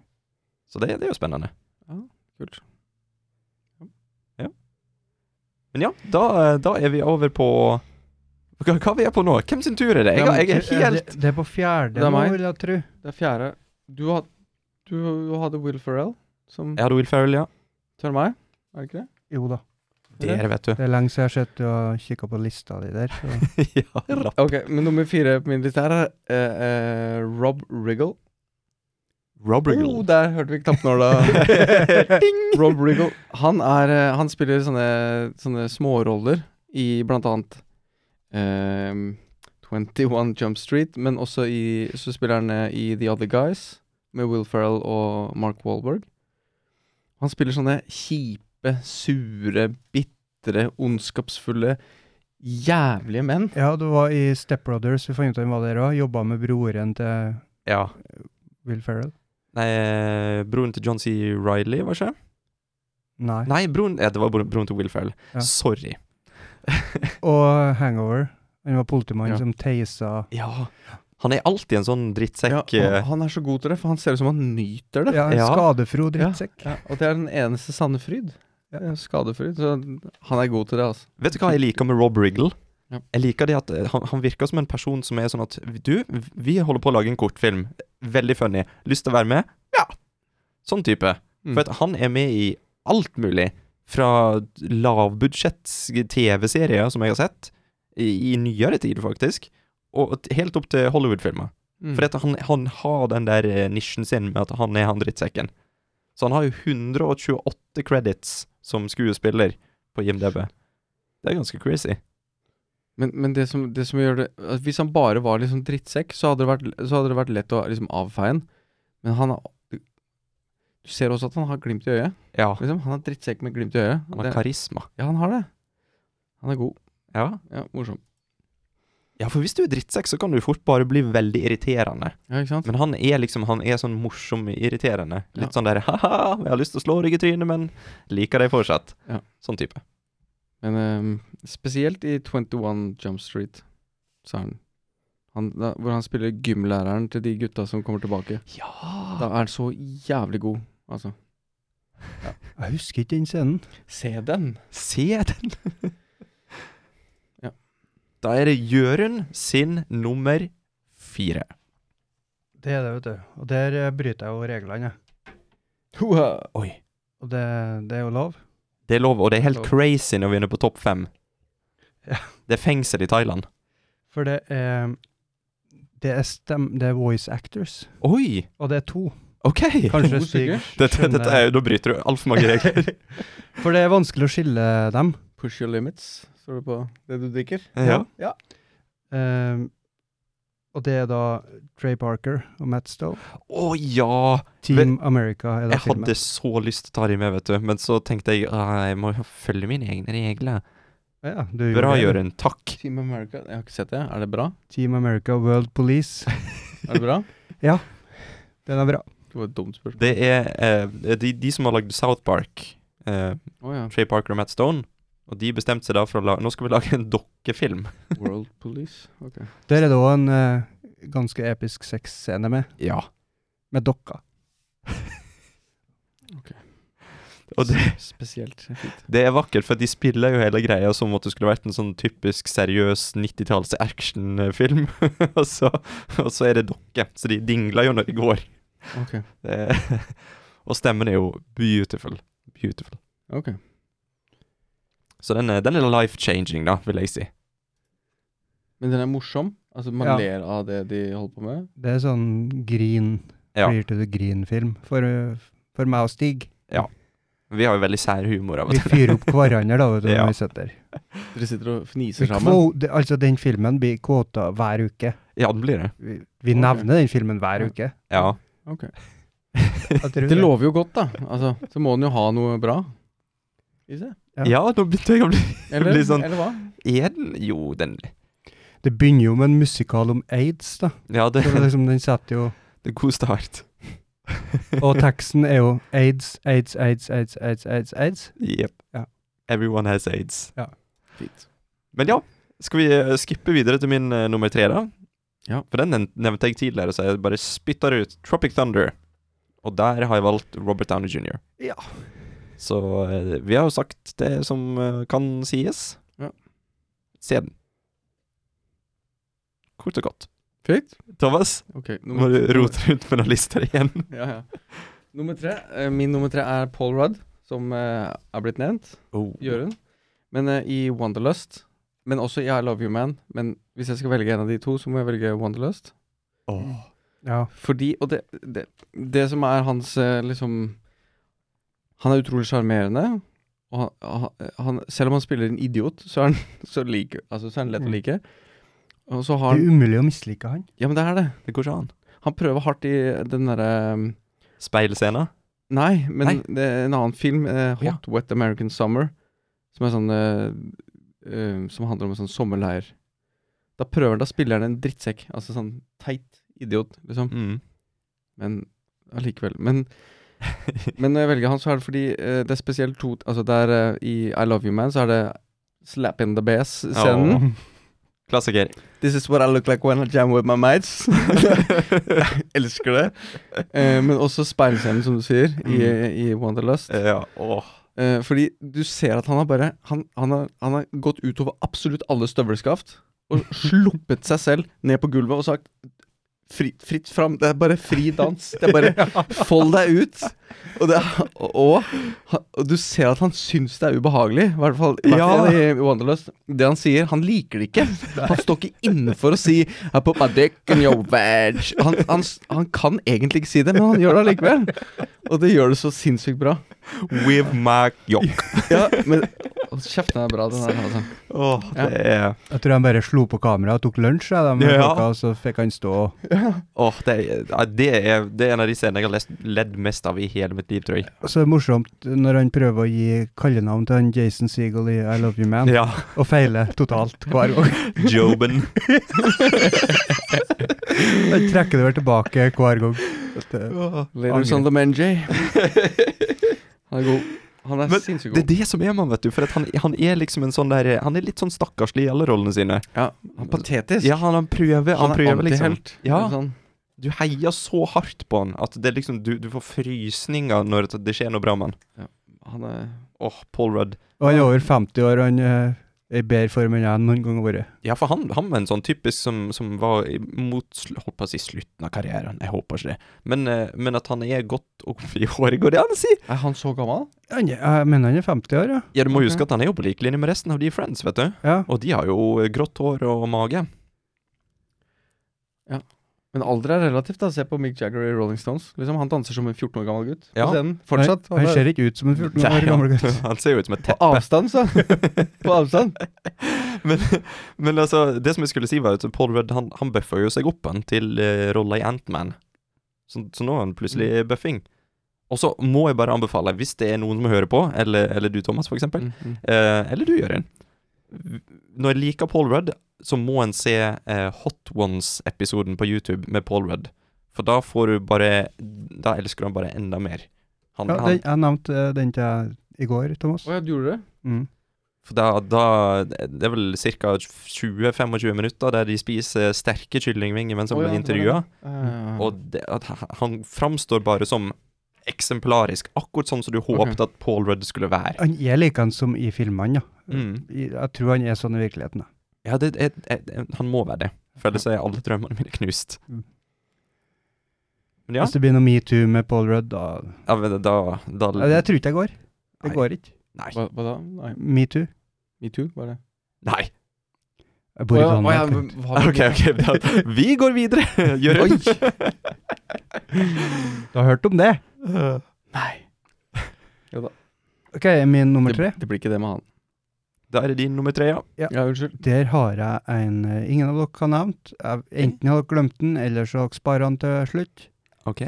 K: Så det, det er jo spennende.
L: Kult.
K: Men ja, da, eh, da er vi over på Hva, hva vi er på nå? Hvem sin tur er det? Jeg, jeg
L: eh,
K: er helt
J: det, det er på fjerde
L: Det er
J: nå,
L: meg.
J: vil jeg tro.
L: Det er fjerde. Du, had, du, du hadde Will Ferrell som
K: Jeg hadde Will Ferrell, ja.
L: tør meg, er det ikke det?
J: Jo da.
K: Det er det, vet du.
J: Det er lenge siden jeg har sett du har kikka på lista di der. Så.
K: ja, lapp.
L: Ok, men nummer fire på min liste her er eh, eh, Rob Riggle.
K: Robert
L: Oh, der hørte vi knappnåla. Rob Riggle. Han, er, eh, han spiller sånne, sånne småroller i blant annet ehm, 21 Jump Street, men også i, så spiller han eh, i The Other Guys med Will Ferrell og Mark Wahlberg. Han spiller sånne kjipe, sure, bitre, ondskapsfulle, jævlige menn.
J: Ja, du var i Step Brothers, vi fant ut hvem var der òg. Jobba med broren til
K: Ja.
J: Will Ferrell.
K: Nei, eh, broren til John C. Riley, var ikke det?
J: Nei.
K: Nei, broren ja, Det var broren, broren til Will Ferrell.
J: Ja.
K: Sorry.
J: Og Hangover. Han var politimannen
L: Ja.
J: som teisa
K: Ja. Han er alltid en sånn
L: Ja,
K: drittsekk.
L: han,
K: eh,
L: han er så god til det, for han ser ut som han nyter det.
J: Ja, en
K: Ja.
J: skadefro drittsekk.
L: Ja, og det er den eneste sanne fryd.
J: Ja.
L: Det er Skadefryd. Så han er god til det, altså.
K: Vet du hva jeg liker med Rob Riggle?
L: Ja.
K: Jeg liker det at eh, han, han virker som en person som er sånn at Du, vi holder på å lage en kortfilm. Veldig funny. Lyst til å være med? Ja! Sånn type.
L: Mm.
K: For at han er med i alt mulig. Fra lavbudsjetts TV-serier som jeg har sett, i, i nyere tid faktisk, og t- helt opp til Hollywood-filmer.
L: Mm.
K: For at han, han har den der eh, nisjen sin med at han er han drittsekken. Så han har jo 128 credits som skuespiller på IMDb. Det er ganske crazy.
L: Men, men det, som, det som gjør det at Hvis han bare var liksom drittsekk, så hadde det vært, så hadde det vært lett å liksom avfeie han. Men han er Du ser også at han har glimt i øyet.
K: Ja,
L: Liksom. Han er drittsekk med glimt i øyet.
K: Ah. han har
L: Det,
K: karisma.
L: ja, han har det. Han er god.
K: Ja.
L: Ja, Morsom.
K: ja, for hvis du er drittsekk, så kan du fort bare bli veldig irriterende.
L: Ja, ikke sant?
K: Men han er liksom Han er sånn morsom irriterende. Litt
L: Ja.
K: sånn der ha-ha, jeg har lyst til å slå deg i trynet, men liker deg fortsatt.
L: Ja.
K: Sånn type.
L: Men ehm, spesielt i 21 Jump Street, så er han, han da, Hvor han spiller gymlæreren til de gutta som kommer tilbake. Da
K: Ja!
L: er han så jævlig god, altså.
J: Jeg husker ikke den scenen.
L: Se den!
K: Se den!
L: Ja.
K: Da er det Jørund sin nummer fire.
J: Det er det, vet du. Og der eh, bryter jeg jo reglene. jeg.
K: Oi.
J: Og det, det er jo lov.
K: Det er lov, og det er helt
L: Lov.
K: crazy når vi er inne på topp fem.
J: Ja.
K: Det er fengsel i Thailand.
J: For det er Det er, stem, det er voice actors.
K: Oi!
J: Og det er to.
K: OK!
J: Kanskje
L: to
J: Stig
L: stykker?
K: Dette, dette
J: skjønner
K: er, da bryter du altfor mange regler.
J: For det er vanskelig å skille dem.
L: Push your limits, står det på det du drikker.
K: Ja.
L: ja.
J: Ehm, og det er da Trey Parker og Matt Stowe.
K: Å ja!
J: Team America er da
K: Jeg
J: filmen.
K: hadde så lyst til å ta dem med, vet du. Men så tenkte jeg «Ah, jeg må jo følge mine egne regler.
J: Ja, du gjorde
K: Bra,
J: det.
K: Jørund. Takk.
L: Team America, jeg har ikke sett det. Er det bra?
J: Team America World Police.
L: Er det bra?
J: Den er bra.
L: Det var et dumt spørsmål.
K: Det er eh, de, de som har lagd South Park, eh,
L: Å ja.
K: Trey Parker og Matt Stone, og de bestemte seg da for å lage Nå skal vi lage en dokkefilm.
L: World Police. Ok.
J: Der er det òg en eh, ganske episk sexscene med,
K: Ja.
J: med dokka.
K: Og det,
L: Spesielt fint.
K: det er vakkert, for de spiller jo hele greia som om at det skulle vært en sånn typisk seriøs 90-talls actionfilm, og, så- og så er det dokker. Så de dingler jo når de går.
L: Ok.
K: Det, og stemmen er jo beautiful. Beautiful.
L: Ok.
K: Så den er, den er life-changing, da, vil jeg si.
L: Men den er morsom. Altså, man
J: Ja.
L: ler av det de holder på med.
J: Det er sånn grin,
K: Ja.
J: clear to the green-film for, eh, for meg og Stig.
K: Vi har jo veldig sær humor av og
J: Vi
K: til.
J: fyrer opp hverandre da, vet du,
K: Ja.
J: når vi sitter der.
L: Dere sitter og
J: Vi
L: fniser sammen.
J: kvo- det- Altså, den filmen blir kvota hver uke.
K: Ja, den blir det.
J: Vi, vi
L: Ok.
J: nevner den filmen hver uke.
K: Ja.
L: Ok.
J: Jeg tror
L: Det lover jo godt, da. Altså, så må den jo ha noe bra i seg.
J: Ja.
K: Ja, nå begynte jeg å bli
L: Eller,
K: Litt sånn-
L: eller hva?
K: Er den Jo, den
J: Det begynner jo med en musikal om aids, da.
K: Ja, det,
J: Så det er liksom, den setter jo
K: det er god start.
J: Og teksten er jo aids, aids, aids, aids, aids, aids. aids.
K: Jepp.
J: Ja.
K: Everyone has aids.
L: Fint.
K: Men ja, skal vi eh, skippe videre til min eh, nummer tre, da?
L: Ja.
K: For den nev- nevnte jeg tidligere, så jeg bare spytter ut Tropic Thunder. Og der har jeg valgt Robert Downey jr.
J: Ja.
K: Så eh, vi har jo sagt det som eh, kan sies.
L: Ja.
K: Se den. Kort og godt.
L: Fint.
K: Thomas,
L: Ok.
K: nå må du rote rundt med noen lister igjen.
L: Ja, ja. Nummer tre. eh, Min nummer tre er Paul Rudd, som eh, er blitt nevnt.
K: Oh.
L: Jørund. Men eh, i Wanderlust Men også i I Love You Man. Men hvis jeg skal velge en av de to, så må jeg velge Wanderlust.
K: Åh.
J: Ja.
L: Fordi Og det, det, det som er hans eh, liksom Han er utrolig sjarmerende. Og han, han- han, selv om han spiller en idiot, så er han, så like, altså, så er han lett å like. Og så
J: Det
L: har
J: er
L: han
J: umulig å mislike han.
L: Ja, men det er det.
K: Det går ikke an.
L: Han prøver hardt i den derre um,
K: Speilscena?
L: Nei, men
K: Nei.
L: det er en annen film, eh,
K: Ja.
L: Hot Wet American Summer, som er sånn eh, eh, Som handler om en sånn sommerleir. Da prøver da spiller han en drittsekk. Altså sånn teit idiot, liksom.
K: Mm.
L: Men allikevel. Men, men når jeg velger han, så er det fordi eh, det er spesielt to Altså det er eh, i I Love You Man, så er det Slap in the Bass-scenen.
K: Åh. Klassiker.
L: This is what I look like when I jam with my mates. Elsker det. Eh, men også speilscenen, som du sier,
K: Mm.
L: i, eh, i Wanderlust.
K: Ja, åh.
L: Eh, fordi du ser at han har bare Han, han, har, han har gått utover absolutt alle støvelskaft og sluppet seg selv ned på gulvet og sagt fri, Fritt fram. Det er bare fri dans. Det er bare Fold deg ut. Og, det, er- og, han- og du ser at han syns det er ubehagelig, i hvert fall, i hvert
K: Ja.
L: fall i Wanderlust. Det han sier, han liker det ikke. Han står ikke inne for å si I put my dick in your veg. Han, han, s- han kan egentlig ikke si det, men han gjør det allikevel. Og det gjør det så sinnssykt bra.
K: With my yoke.
L: Ja, men Hold kjeft, den er bra, den der. Altså.
K: Åh, det er
J: Jeg tror han bare slo på kameraet og tok lunsj, jeg, da, med
K: Ja.
J: klokka, og så fikk han stå og
K: Åh, det, er- ja, det, er, det er en av de scenene jeg har lest, ledd mest av i hele mitt liv, tror jeg.
J: Og så er det morsomt når han prøver å gi kallenavn til han Jason Segel i I Love You Man,
K: Ja.
J: og feiler totalt hver gang.
K: Joben.
J: Han trekker det vel tilbake hver gang. At, eh,
L: Ladies on the men, Jay. Han er god. Han er
K: Men
L: sinnssykt
K: Det er
L: god.
K: det som er man, vet du. For at han, han er liksom en sånn der Han er litt sånn stakkarslig i alle rollene sine.
L: Ja, han er patetisk.
K: Ja, han, han prøver, han
L: han er
K: prøver liksom
L: antihelt.
K: Ja.
L: Sånn.
K: Du heier så hardt på han at det er liksom du, du får frysninger når det- det skjer noe bra med han.
L: Han er
K: Åh, Paul Rudd.
J: Og han er over 50 år, og han eh, er i bedre form enn jeg noen gang har vært.
K: Ja, for han, han var en sånn typisk som, som var i- mot sl- Holdt på å si slutten av karrieren, jeg håper ikke det. Men, eh, men at han er godt opp i håret, går det an å si?
L: Er han så gammel?
J: Han er- Jeg mener han er 50 år, ja.
K: Ja, du må huske at han er jo på lik linje med resten av de i Friends, vet du.
J: ja.
K: Og de har jo eh, grått hår og mage.
L: Men alder er relativt. da Se på Mick Jagger i Rolling Stones. Liksom, han danser som en 14 år gammel gutt.
K: Ja.
L: På scenen. Fortsatt.
J: Han, han
L: er
J: ser ikke ut som en 14
K: Nei,
J: år gammel gutt.
K: Han ser jo ut som et
L: på
K: teppe.
L: avstand, så. på avstand.
K: Men, men altså, det som jeg skulle si var at Paul Rudd han, han bøffa jo seg opp han til eh, rolla i Ant-Man. Så, så nå er han plutselig bøffing. Og så må jeg bare anbefale, hvis det er noen som hører på, eller, eller du Thomas for eksempel,
L: Mhm.
K: eh, eller du Jørgen V- Når jeg liker Paul Rudd, så må en se eh, Hot Ones-episoden på YouTube med Paul Rudd. For da får du bare Da elsker du han bare enda mer. Han,
J: Ja,
K: han,
J: den, jeg nevnte eh, den til jeg i går, Thomas.
L: Å ja, du gjorde det?
J: Mm.
K: For da, da Det er vel ca. 20-25 minutter der de spiser sterke kyllingvinger mens han
L: Å ja,
K: blir
L: det var det.
K: intervjua.
L: Eh,
K: Mm. Og det, at h- han framstår bare som eksemplarisk. Akkurat sånn som du håpet at Paul Rudd skulle være.
J: Han er likeens som i filmene, ja.
K: Mm.
J: I- Jeg tror han er sånn i virkeligheten. da.
K: Ja, det, jeg, jeg, han må være det. For ellers er alle drømmene mine knust.
J: Mm.
K: Men ja,
J: Hvis Altså, det blir noe metoo med Paul Rudd, da
K: ja men da, da
J: Nei, Jeg tror ikke det går. Det
K: Nei.
J: går ikke.
K: Nei.
L: Hva, hva da? Nei,
J: Metoo.
L: metoo, var det.
K: Nei.
J: Jeg bor i
L: Å ja, å ja,
J: Danmark.
L: men hva-
K: OK, OK. Da, vi går videre. Gjør
J: Du har hørt om det?
L: Øh. Nei.
J: OK, min nummer tre.
L: Det, det blir ikke det med han.
K: Da er det din nummer tre, ja.
L: Ja, unnskyld.
J: Der har jeg en eh, ingen av dere har nevnt. Jeg- Enten har dere glemt den, eller så har dere sparer den til slutt.
K: OK.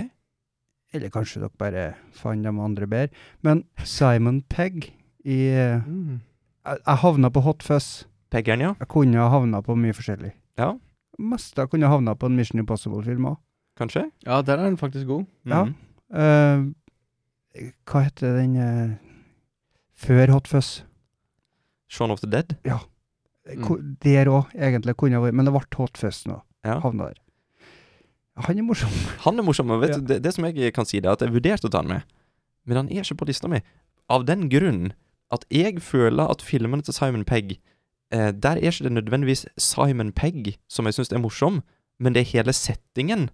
J: Eller kanskje dere bare fant de andre bedre. Men Simon Pegg i eh,
L: Mm.
J: Jeg jeg havna på Hot Fuzz.
K: Peggeren, ja.
J: Jeg kunne ha havna på mye forskjellig.
K: Ja.
J: Mest jeg kunne ha havna på en Mission Impossible-film òg.
K: Kanskje? Mm.
L: Ja, der er han faktisk god.
J: Ja. Eh, hva heter den eh, før Hot Fuzz? Eh,
K: Shaun of the Dead. Mm.
J: Ko- Der òg, egentlig, kunne ha vært. Men det ble Hot Fuzz nå.
K: Ja.
J: Havna der. Han er morsom.
K: Han er morsom, og vet
J: Ja.
K: du, det, det som jeg kan si, det er at jeg vurderte å ta han med, men han er ikke på lista mi. Av den grunn at jeg føler at filmene til Simon Pegg eh, Der er ikke det nødvendigvis Simon Pegg som jeg syns er morsom, men det er hele settingen.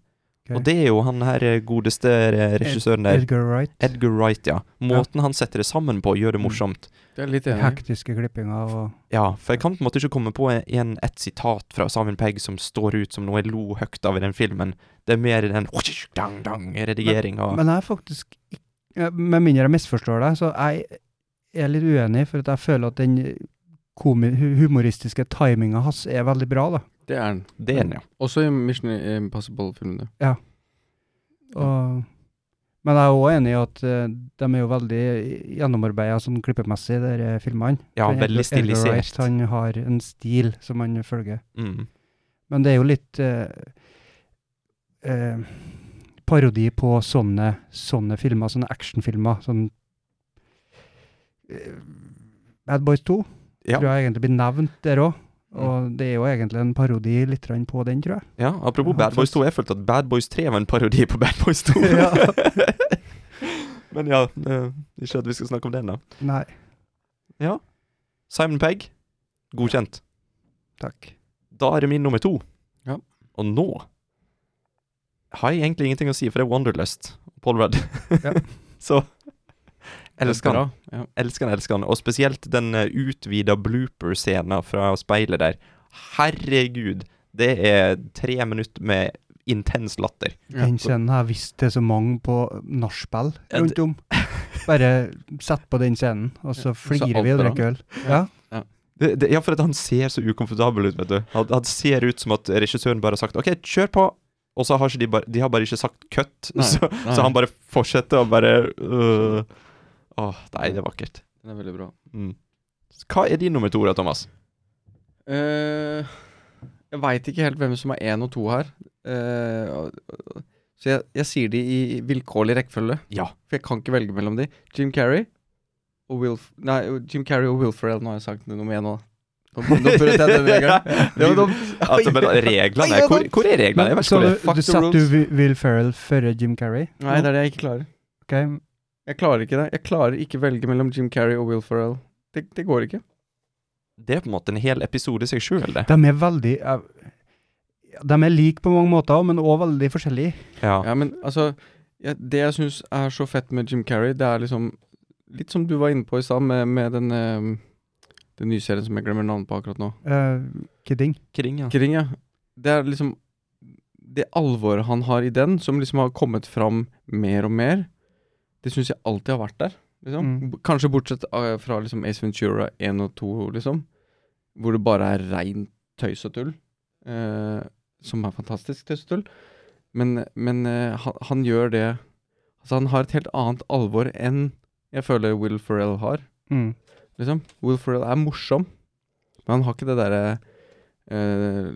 J: Ok.
K: Og det er jo han her eh, godeste eh, regissøren der.
J: Edgar Wright.
K: Edgar Wright, ja. Måten han setter det sammen på, gjør
J: Mm.
K: det morsomt.
L: Det er litt enig. i.
J: Hektiske klippinger og
K: Ja, for jeg kan på en måte ikke komme på en- en, et sitat fra Simon Pegg som står ut som noe jeg lo høyt av i den filmen. Det er mer den redigeringa.
J: Men jeg er faktisk ikk- ja, Med mindre jeg misforstår deg, så jeg er litt uenig, for at jeg føler at den komi- hu- humoristiske timinga hans er veldig bra, da.
L: Det er han.
K: Det er den, ja.
L: Også i Mission Impossible-filmene.
J: Og, men jeg er òg enig i at eh, de er jo veldig gjennomarbeida sånn klippemessig, de der, eh, filmene.
K: Ja,
J: For
K: veldig
J: Edgar- Edgar
K: stilisert.
J: Wright, han har en stil som han følger.
K: Mm.
J: Men det er jo litt eh, eh, parodi på sånne, sånne filmer, sånne actionfilmer. Sånn eh, Bad Boys 2
K: Ja. Mm.
J: tror jeg egentlig blir nevnt der òg. Og det er jo egentlig en parodi litt grann på den, tror jeg.
K: Ja, apropos
J: Ja,
K: Bad Boys
J: faktisk.
K: 2, jeg følte at Bad Boys 3 var en parodi på Bad Boys 2.
J: Ja.
K: Men ja, eh, ikke at vi skal snakke om den, da.
J: Nei,
K: Simon Pegg, godkjent.
J: takk.
K: Da er det min nummer to.
L: Ja.
K: Og nå har jeg egentlig ingenting å si, for det er Wonderlust. Paul Rudd.
J: Ja.
K: Så elsker han.
L: Ja.
K: Elsker han, elsker han. Og spesielt den eh, utvida blooper-scenen fra speilet der. Herregud, det er tre minutter med intens latter.
L: Ja.
J: Den scenen har jeg visst til så mange på nachspiel
K: Ja,
J: rundt om. Bare sett på den scenen, og så flirer
L: alt
J: vi og
L: bra.
J: drikker øl. Ja.
K: Det, det, ja, for at han ser så ukomfortabel ut, vet du. Han, han ser ut som at regissøren bare har sagt OK, kjør på! Og så har ikke de bare De har bare ikke sagt cut,
L: Nei,
K: så,
L: nei.
K: så han bare fortsetter og bare øh. Åh, nei, det er vakkert.
L: Den er veldig bra.
K: Mm. Hva er din nummer to, da, Thomas?
L: Eh, jeg veit ikke helt hvem som er én og to her. Eh, og- og- så jeg, jeg sier de i vilkårlig rekkefølge.
K: Ja.
L: For jeg kan ikke velge mellom de. Jim Carrey og Will F- Nei, jo, Jim Carrey og Will Ferrell. Nå har jeg sagt nummer én òg. Nå nå prøvde jeg den regelen. Det var dumt.
K: Altså, men reglene er, hvor, hvor er reglene? Jeg
J: Men,
K: vet
J: så
K: ikke hvor det
J: du,
K: er.
L: Fuck
J: du
L: the
J: satt du
L: rules.
J: Wi- Will Ferrell før Jim Carrey?
L: Nei, det er det jeg ikke klarer.
J: Ok,
L: Jeg klarer ikke det. Jeg klarer ikke velge mellom Jim Carrey og Will Ferrell. Det, det går ikke.
K: Det er på en måte en hel episode i seg sjøl, det.
J: De er veldig eh, De er like på mange måter, men òg veldig forskjellige.
K: Ja.
L: Ja, men altså ja, Det jeg syns er så fett med Jim Carrey, det er liksom Litt som du var inne på i stad, med, med den, eh, den nye serien som jeg glemmer navnet på akkurat nå.
J: Eh, kidding.
K: Kring, ja.
L: Kring, ja. Det er liksom Det alvoret han har i den, som liksom har kommet fram mer og mer, det syns jeg alltid har vært der. Liksom.
J: Mm.
L: B- Kanskje bortsett eh, fra liksom Ace Ventura 1 og 2, liksom. Hvor det bare er rein tøys og tull. eh, som er fantastisk tøys og tull. Men, men eh, han, han gjør det Altså, han har et helt annet alvor enn jeg føler Will Ferrell har
J: Mm.
L: liksom. Will Ferrell er morsom, men han har ikke det derre eh, eh,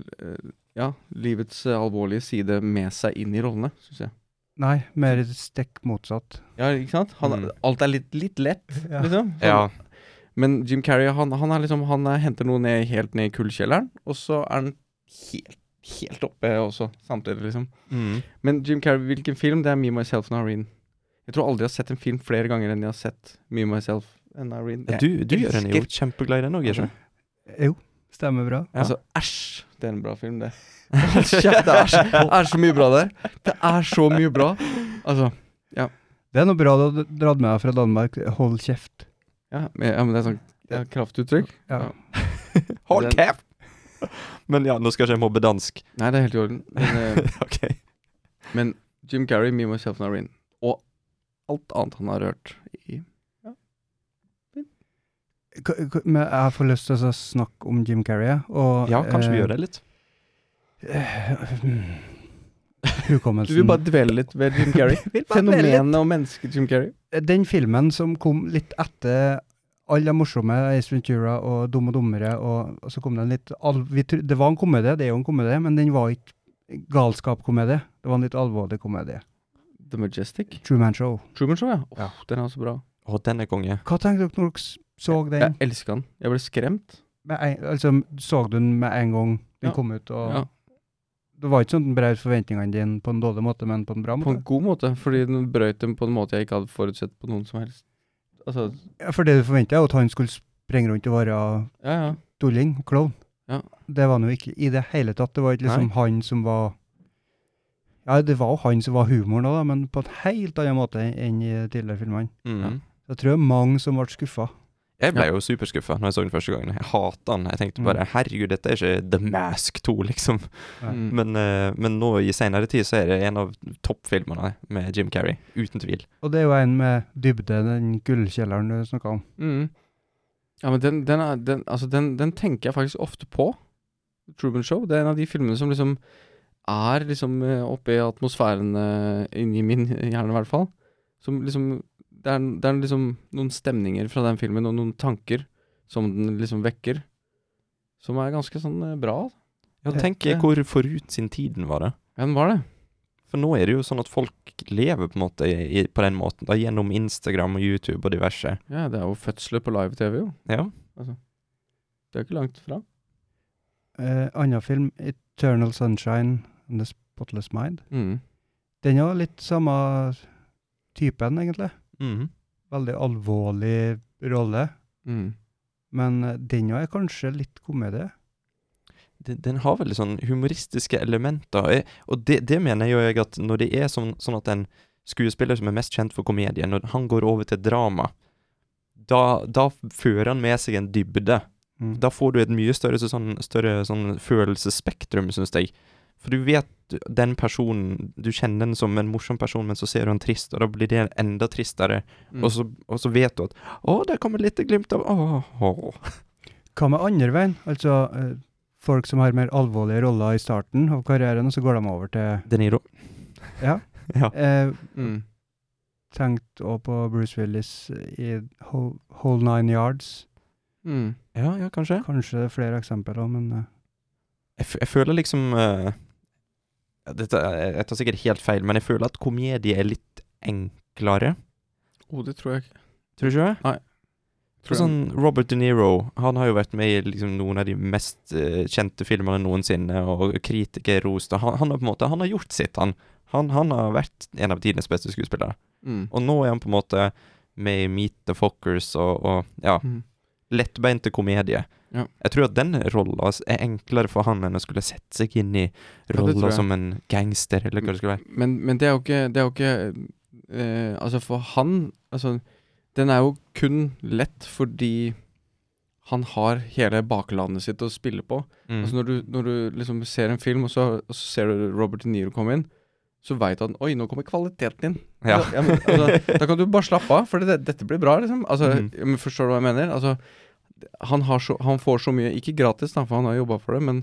L: Ja, livets eh, alvorlige side med seg inn i rollene, syns jeg.
J: Nei, mer stikk motsatt.
L: Ja, ikke sant? Han,
K: Mm.
L: Alt er litt, litt lett,
J: Ja.
L: liksom. Sånn.
K: Ja.
L: Men Jim Carrey, han, han er liksom Han eh, henter noe ned, helt ned i kullkjelleren, og så er han helt, helt oppe også, samtidig, liksom.
K: Mm.
L: Men Jim Carrey, hvilken film? Det er Me, Myself and Irene. Jeg tror aldri jeg har sett en film flere ganger enn jeg har sett Me, Myself and Irene.
K: Ja,
L: Jeg
K: Du, du gjør henne jo
L: elsker-
K: kjempeglad i den òg, ikke
J: Jo, stemmer bra.
K: Ja.
L: Altså, æsj! Det er en bra film, det. Hold kjeft, det er, så- det er så mye bra der. Det er så mye bra. Altså,
J: Det er noe bra du har dratt med deg fra Danmark. Hold kjeft.
L: ja, men, ja, men det er sånn ja, kraftuttrykk.
J: Ja.
K: Hold
L: Den-
K: kjeft! Men ja, nå skal ikke jeg mobbe dansk.
L: Nei, det er helt i orden. Men, eh,
K: Ok.
L: men Jim Carrey, Me, Myself and Irene, og alt annet han har rørt i
J: K- k- Men jeg får lyst til å snakke om Jim Carrey. jeg, Og, eh,
K: Ja, kanskje vi gjør det litt?
L: Du vil
J: Hukommelsen.
L: bare dvele litt ved Jim Carrey. Fenomenet og mennesket Jim Carrey.
J: Den filmen som kom litt etter alle de morsomme Ace Ventura og Dumme og dummere, og, og så kom den litt al vi, tro- Det var en komedie, det er jo en komedie, men den var ikke galskapkomedie. Det var en litt alvorlig komedie.
L: The Majestic.
J: Truman Show.
L: Truman Show, ja. Åh, Den er så bra.
K: Å, den er konge.
J: Hva tenkte dere når dere s- så den?
L: Jeg elsker han. Jeg ble skremt.
J: Med en, altså, så du den med en gang den
L: Ja.
J: kom ut? Og,
L: Ja.
J: Det var ikke sånn at den brøt forventningene dine på en dårlig måte, men på en bra
L: På en
J: måte?
L: god måte, fordi den brøyt dem på en måte jeg ikke hadde forutsett på noen som helst. Altså,
J: Ja, for det du forventa, er jo at han skulle springe rundt og være
L: ja, ja.
J: tulling, klovn.
L: Ja.
J: Det var han jo ikke i det hele tatt. Det var ikke liksom
K: Nei.
J: han som var Ja, det var jo han som var humoren òg, men på en helt annen måte enn i de tidligere filmene.
K: Mm.
L: Ja.
J: Så Jeg tror det er mange som ble skuffa.
K: Jeg ble jo superskuffa når jeg så den første gangen. Jeg hata den. Jeg tenkte bare herregud, dette er ikke The Mask 2, liksom.
L: Mm.
K: Men, eh, men nå i seinere tid så er det en av toppfilmene med Jim Carrey. Uten tvil.
J: Og det er jo en med dybde, den gullkjelleren du snakka om.
L: Mm. Ja, men den, den, er, den, altså den, den tenker jeg faktisk ofte på. Truman Show. Det er en av de filmene som liksom er liksom eh, oppe i atmosfæren eh, inni min hjerne, i hvert fall. Som liksom det er, det er liksom noen stemninger fra den filmen, og noen tanker som den liksom vekker. Som er ganske sånn eh, bra.
K: Ja, tenk eh,
L: Ja.
K: hvor forut sin tid den var, da.
L: Ja, den var det.
K: For nå er det jo sånn at folk lever på, en måte, i, på den måten, da, gjennom Instagram og YouTube og diverse.
L: Ja, det er jo fødsler på live-TV, jo.
K: Ja.
L: Det er jo ikke langt fra.
J: Eh, Annen film, 'Eternal Sunshine and the Spotless Mind'.
L: Mm.
J: Den er jo litt samme typen, egentlig.
K: Mhm.
J: Veldig alvorlig rolle.
L: Mm.
J: Men eh, den òg er kanskje litt komedie.
K: den, den har veldig sånn humoristiske elementer. Jeg- Og det, det mener jo jeg at når det er sånn, sånn at en skuespiller som er mest kjent for komedie, når han går over til drama, da, da fører han med seg en dybde.
J: Mm.
K: Da får du et mye større, så- sånn, større sånn følelsesspektrum, syns jeg. For For du vet du- den personen Du kjenner den som en morsom person, men så ser du han trist, og da blir det enda tristere.
L: Mm.
K: Og, så, og så vet du at Å, der kommer litt glimt av Åh. åh».
J: Hva med andre veien? Altså eh, folk som har mer alvorlige roller i starten av karrieren, og så går de over til
K: De Niro.
J: eh,
L: Mm.
J: Tenkt også på Bruce Willis i Whole, Whole Nine Yards.
L: Mm.
K: Ja, ja, kanskje.
J: Kanskje det er flere eksempler òg, men eh,
K: Jeg, f jeg føler liksom eh, ja, dette, er- Jeg tar sikkert helt feil, men jeg føler at komedie er litt enklere.
L: Oh, det tror jeg ikke.
K: Tror du ikke det? For
L: Tror jeg.
K: Sånn, Robert De Niro han har jo vært med i liksom, noen av de mest eh, kjente filmene noensinne, og kritikerrost. og Han, han har på en måte han har gjort sitt, han. han. Han har vært en av tidenes beste skuespillere.
L: Mm.
K: Og nå er han på en måte med i Meet the Fockers og, og ja,
L: Mm.
K: lettbeinte komedie.
L: Ja.
K: Jeg tror at den rolla er enklere for han enn å skulle sette seg inn i
L: det tror
K: rolla
L: jeg.
K: som en gangster, eller hva det skulle være.
L: Men, men det er jo ikke, det er jo ikke eh, Altså, for han altså, Den er jo kun lett fordi han har hele baklandet sitt å spille på.
K: Mm.
L: Altså når du, når du liksom ser en film, og så, og så ser du Robert De Niro komme inn, så veit han Oi, nå kommer kvaliteten inn.
K: ja.
L: Da, ja, men, altså, da kan du bare slappe av, for det, dette blir bra, liksom. Altså,
K: Mhm.
L: ja, men Forstår du hva jeg mener? Altså, han, har så, han får så mye, ikke gratis, da, for han har jobba for det, men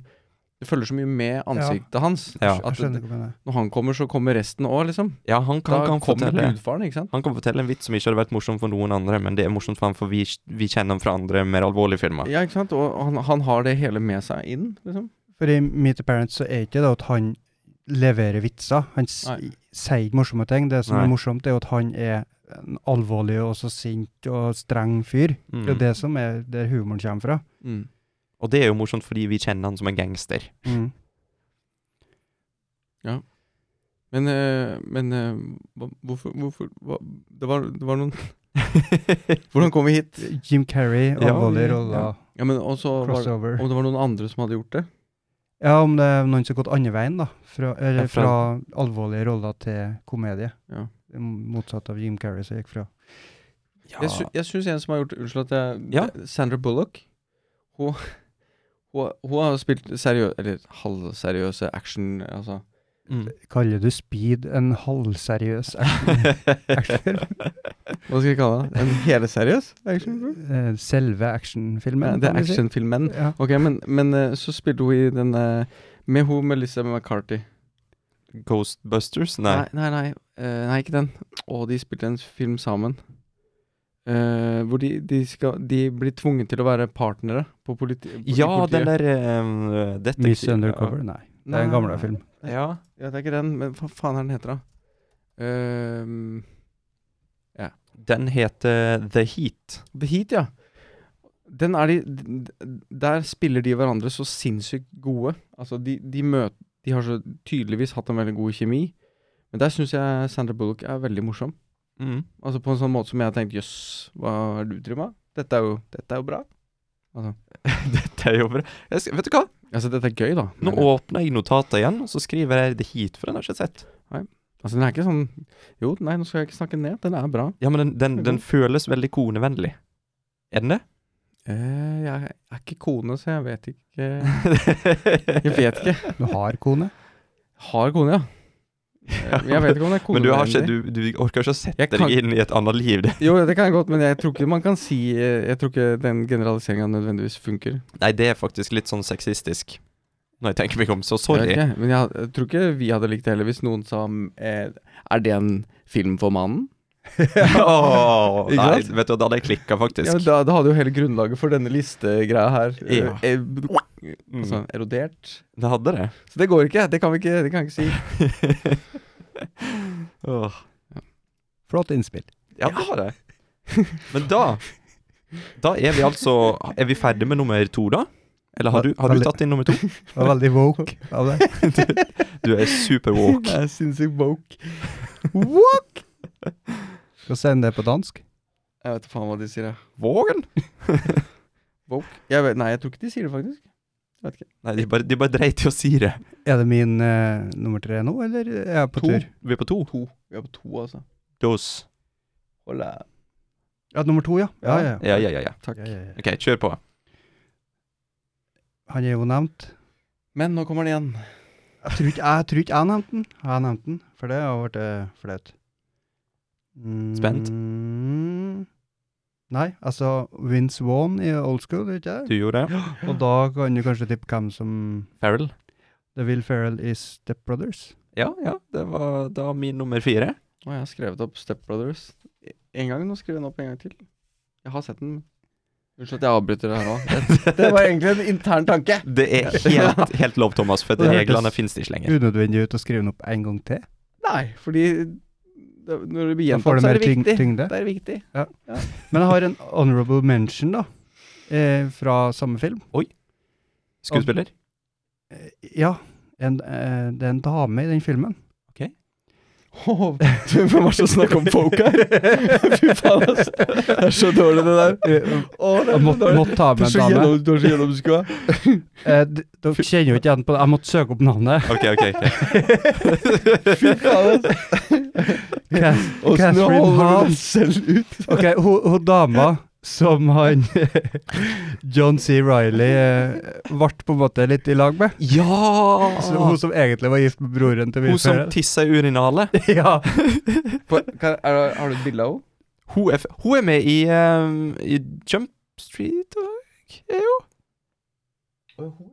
L: det følger så mye med ansiktet hans.
K: Ja.
J: jeg
L: At
J: skjønner
L: det,
J: ikke hva du mener.
L: når han kommer, så kommer resten òg, liksom.
K: ja, han kan,
L: Da
K: kan
L: kommer
K: fortelle.
L: gudfaren, ikke sant?
K: Han kan fortelle en vits som ikke hadde vært morsom for noen andre, men det er morsomt for han, for vi, vi kjenner han fra andre, mer alvorlige filmer.
L: Ja, ikke sant? Og han, han har det hele med seg inn, liksom.
J: For i Meet the Parents så er ikke det at han leverer vitser. Han s
L: Nei.
J: sier ikke morsomme ting. Det som
K: Nei.
J: er morsomt, er jo at han er en alvorlig og også sint og streng fyr. Det er jo
K: Mm.
J: det som er der humoren kommer fra.
L: Mm.
K: Og det er jo morsomt fordi vi kjenner han som en gangster.
J: Mm.
L: Men, eh, men eh, hva, hvorfor, hvorfor hva, det, var, det var noen Hvordan kom vi hit?
J: Jim Carrey,
K: Ja,
J: alvorlige
K: ja.
J: roller,
L: Ja, men også var,
J: crossover.
L: Om det var noen andre som hadde gjort det?
J: Ja, om det er noen som har gått andre veien, da. Fra, eller,
K: Ja,
J: fra
K: fra-
J: alvorlige roller til komedie.
L: Ja.
J: Motsatt av Jim Carrey som gikk fra.
L: Jeg, sy jeg syns en som har gjort Unnskyld at jeg
K: Ja.
L: Sandra Bullock. Hun, hun, hun har spilt seriø eller halvseriøse action Altså
K: Mm.
J: Kaller du Speed en halvseriøs actionfilm?
L: Hva skal jeg kalle det? En heleseriøs actionfilm?
J: Eh, Selve actionfilmen?
L: Ja, det
J: kan
L: er
J: vi si.
L: actionfilmen.
J: Ja.
L: Ok, men, men eh, så spilte hun i den eh, Med hun Melissa McCarthy.
K: Ghostbusters? Nei.
L: nei, nei, eh, nei, ikke den. Og de spilte en film sammen. Eh, hvor de, de, skal, de blir tvunget til å være partnere på politi politi-
K: Ja,
L: politiet.
K: den der um, detektiv...
J: Miss Undercover? Nei. Det er en
L: Nei.
J: gamlere film.
K: Ja.
L: Ja, det er ikke den, men hva faen er den heter da? Ehm,
K: Den heter The Heat.
L: The Heat, ja. Den er de, d- d- der spiller de hverandre så sinnssykt gode. Altså, de, de, møt, de har så tydeligvis hatt en veldig god kjemi. Men der syns jeg Sandra Bullock er veldig morsom.
K: Mm.
L: Altså På en sånn måte som jeg har tenkt jøss, hva er det du driver med? Dette er jo, dette er jo bra.
K: Dette er jo bra. Jeg sk- Vet du hva?
L: Altså, dette er gøy, da.
K: Nå
L: Men,
K: åpner jeg notatet igjen, og så skriver jeg The Heat, for den har jeg ikke sett.
L: altså, den er ikke sånn Jo, nei, nå skal jeg ikke snakke ned. Den er bra.
K: Ja, men den, den, den
L: Mhm.
K: føles veldig konevennlig. Er den det?
L: Eh, jeg er ikke kone, så jeg vet ikke Jeg
K: jeg
L: vet ikke.
J: Du har kone?
L: Har kone, ja. Eh, Jeg vet ikke om det er kone.
K: Men du, har ikke,
L: nødvendig.
K: du, du orker ikke å sette
L: Jeg kan-
K: deg inn i et annet liv. Det.
L: Jo, det kan jeg godt, men jeg tror ikke man kan si eh, Jeg tror ikke den generaliseringa nødvendigvis funker.
K: Nei, det er faktisk litt sånn sexistisk. Når jeg tenker meg om, så
L: Jeg vet
K: sorry.
L: ikke, men jeg, jeg tror ikke vi hadde likt det heller hvis noen sa eh, Er det en film for mannen?
K: Åh,
L: Ikke
K: nei,
L: sant?
K: vet du, da hadde jeg klikka, faktisk.
L: Ja, men da, da hadde jo hele grunnlaget for denne listegreia her eh,
K: Ja.
L: eh,
K: Mm.
L: altså, erodert.
K: Det hadde det.
L: Så det går ikke. Det kan vi ikke, det kan jeg ikke si.
K: Åh.
J: Flott innspill.
K: Ja, det var det. Men da Da er vi altså Er vi ferdig med nummer to, da? Eller har du, har du tatt inn nummer to?
J: Det var veldig woke av deg.
K: Du er super woke.
L: Jeg er sinnssykt woke.
J: Skal sende det på dansk.
L: Jeg vet faen hva de sier, jeg.
K: Vågen?
L: Woke? Jeg vet, nei, jeg tror ikke de sier det, faktisk.
K: Nei, de bare, de bare dreit i å si det.
J: Er det min eh, nummer tre nå, eller er jeg på
K: To.
J: tur?
K: Vi er på to.
L: To. Vi er på to, altså.
K: Dos.
L: Hola.
J: Ja, nummer to, ja. Ja, ja, ja.
K: Ja, ja, ja, ja.
L: Takk.
J: ja, ja, ja.
K: OK, kjør på.
J: Han er jo nevnt.
L: Men nå kommer den igjen.
J: Tror ikke jeg, tror ikke jeg nevnte den. Har jeg nevnt den? For det har blitt flaut. Mm,
K: Spent.
J: Nei, altså Vince Vaughn i Old School, vet ikke
K: Du
J: jeg.
K: gjorde det.
J: Og da kan du kanskje tippe hvem som
K: Farrell.
J: The Will Ferrell i Step Brothers.
K: Ja, ja. Det var da min nummer fire.
L: Å, jeg har skrevet opp Step Brothers. E- En gang, nå skriver jeg den opp en gang til. Jeg har sett den. Unnskyld at jeg avbryter det her òg. Det, det var egentlig en intern tanke.
K: Det er helt, helt lov, Thomas, for
J: Det hørtes-
K: reglene finnes ikke lenger.
J: Unødvendig ut å skrive den opp en gang til.
L: Nei, fordi det, når det blir
J: Da får
L: gjentatt, så
J: det mer
L: er det
J: tyng
L: viktig.
J: tyngde.
L: Det er viktig.
J: Men jeg har en honorable mention, da. Eh, fra samme film.
K: Skuespiller?
J: Eh, ja. En, eh, det er en dame i den filmen.
L: Hvem er det som snakker om folk her? Fy faen, altså. Det er så dårlig, det der. Å, det
J: Jeg
L: er så
J: måtte,
L: dårlig.
J: måtte ta
L: Du er
J: med en
L: så
J: dame.
L: gjennom- du er så gjennomskua.
J: Eh, d- dere kjenner jo ikke igjen på det. Jeg måtte søke opp navnet.
K: Ok, ok. ok.
L: Fy faen, altså.
J: Cass-
L: Åssen
J: Catherine
L: holder
J: Hahn.
L: du deg selv ut?
J: Ok, hun, hun dama som han John C. Riley eh, ble på en måte litt i lag med.
K: Ja!
J: Så,
L: Ah.
J: hun som egentlig var gift med broren til
K: Hun
J: Will
K: som
J: Ferrell.
K: tisser i urinalet.
J: Ja.
L: har du et bilde av henne?
K: Hun er, f hun er med i, ehm, i Jump Street og er jo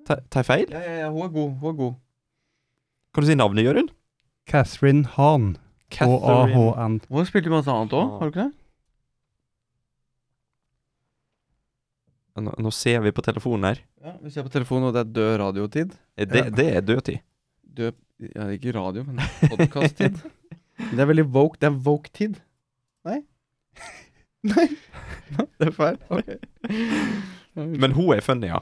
K: Ta- Tar jeg feil?
L: Ja, ja, ja, hun er god. Hun er god.
K: Kan du si navnet, Jørund?
J: Catherine Hahn. H-A-H-N.
L: Hun har spilt i masse annet òg, har du ikke det?
K: Nå, nå ser vi på telefonen her.
L: Ja, Vi ser på telefonen, og det er død radiotid.
K: Eh, Det,
J: Ja.
K: det er dødtid.
L: Død ja, Ikke radio, men podkast-tid. det er veldig woke. Det er woke-tid. Nei? Nei? Det er feil. Ok.
K: Men hun er funny, ja.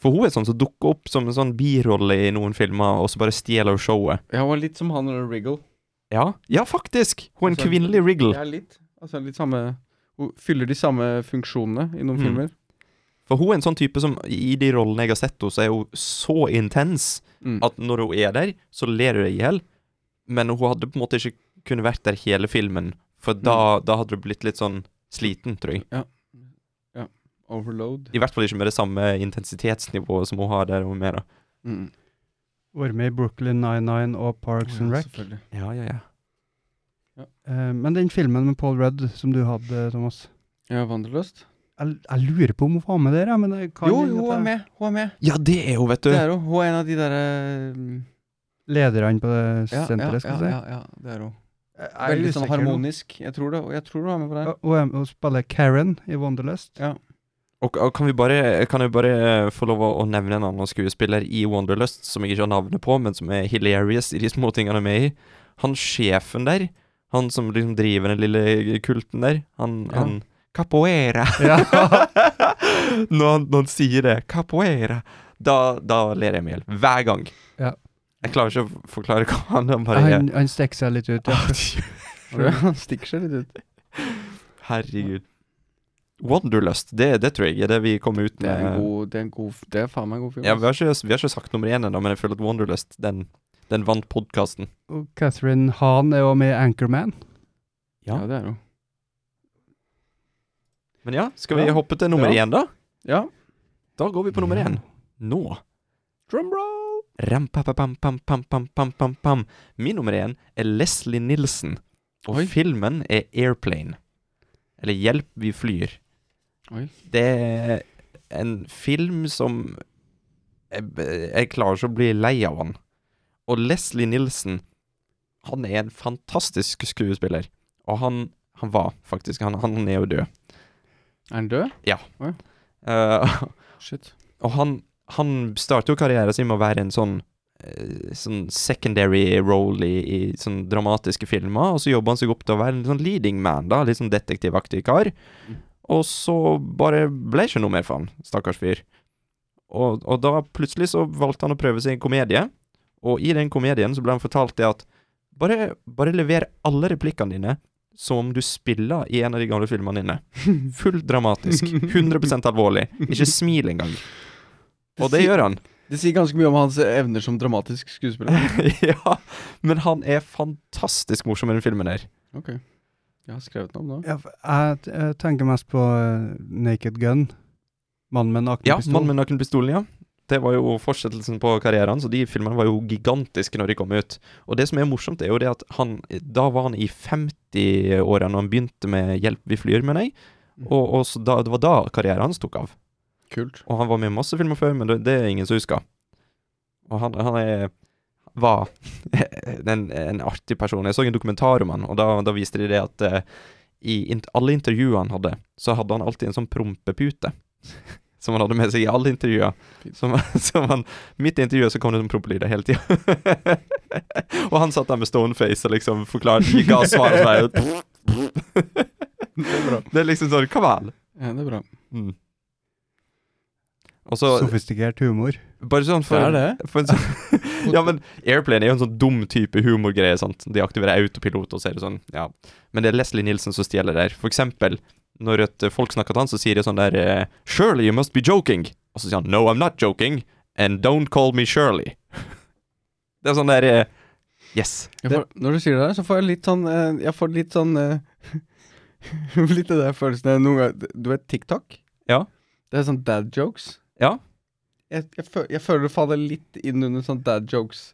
K: For hun er sånn som dukker opp som en sånn birolle i noen filmer, og så bare stjeler hun showet.
L: Jeg var litt som han under Riggle.
K: Ja, ja faktisk! Hun er en
L: Altså,
K: kvinnelig Riggle.
L: Jeg er litt. Altså litt samme Hun fyller de samme funksjonene i noen
K: Mm.
L: filmer.
K: For hun er en sånn type som i de rollene jeg har sett henne, så er hun så intens
L: Mm.
K: at når hun er der, så ler hun deg i hjel. Men hun hadde på en måte ikke kunnet vært der hele filmen, for da, da hadde du blitt litt sånn sliten, tror jeg.
L: Overload.
K: I hvert fall ikke med det samme intensitetsnivået som hun har der hun er med, da.
L: Mm.
J: Vært med i Brooklyn Nine-Nine og Parks and Rec.
L: selvfølgelig.
K: Ja, ja, ja.
J: Eh, men den filmen med Paul Rudd som du hadde, Thomas
L: Ja, Wanderlust.
J: Jeg, jeg lurer på om hun var med der, jeg, men jeg kan
L: Jo,
J: hende
L: jo, hun
J: at
L: er
J: jeg-
L: med. Hun er med.
K: Ja, det er hun, vet du.
L: Det er hun. Hun er en av de eh, derre
J: Lederne på det
L: ja,
J: senteret, skal jeg si.
L: ja, ja, ja, det er hun.
J: Jeg er
L: Veldig sånn
J: usikker nå.
L: harmonisk. Jeg tror det. og Jeg tror du er med på det.
J: Ja, Hun, er- hun spiller Karen i Wanderlust.
L: Ja.
K: Og, og kan vi bare, kan jeg bare eh, få lov å å nevne en annen skuespiller i Wanderlust, som jeg ikke har navnet på, men som er hilarious i de små tingene han er med i? Han sjefen der, han som liksom driver den lille kulten der, han,
L: Ja.
K: han Capoeira! når, han, når han sier det, capoeira, da, da ler jeg meg i hjel. Hver gang.
J: Ja.
K: Jeg klarer ikke å forklare hva han han bare
J: Han, han stikker seg litt ut, ja.
L: Tror jeg. Han stikker seg litt ut.
K: Herregud. Wanderlust, det, det tror jeg er det vi kom ut med.
L: Det er en god Det er, en god, f- det er faen meg en god film.
K: Ja,
L: ass.
K: vi har ikke, vi har ikke sagt nummer én ennå, men jeg føler at Wanderlust, den, den vant podkasten.
J: Og Catherine Hahn er jo med i Anchorman.
K: ja.
L: ja, det er hun.
K: Men ja, skal vi
L: Ja.
K: hoppe til nummer
L: Ja.
K: én, da?
L: Ja.
K: Da går vi på nummer
J: Ja.
K: én. Nå. Drumroll! Ram-pa-pa-pam-pam-pam-pam-pam-pam. Min nummer én er Leslie Nilsen, og
L: Oi.
K: filmen er Airplane. Eller Hjelp, vi flyr.
L: Oi.
K: Det er en film som jeg, jeg klarer ikke å bli lei av han. Og Leslie Nilsen, han er en fantastisk skuespiller. Og han, han var faktisk Han, han er jo død.
L: Er han død?
K: Eh,
L: Shit.
K: og han, han startet jo karrieren sin med å være en sånn eh, Sånn secondary role i, i sånn dramatiske filmer, og så jobba han seg opp til å være en sånn leading man, da, litt sånn detektivaktig kar.
L: Mm.
K: Og så bare ble ikke noe mer for han, stakkars fyr. Og, og da plutselig så valgte han å prøve seg i en komedie, og i den komedien så ble han fortalt det at bare, bare lever alle replikkene dine som om du spiller i en av de gamle filmene dine. Fullt dramatisk. 100 alvorlig. Ikke smil engang. Og det gjør han.
L: Det sier ganske mye om hans evner som dramatisk skuespiller.
K: ja, men han er fantastisk morsom i den filmen her.
L: Ok. Jeg har skrevet noe om det.
J: Ja, for jeg, t- jeg tenker mest på eh, Naked Gun. Mannen med en
K: Ja,
J: aktenpistol.
K: Mannen med nakenpistolen, ja. Det var jo fortsettelsen på karrieren, så de filmene var jo gigantiske når de kom ut. Og det som er morsomt, er jo det at han Da var han i 50-åra når han begynte med 'Hjelp, vi flyr', mener jeg. Og, og så da, det var da karrieren hans tok av.
L: Kult.
K: Og han var med i masse filmer før, men det, det er ingen som husker. Og han, han er var en, en artig person. Jeg så en dokumentar om han, og da, da viste de det at eh, i int- alle intervjuer han hadde, så hadde han alltid en sånn prompepute. Som han hadde med seg i alle intervjuer. Som, som han, midt i intervjuet så kom det sånn prompelyder hele tida. og han satt der med stone face og liksom forklarte, ga svar og sånn Det er liksom sånn Kom an!
L: Ja, det er bra.
K: Mm. Og så
J: Sofistikert humor.
K: Bare sånn for,
L: Det er det.
K: for en sånn, Ja, men Airplane er jo en sånn dum type humorgreie, sant. De aktiverer autopilot, og så er det sånn, ja. Men det er Leslie Nilsen som stjeler der. For eksempel, når et eh, folk snakker til han, så sier de sånn der eh, Shirley, you must be joking. Og så sier han No, I'm not joking. And don't call me Shirley. Det er sånn der eh, Yes.
L: Jeg får, når du sier det der, så får jeg litt sånn eh, Jeg får litt sånn eh, Litt av den følelsen jeg noen ganger Du vet TikTok?
K: Ja.
L: Det er sånn dad jokes.
K: Ja.
L: Jeg, jeg, føl, jeg føler det faller litt inn under sånn dad jokes.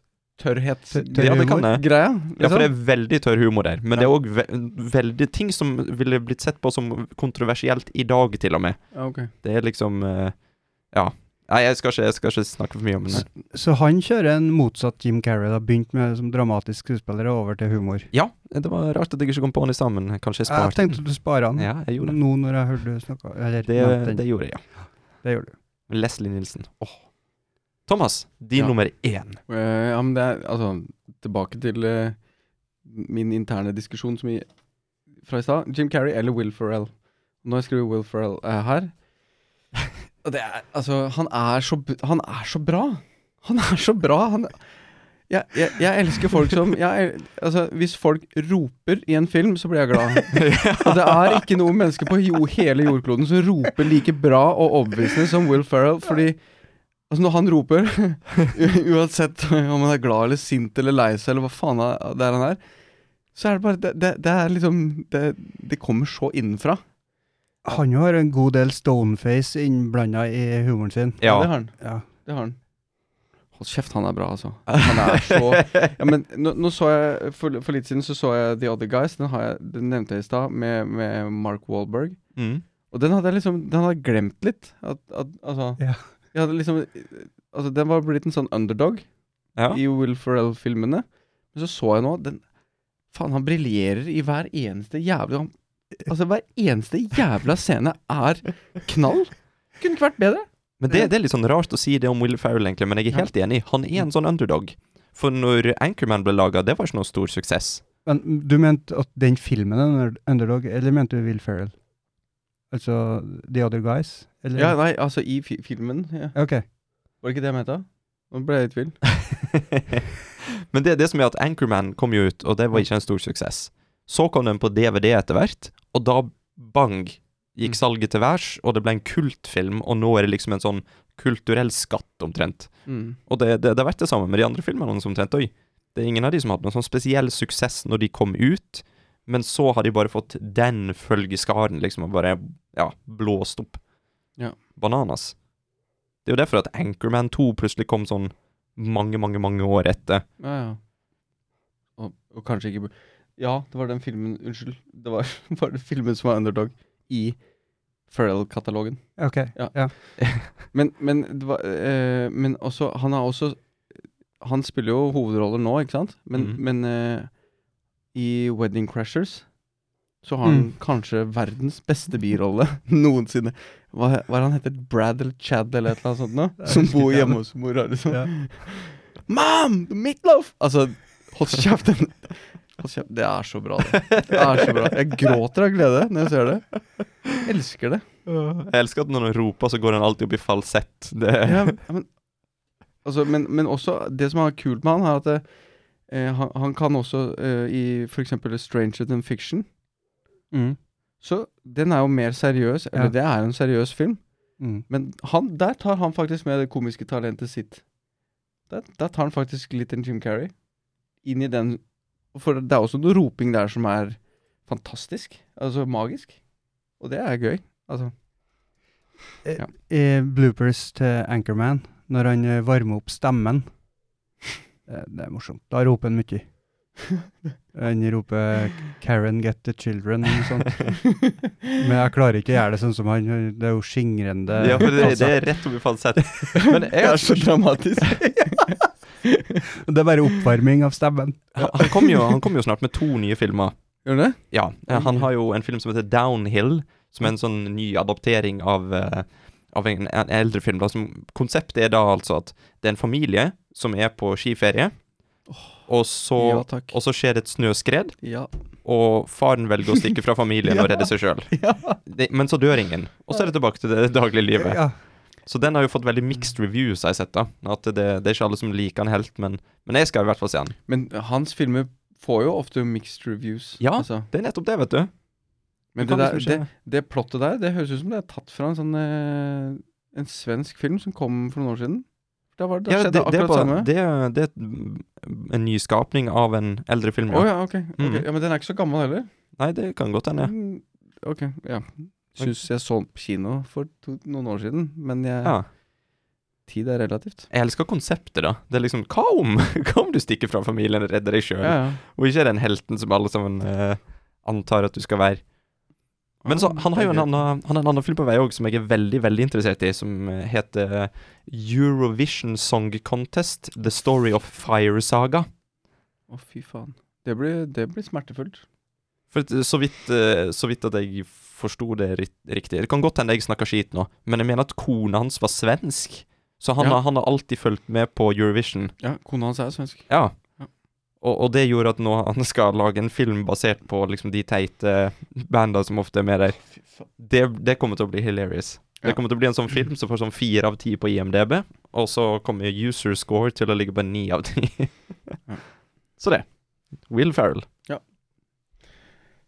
L: Tørrhet.
J: tørr
K: Ja, det kan
J: humor.
K: jeg.
L: Greia.
K: Ja, for det
L: liksom.
K: er veldig tørr humor der. Men det er òg ve veldig ting som ville blitt sett på som kontroversielt i dag, til og med.
L: Ja, ok.
K: Det er liksom eh, Ja. Nei, jeg skal ikke, jeg skal ikke snakke for mye om det.
J: Så han kjører en motsatt Jim Carrey. da, Begynt med som dramatisk skuespiller og over til humor.
K: Ja, det var rart at jeg ikke kom på den i sammen. Kanskje jeg
J: Jeg
K: sparte
J: tenkte du sparer han.
K: Ja, jeg gjorde det.
J: Nå når jeg hørte du snakke Eller
K: Det,
J: nevnte den.
K: det gjorde jeg, ja.
J: det gjør du.
K: Leslie Nilsen. Åh. Thomas, din
L: Ja.
K: nummer én.
L: Eh, ja, men det er altså Tilbake til eh, min interne diskusjon som i, fra i stad. Jim Carrey eller Will Ferrell. Nå skriver Will Ferrell eh, her. Og det er Altså, han er så, b- han er så bra! Han er så bra! Han, jeg, jeg, jeg elsker folk som jeg, el- altså, Hvis folk roper i en film, så blir jeg glad. Og det er ikke noe menneske på jo, hele jordkloden som roper like bra og overbevisende som Will Ferrell, fordi Altså Når han roper, u- uansett om han er glad eller sint eller lei seg eller hva faen det er han er, så er det bare Det, det, det er liksom det, det kommer så innenfra.
J: Han jo har en god del stoneface innblanda i humoren sin.
K: Ja.
L: Det har han.
J: Ja.
L: Det har han. Hold kjeft, han er bra, altså. Han er så ja, men nå, nå så jeg for, for litt siden så så jeg The Other Guys. Den, har jeg, den nevnte jeg i stad, med, med Mark Wahlberg.
K: Mm.
L: Og den hadde jeg liksom Den hadde jeg glemt litt. At, at, altså,
J: Ja.
L: Jeg hadde liksom Altså Den var blitt en sånn underdog
K: Ja.
L: i Will Ferrell-filmene. Men så så jeg nå den, Faen, han briljerer i hver eneste jævla han, Altså, hver eneste jævla scene er knall! Kunne ikke vært bedre.
K: Men det, det er litt sånn rart å si det om Will Ferrell, egentlig, men jeg er
L: Ja.
K: helt enig. Han er en sånn underdog. For når Anchorman ble laga, det var ikke noe stor suksess.
J: Men du mente at den filmen er under- underdog, eller mente du Will Ferrell? Altså The Other Guys? Eller?
L: Ja, nei, altså, i fi filmen ja.
J: Ok.
L: Var det ikke det jeg mente? Nå ble jeg i tvil.
K: Men det er det som er at Anchorman kom jo ut, og det var ikke en stor suksess. Så kom den på DVD etter hvert, og da bang gikk salget til værs, og det ble en kultfilm, og nå er det liksom en sånn kulturell skatt omtrent.
L: Mm.
K: Og det, det, det har vært det samme med de andre filmene som omtrent òg. Det er ingen av de som hadde noen sånn spesiell suksess når de kom ut, men så har de bare fått den følgeskaren, liksom, og bare ja, blåst opp.
L: Ja.
K: Bananas. Det er jo derfor at Anchorman 2 plutselig kom sånn mange, mange, mange år etter.
L: Ja, ja. Og, og kanskje ikke bu- Ja, det var den filmen Unnskyld. Det var, var den filmen som var underdog i Ferrell-katalogen.
J: ok.
L: Ja.
J: Ja.
L: Men, men, det var, eh, men også Han er også Han spiller jo hovedroller nå, ikke sant? Men,
K: Mhm.
L: men eh, i Wedding Crashers så har han
J: Mm.
L: kanskje verdens beste birolle noensinne. Hva, hva er han heter? Brad eller Chad eller et eller annet sånt
J: Jeg
L: nå?
J: husker
L: Som bor
J: ikke han.
L: hjemme hos mora, liksom.
J: Ja.
L: Mom! Meatloaf! Altså, hold kjeft. den- Hold kjeft. Det er så bra, det. Det er så bra. Jeg gråter av glede når jeg ser det. Jeg elsker det.
K: Jeg elsker at når han roper, så går han alltid opp i falsett. Det,
L: Ja, men, altså, men, men også Det som er kult med han, er at det, eh, han, han kan også eh, i f.eks. Stranger Than Fiction Så den er jo mer seriøs. Eller
J: Mm. Ja.
L: det er jo en seriøs film.
J: Mm.
L: Men han, der tar han faktisk med det komiske talentet sitt. Der, der tar han faktisk litt en Jim Carrey. Inn i den For det er også noe roping der som er fantastisk. Altså magisk. Og det er gøy. Altså.
J: I bloopers til Anchorman, når han eh, varmer opp stemmen. Eh, Det er morsomt. Da roper han mye. Han roper 'Karen, get the children' og
L: sånn,
J: sånt. Men jeg klarer ikke å gjøre det sånn som han. Det er jo skingrende
K: Ja, for det,
J: altså.
K: det er rett over falsett. Men jeg,
L: Det er så dramatisk.
J: Det er bare oppvarming av stemmen.
K: han, han kom jo, han kom jo snart med to nye filmer.
L: Gjør det det?
K: Ja, eh, han har jo en film som heter Downhill, som er en sånn ny adaptering av, eh, av en, en eldre film. Da, som, konseptet er da altså at det er en familie som er på skiferie, og så,
L: Ja, takk.
K: og så skjer det et snøskred,
L: Ja.
K: og faren velger å stikke fra familien og redde seg sjøl. Men så dør ingen, og så er det tilbake til det daglige livet.
J: Ja.
K: Så den har jo fått veldig mixed reviews, har jeg sett. da At det, det er ikke alle som liker den helt, men, men jeg skal i hvert fall se den.
L: Men hans filmer får jo ofte mixed reviews.
K: Ja,
L: altså.
K: det er nettopp det, vet du.
L: Men
K: Du
L: det,
K: kan
L: der,
K: liksom
L: det,
K: skjønne.
L: det plottet der, det høres ut som det er tatt fra en sånn eh, En svensk film som kom for noen år siden. Da var det, da
K: Ja,
L: skjedde
K: det, det, er
L: akkurat
K: bare-
L: samme.
K: det, er- det er et- en ny skapning av en eldre film.
L: Å
K: Ja.
L: ja, ok. ok.
K: Mm.
L: Ja, Men den er ikke så gammel heller.
K: Nei, det kan godt hende.
L: Mm, Ok, ja. Syns jeg så den på kino for to, noen år siden, men jeg,
K: Ja.
L: tid er relativt.
K: Jeg elsker konseptet, da. Det er liksom Hva om Hva om du stikker fra familien og redder deg sjøl,
L: Ja, ja.
K: og ikke er den helten som alle sammen eh, antar at du skal være? Men
L: Ah,
K: så, han har jo en annen, han har en annen film på vei òg som jeg er veldig veldig interessert i, som eh, heter Eurovision Song Contest The Story of Fire Saga.
L: Å, fy faen. Det blir, det blir smertefullt.
K: For at, eh, så vidt, eh, så vidt at jeg forsto det ri- riktig Det kan godt hende jeg snakker skit nå, men jeg mener at kona hans var svensk. Så han,
L: Ja.
K: har, han har alltid fulgt med på Eurovision.
L: Ja, kona hans er svensk.
K: Ja.
L: Ja.
K: Og, og det gjorde at nå han skal lage en film basert på liksom de teite banda som ofte er med der. Det, det kommer til å bli hilarious.
L: Ja.
K: Det kommer til å bli en sånn film som får sånn fire av ti på IMDb, og så kommer user score til å ligge på ni av ti. Så det. Will Ferrell.
L: Ja.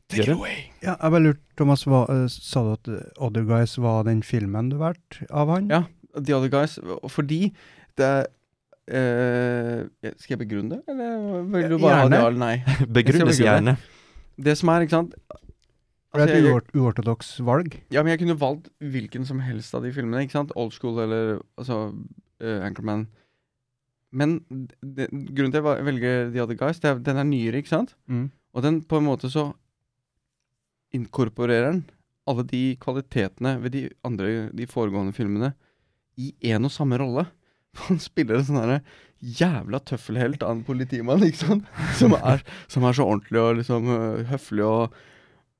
K: Take it away.
J: Ja, jeg bare lurte, Thomas, hva, eh, sa du at eh, Other Guys var den filmen du valgte av han?
L: Ja. The Other Guys, og fordi det er eh, Skal jeg begrunne det, eller vil du bare ha
J: Gjerne.
L: det ja eller nei?
K: Begrunnes
L: Jeg skal begrunne.
K: gjerne.
L: Det som er, ikke sant
J: For
L: Altså,
J: det er et
L: jeg-
J: uort, uortodoks valg.
L: Ja, men jeg kunne valgt hvilken som helst av de filmene, ikke sant? Old School eller altså, eh, Anchorman. Men d- d- grunnen til at jeg va- velger The Other Guys, det er, den er nyere, ikke sant?
J: Mm.
L: Og den på en måte så inkorporerer den alle de kvalitetene ved de andre, de foregående filmene i én og samme rolle. Han spiller en sånn derre jævla tøffelhelt av en politimann, ikke sant? Som er, som er så ordentlig og liksom øh, høflig og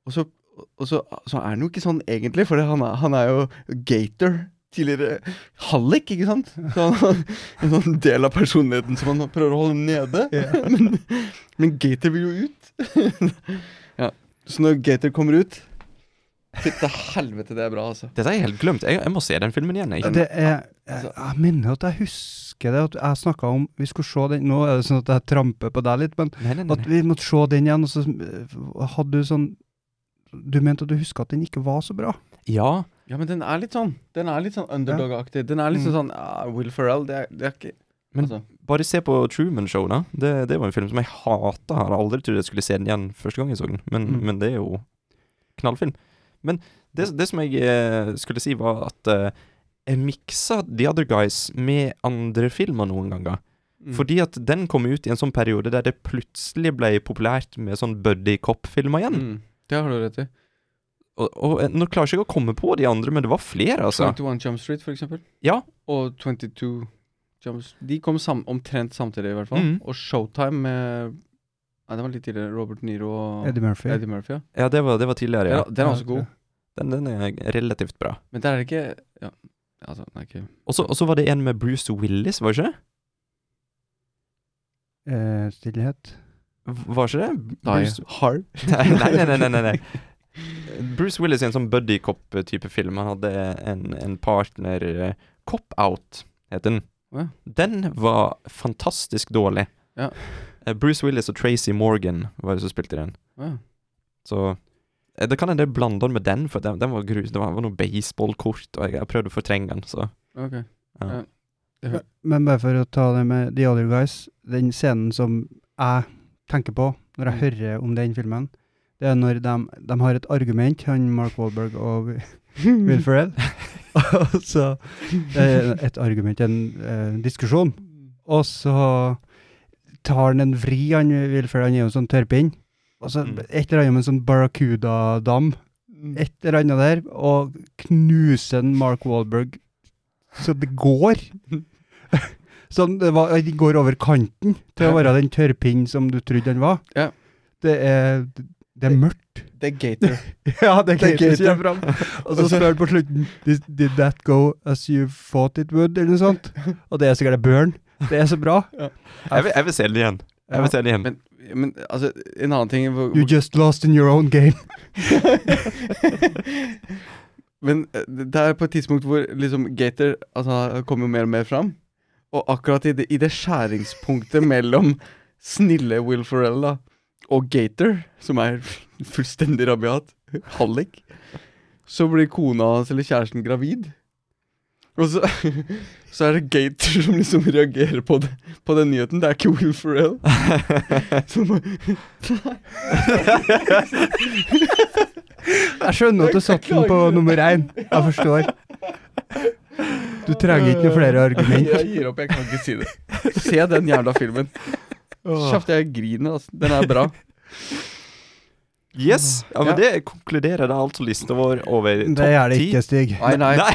L: Og så, og så, så er han jo ikke sånn egentlig, for han er, han er jo gator. Tidligere hallik, ikke sant? Så han, en sånn del av personligheten som han prøver å holde nede. Men, men gator vil jo ut. ja. Så når gator kommer ut Fytte helvete, det er bra, altså.
K: Dette har jeg helt glemt. Jeg, jeg må se den filmen igjen. Jeg.
J: Det er, jeg, jeg minner at jeg husker det, at jeg snakka om Vi skulle se den Nå er det sånn at jeg tramper på deg litt, men
K: Nei, nei, nei, nei.
J: at vi måtte se den igjen, og så eh, hadde du sånn Du mente at du huska at den ikke var så bra?
K: Ja.
L: Ja, men den er litt sånn Den er litt sånn underdog-aktig. Den er litt
J: Mm.
L: sånn ah, Will Ferrell, det er, det er ikke
K: Men-
L: altså,
K: Bare se på Truman Show, da. Det, det var en film som jeg hata. Har aldri trodd jeg skulle se den igjen første gang jeg så den, men,
J: Mm.
K: men det er jo knallfilm. Men det, det som jeg eh, skulle si, var at eh, jeg miksa The Other Guys med andre filmer noen ganger.
L: Mm.
K: Fordi at den kom ut i en sånn periode der det plutselig ble populært med sånn buddy cop-filmer igjen.
L: mm, Det har du rett i.
K: Og, og eh, nå klarer jeg ikke å komme på de andre, men det var flere, altså.
L: 21 Jump Street, for eksempel.
K: Ja.
L: Og 22 Jump Street. De kom sam omtrent samtidig, i hvert fall.
K: Mm.
L: Og Showtime med Nei, det var litt tidligere. Robert Niro og
J: Eddie Murphy.
L: Eddie Murphy, ja.
K: Ja, det var, det var tidligere.
L: Den
K: Ja.
L: er- den er også god.
K: Den, den er relativt bra.
L: Men der er det ikke Ja, altså, den er ikke
K: Og så og så var det en med Bruce Willis, var det ikke?
J: Eh, stillhet.
K: V- Var ikke det? Bruce-
L: Hard.
K: Nei, nei, nei, nei, nei, nei. Bruce Willis i en sånn buddy cop-type film. Han hadde en, en partner eh, Cop Out, heter den.
L: Ja.
K: Den var fantastisk dårlig.
L: Ja.
K: Eh, Bruce Willis og Tracy Morgan var det som spilte i den.
L: Ja.
K: Så eh, det kan hende jeg blander den med den, for den, den var grus. Det var, var noe baseballkort, og jeg, jeg prøvde å fortrenge den, så
L: Ok.
K: ja.
L: Ja. Det hø-
J: Men bare for å ta det med The Mm. Other Guys, den scenen som jeg tenker på når jeg hører om den filmen, Det er når de, de har et argument, han Mark Wahlberg og Will Ferrell. Og så eh, et argument, en eh, diskusjon. Og så tar han en vri, han Will Ferrell, han er jo en sånn tørrpinn. Og så
K: Mm.
J: et eller annet med en sånn Barracuda-dam. Et eller annet der. Og knuser en Mark Wahlberg så det går. Sånn, det var, de går over kanten til å være den tørrpinnen som du trodde han var.
L: Ja.
J: Det er, det er mørkt.
L: Det er Gator.
J: Ja, det
L: Det er
J: gater
L: gater.
J: kommer fram. Og så spør han på slutten did, did that go as you thought it would, eller noe sånt. Og det er sikkert Burn. Det er så bra.
K: Jeg vil, jeg vil se den igjen. Jeg vil se den igjen.
L: Men, men altså, en annen ting hvor,
J: You just lost in your own game.
L: Men eh, det er på et tidspunkt hvor liksom Gator altså, kommer jo mer og mer fram. Og akkurat i det, i det skjæringspunktet mellom snille Will Ferrell da, og Gator, som er fullstendig rabiat, hallik, så blir kona hans eller kjæresten gravid. Og så, så er det Gator som liksom reagerer på, det, på den nyheten. Det er ikke Will Ferrell. Så bare-
J: Jeg skjønner at du satte den på nummer én. Jeg forstår. Du trenger ikke noe flere argument.
L: Jeg gir opp, jeg kan ikke si det. Se den jævla filmen. Kjapt, jeg griner, altså. Den er bra.
K: Yes! Ja, men
L: Ja.
K: Det konkluderer da altså lista vår
L: eh,
K: over topp ti.
J: Det gjør det ikke, Stig.
L: Nei, nei.
K: Nei.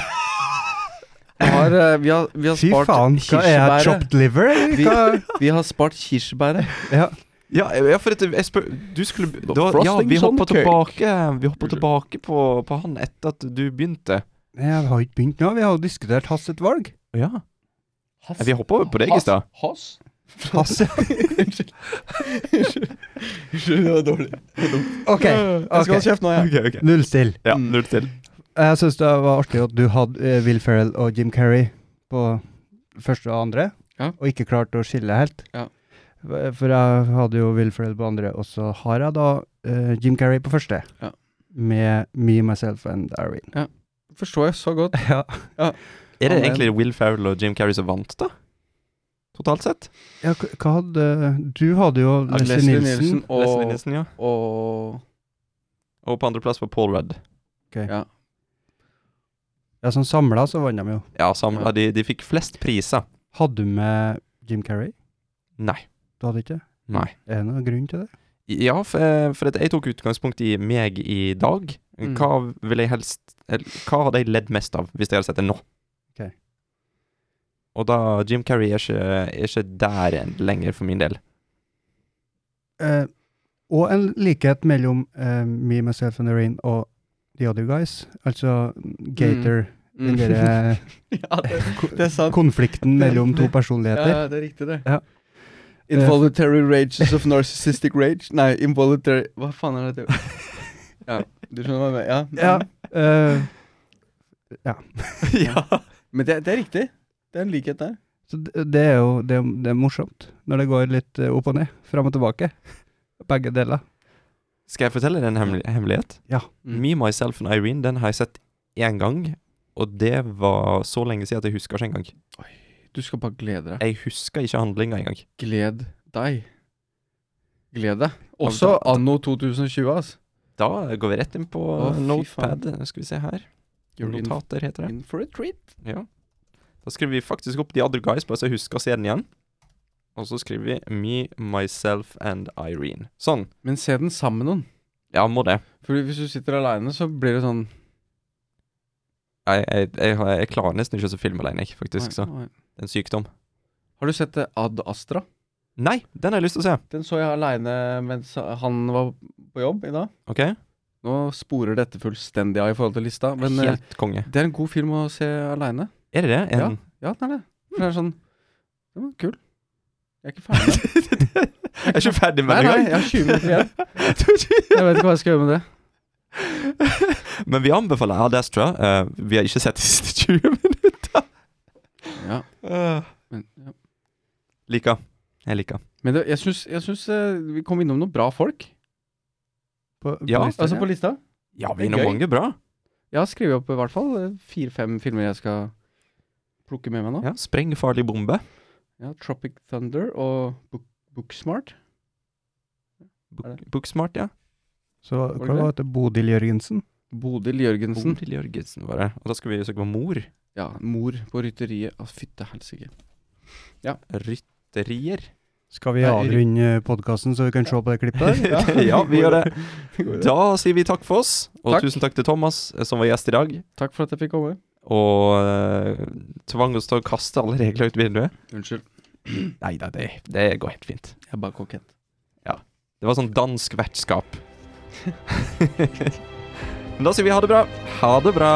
L: Vi har, eh, vi har, vi har
J: Fy
L: spart
J: faen, hva er jeg,
L: kirsebæret.
J: chopped liver? eller
L: Vi,
J: Hva?
L: vi har spart kirsebæret.
J: Ja.
K: Ja, ja, for at jeg spør Du skulle det var, Ja,
L: frosting
K: vi hoppa
L: on cake.
K: tilbake, vi hoppa tilbake på, på han etter at du begynte.
J: Nei, Jeg har ikke begynt nå. Vi har jo diskutert Hass et valg.
K: Ja. Vi hoppa over på deg i stad.
L: Hass?
J: Hass, ja.
L: Unnskyld. Unnskyld, Unnskyld, det var dårlig.
J: OK.
L: Jeg skal holde kjeft nå, jeg.
K: Ok, ok.
J: Null still.
K: Ja, null til.
J: Jeg syns det var artig at du hadde eh, Will Ferrell og Jim Carrey på første og andre,
L: Ja.
J: og ikke klarte å skille helt.
L: Ja.
J: V- For jeg hadde jo Will Ferrell på andre, og så har jeg da eh, Jim Carrey på første.
L: Ja.
J: Med Me, Myself and Irene.
L: Forstår jeg så godt.
J: Ja.
K: Er det
L: Amen.
K: egentlig Will Ferrell og Jim Carrey som vant, da? Totalt sett?
J: k- hva hadde Du hadde jo Leslie
L: Leslie
J: Nielsen.
L: Nielsen
K: Leslie
L: og,
K: Nielsen, ja.
L: og
K: Og på andreplass var Paul Rudd.
J: Ja, sånn samla så vant de jo.
K: Ja, samla. De, de fikk flest priser.
J: Hadde du med Jim Carrey?
K: Nei.
J: Du hadde ikke?
K: Nei.
J: Er det noen grunn til det?
K: Ja, for, eh, for at jeg tok utgangspunkt i meg i dag.
L: Mm.
K: Hva ville jeg helst eller, Hva hadde jeg ledd mest av hvis jeg hadde sett det nå?
J: Ok.
K: Og da Jim Carrey er ikke, er ikke der en- lenger for min del.
J: Eh, og en likhet mellom eh, Me, Myself and Irene og The Other Guys. Altså Gator. Den derre
L: Ja, det, Mm, det er sant.
J: konflikten mellom to
L: Ja,
J: personligheter.
L: ja, Eh. det er riktig, det.
J: Ja.
L: Involuntary rages of narcissistic rage. Nei, involuntary Hva faen er dette? Ja, du skjønner hva jeg mener? Ja. mm.
J: Ja. eh,
K: ja.
L: Men det, det er riktig. Det er en likhet der.
J: så det det er jo det, er- det er morsomt når det går litt eh, opp og ned, fram og tilbake. Begge deler.
K: Skal jeg fortelle deg en hemmel hemmelighet?
J: Ja.
L: Mm.
K: Me, Myself and Irene, den har jeg sett én gang. Og det var så lenge siden at jeg husker ikke engang.
L: Du skal bare glede deg.
K: Jeg husker ikke handlinga engang.
L: Gled deg. Gled deg. Også
K: da-
L: anno 2020, altså.
K: Da går vi rett inn på
L: Å, fy
K: Notepad. Skal vi se her.
L: You're in,
K: Notater heter det.
L: in for a treat.
K: Ja. Da skriver vi faktisk opp The Other Guys, bare så jeg husker å se den igjen. Og så skriver vi Me, Myself and Irene. Sånn.
L: Men se den sammen med noen.
K: Ja, må det.
L: For hvis du sitter aleine, så blir det sånn
K: Jeg, jeg, jeg, har- jeg klarer nesten ikke å se film alene, jeg, faktisk. Så.
L: Nei, nei.
K: Det er en sykdom.
L: Har du sett eh, Ad Astra?
K: Nei, den har jeg lyst til å se.
L: Den så jeg aleine mens han var på jobb i dag.
K: OK?
L: Nå sporer dette fullstendig av i forhold til lista, men eh,
K: Helt konge.
L: det er en god film å se aleine.
K: Er det det? En,
L: Ja. Ja, den er det. For det er sånn Den var kul. Jeg er ikke ferdig med den.
K: Jeg er ikke ferdig
L: Nei,
K: med den
L: nei, jeg har 20 minutter igjen.
K: engang.
L: Jeg vet ikke hva jeg skal gjøre med det.
K: Men vi anbefaler Ad Astra. Eh, vi har ikke sett de siste 20 minuttene.
L: Ja,
K: Uh.
L: men, ja.
K: Liker. Jeg liker.
L: men det, jeg syns, jeg syns eh, vi kom innom noen bra folk.
J: På, på
K: Ja,
J: lista,
L: Altså på lista.
K: Ja,
L: Det
K: vi
L: er
K: er
L: gøy.
K: mange bra.
L: Jeg har skrevet opp i hvert fall eh, fire-fem filmer jeg skal plukke med meg nå.
K: Ja, Spreng farlig bombe.
L: Ja, Tropic Thunder og Book Booksmart.
K: Book, Booksmart, ja.
J: Så hva
L: det
J: hva var det? Bodil Jørgensen?
L: Bodil Jørgensen.
K: Bodil Jørgensen var det. Og da skulle vi søke på mor.
L: Ja, mor på rytteriet. Ah, Fytte helsike.
K: Rytterier.
J: Skal vi
L: Nei,
J: avrunde podkasten så vi kan se på det klippet? der?
K: ja, vi gjør det. Da sier vi takk for oss, og
L: Takk.
K: tusen takk til Thomas eh, som var gjest i dag.
L: Takk for at jeg fikk komme.
K: Og eh, tvang oss til å kaste alle regler ut vinduet.
L: Unnskyld.
K: Nei da, det, det går helt fint.
L: Jeg er bare kokett.
K: Det var sånn dansk vertskap. Men da sier vi ha det bra. Ha det bra.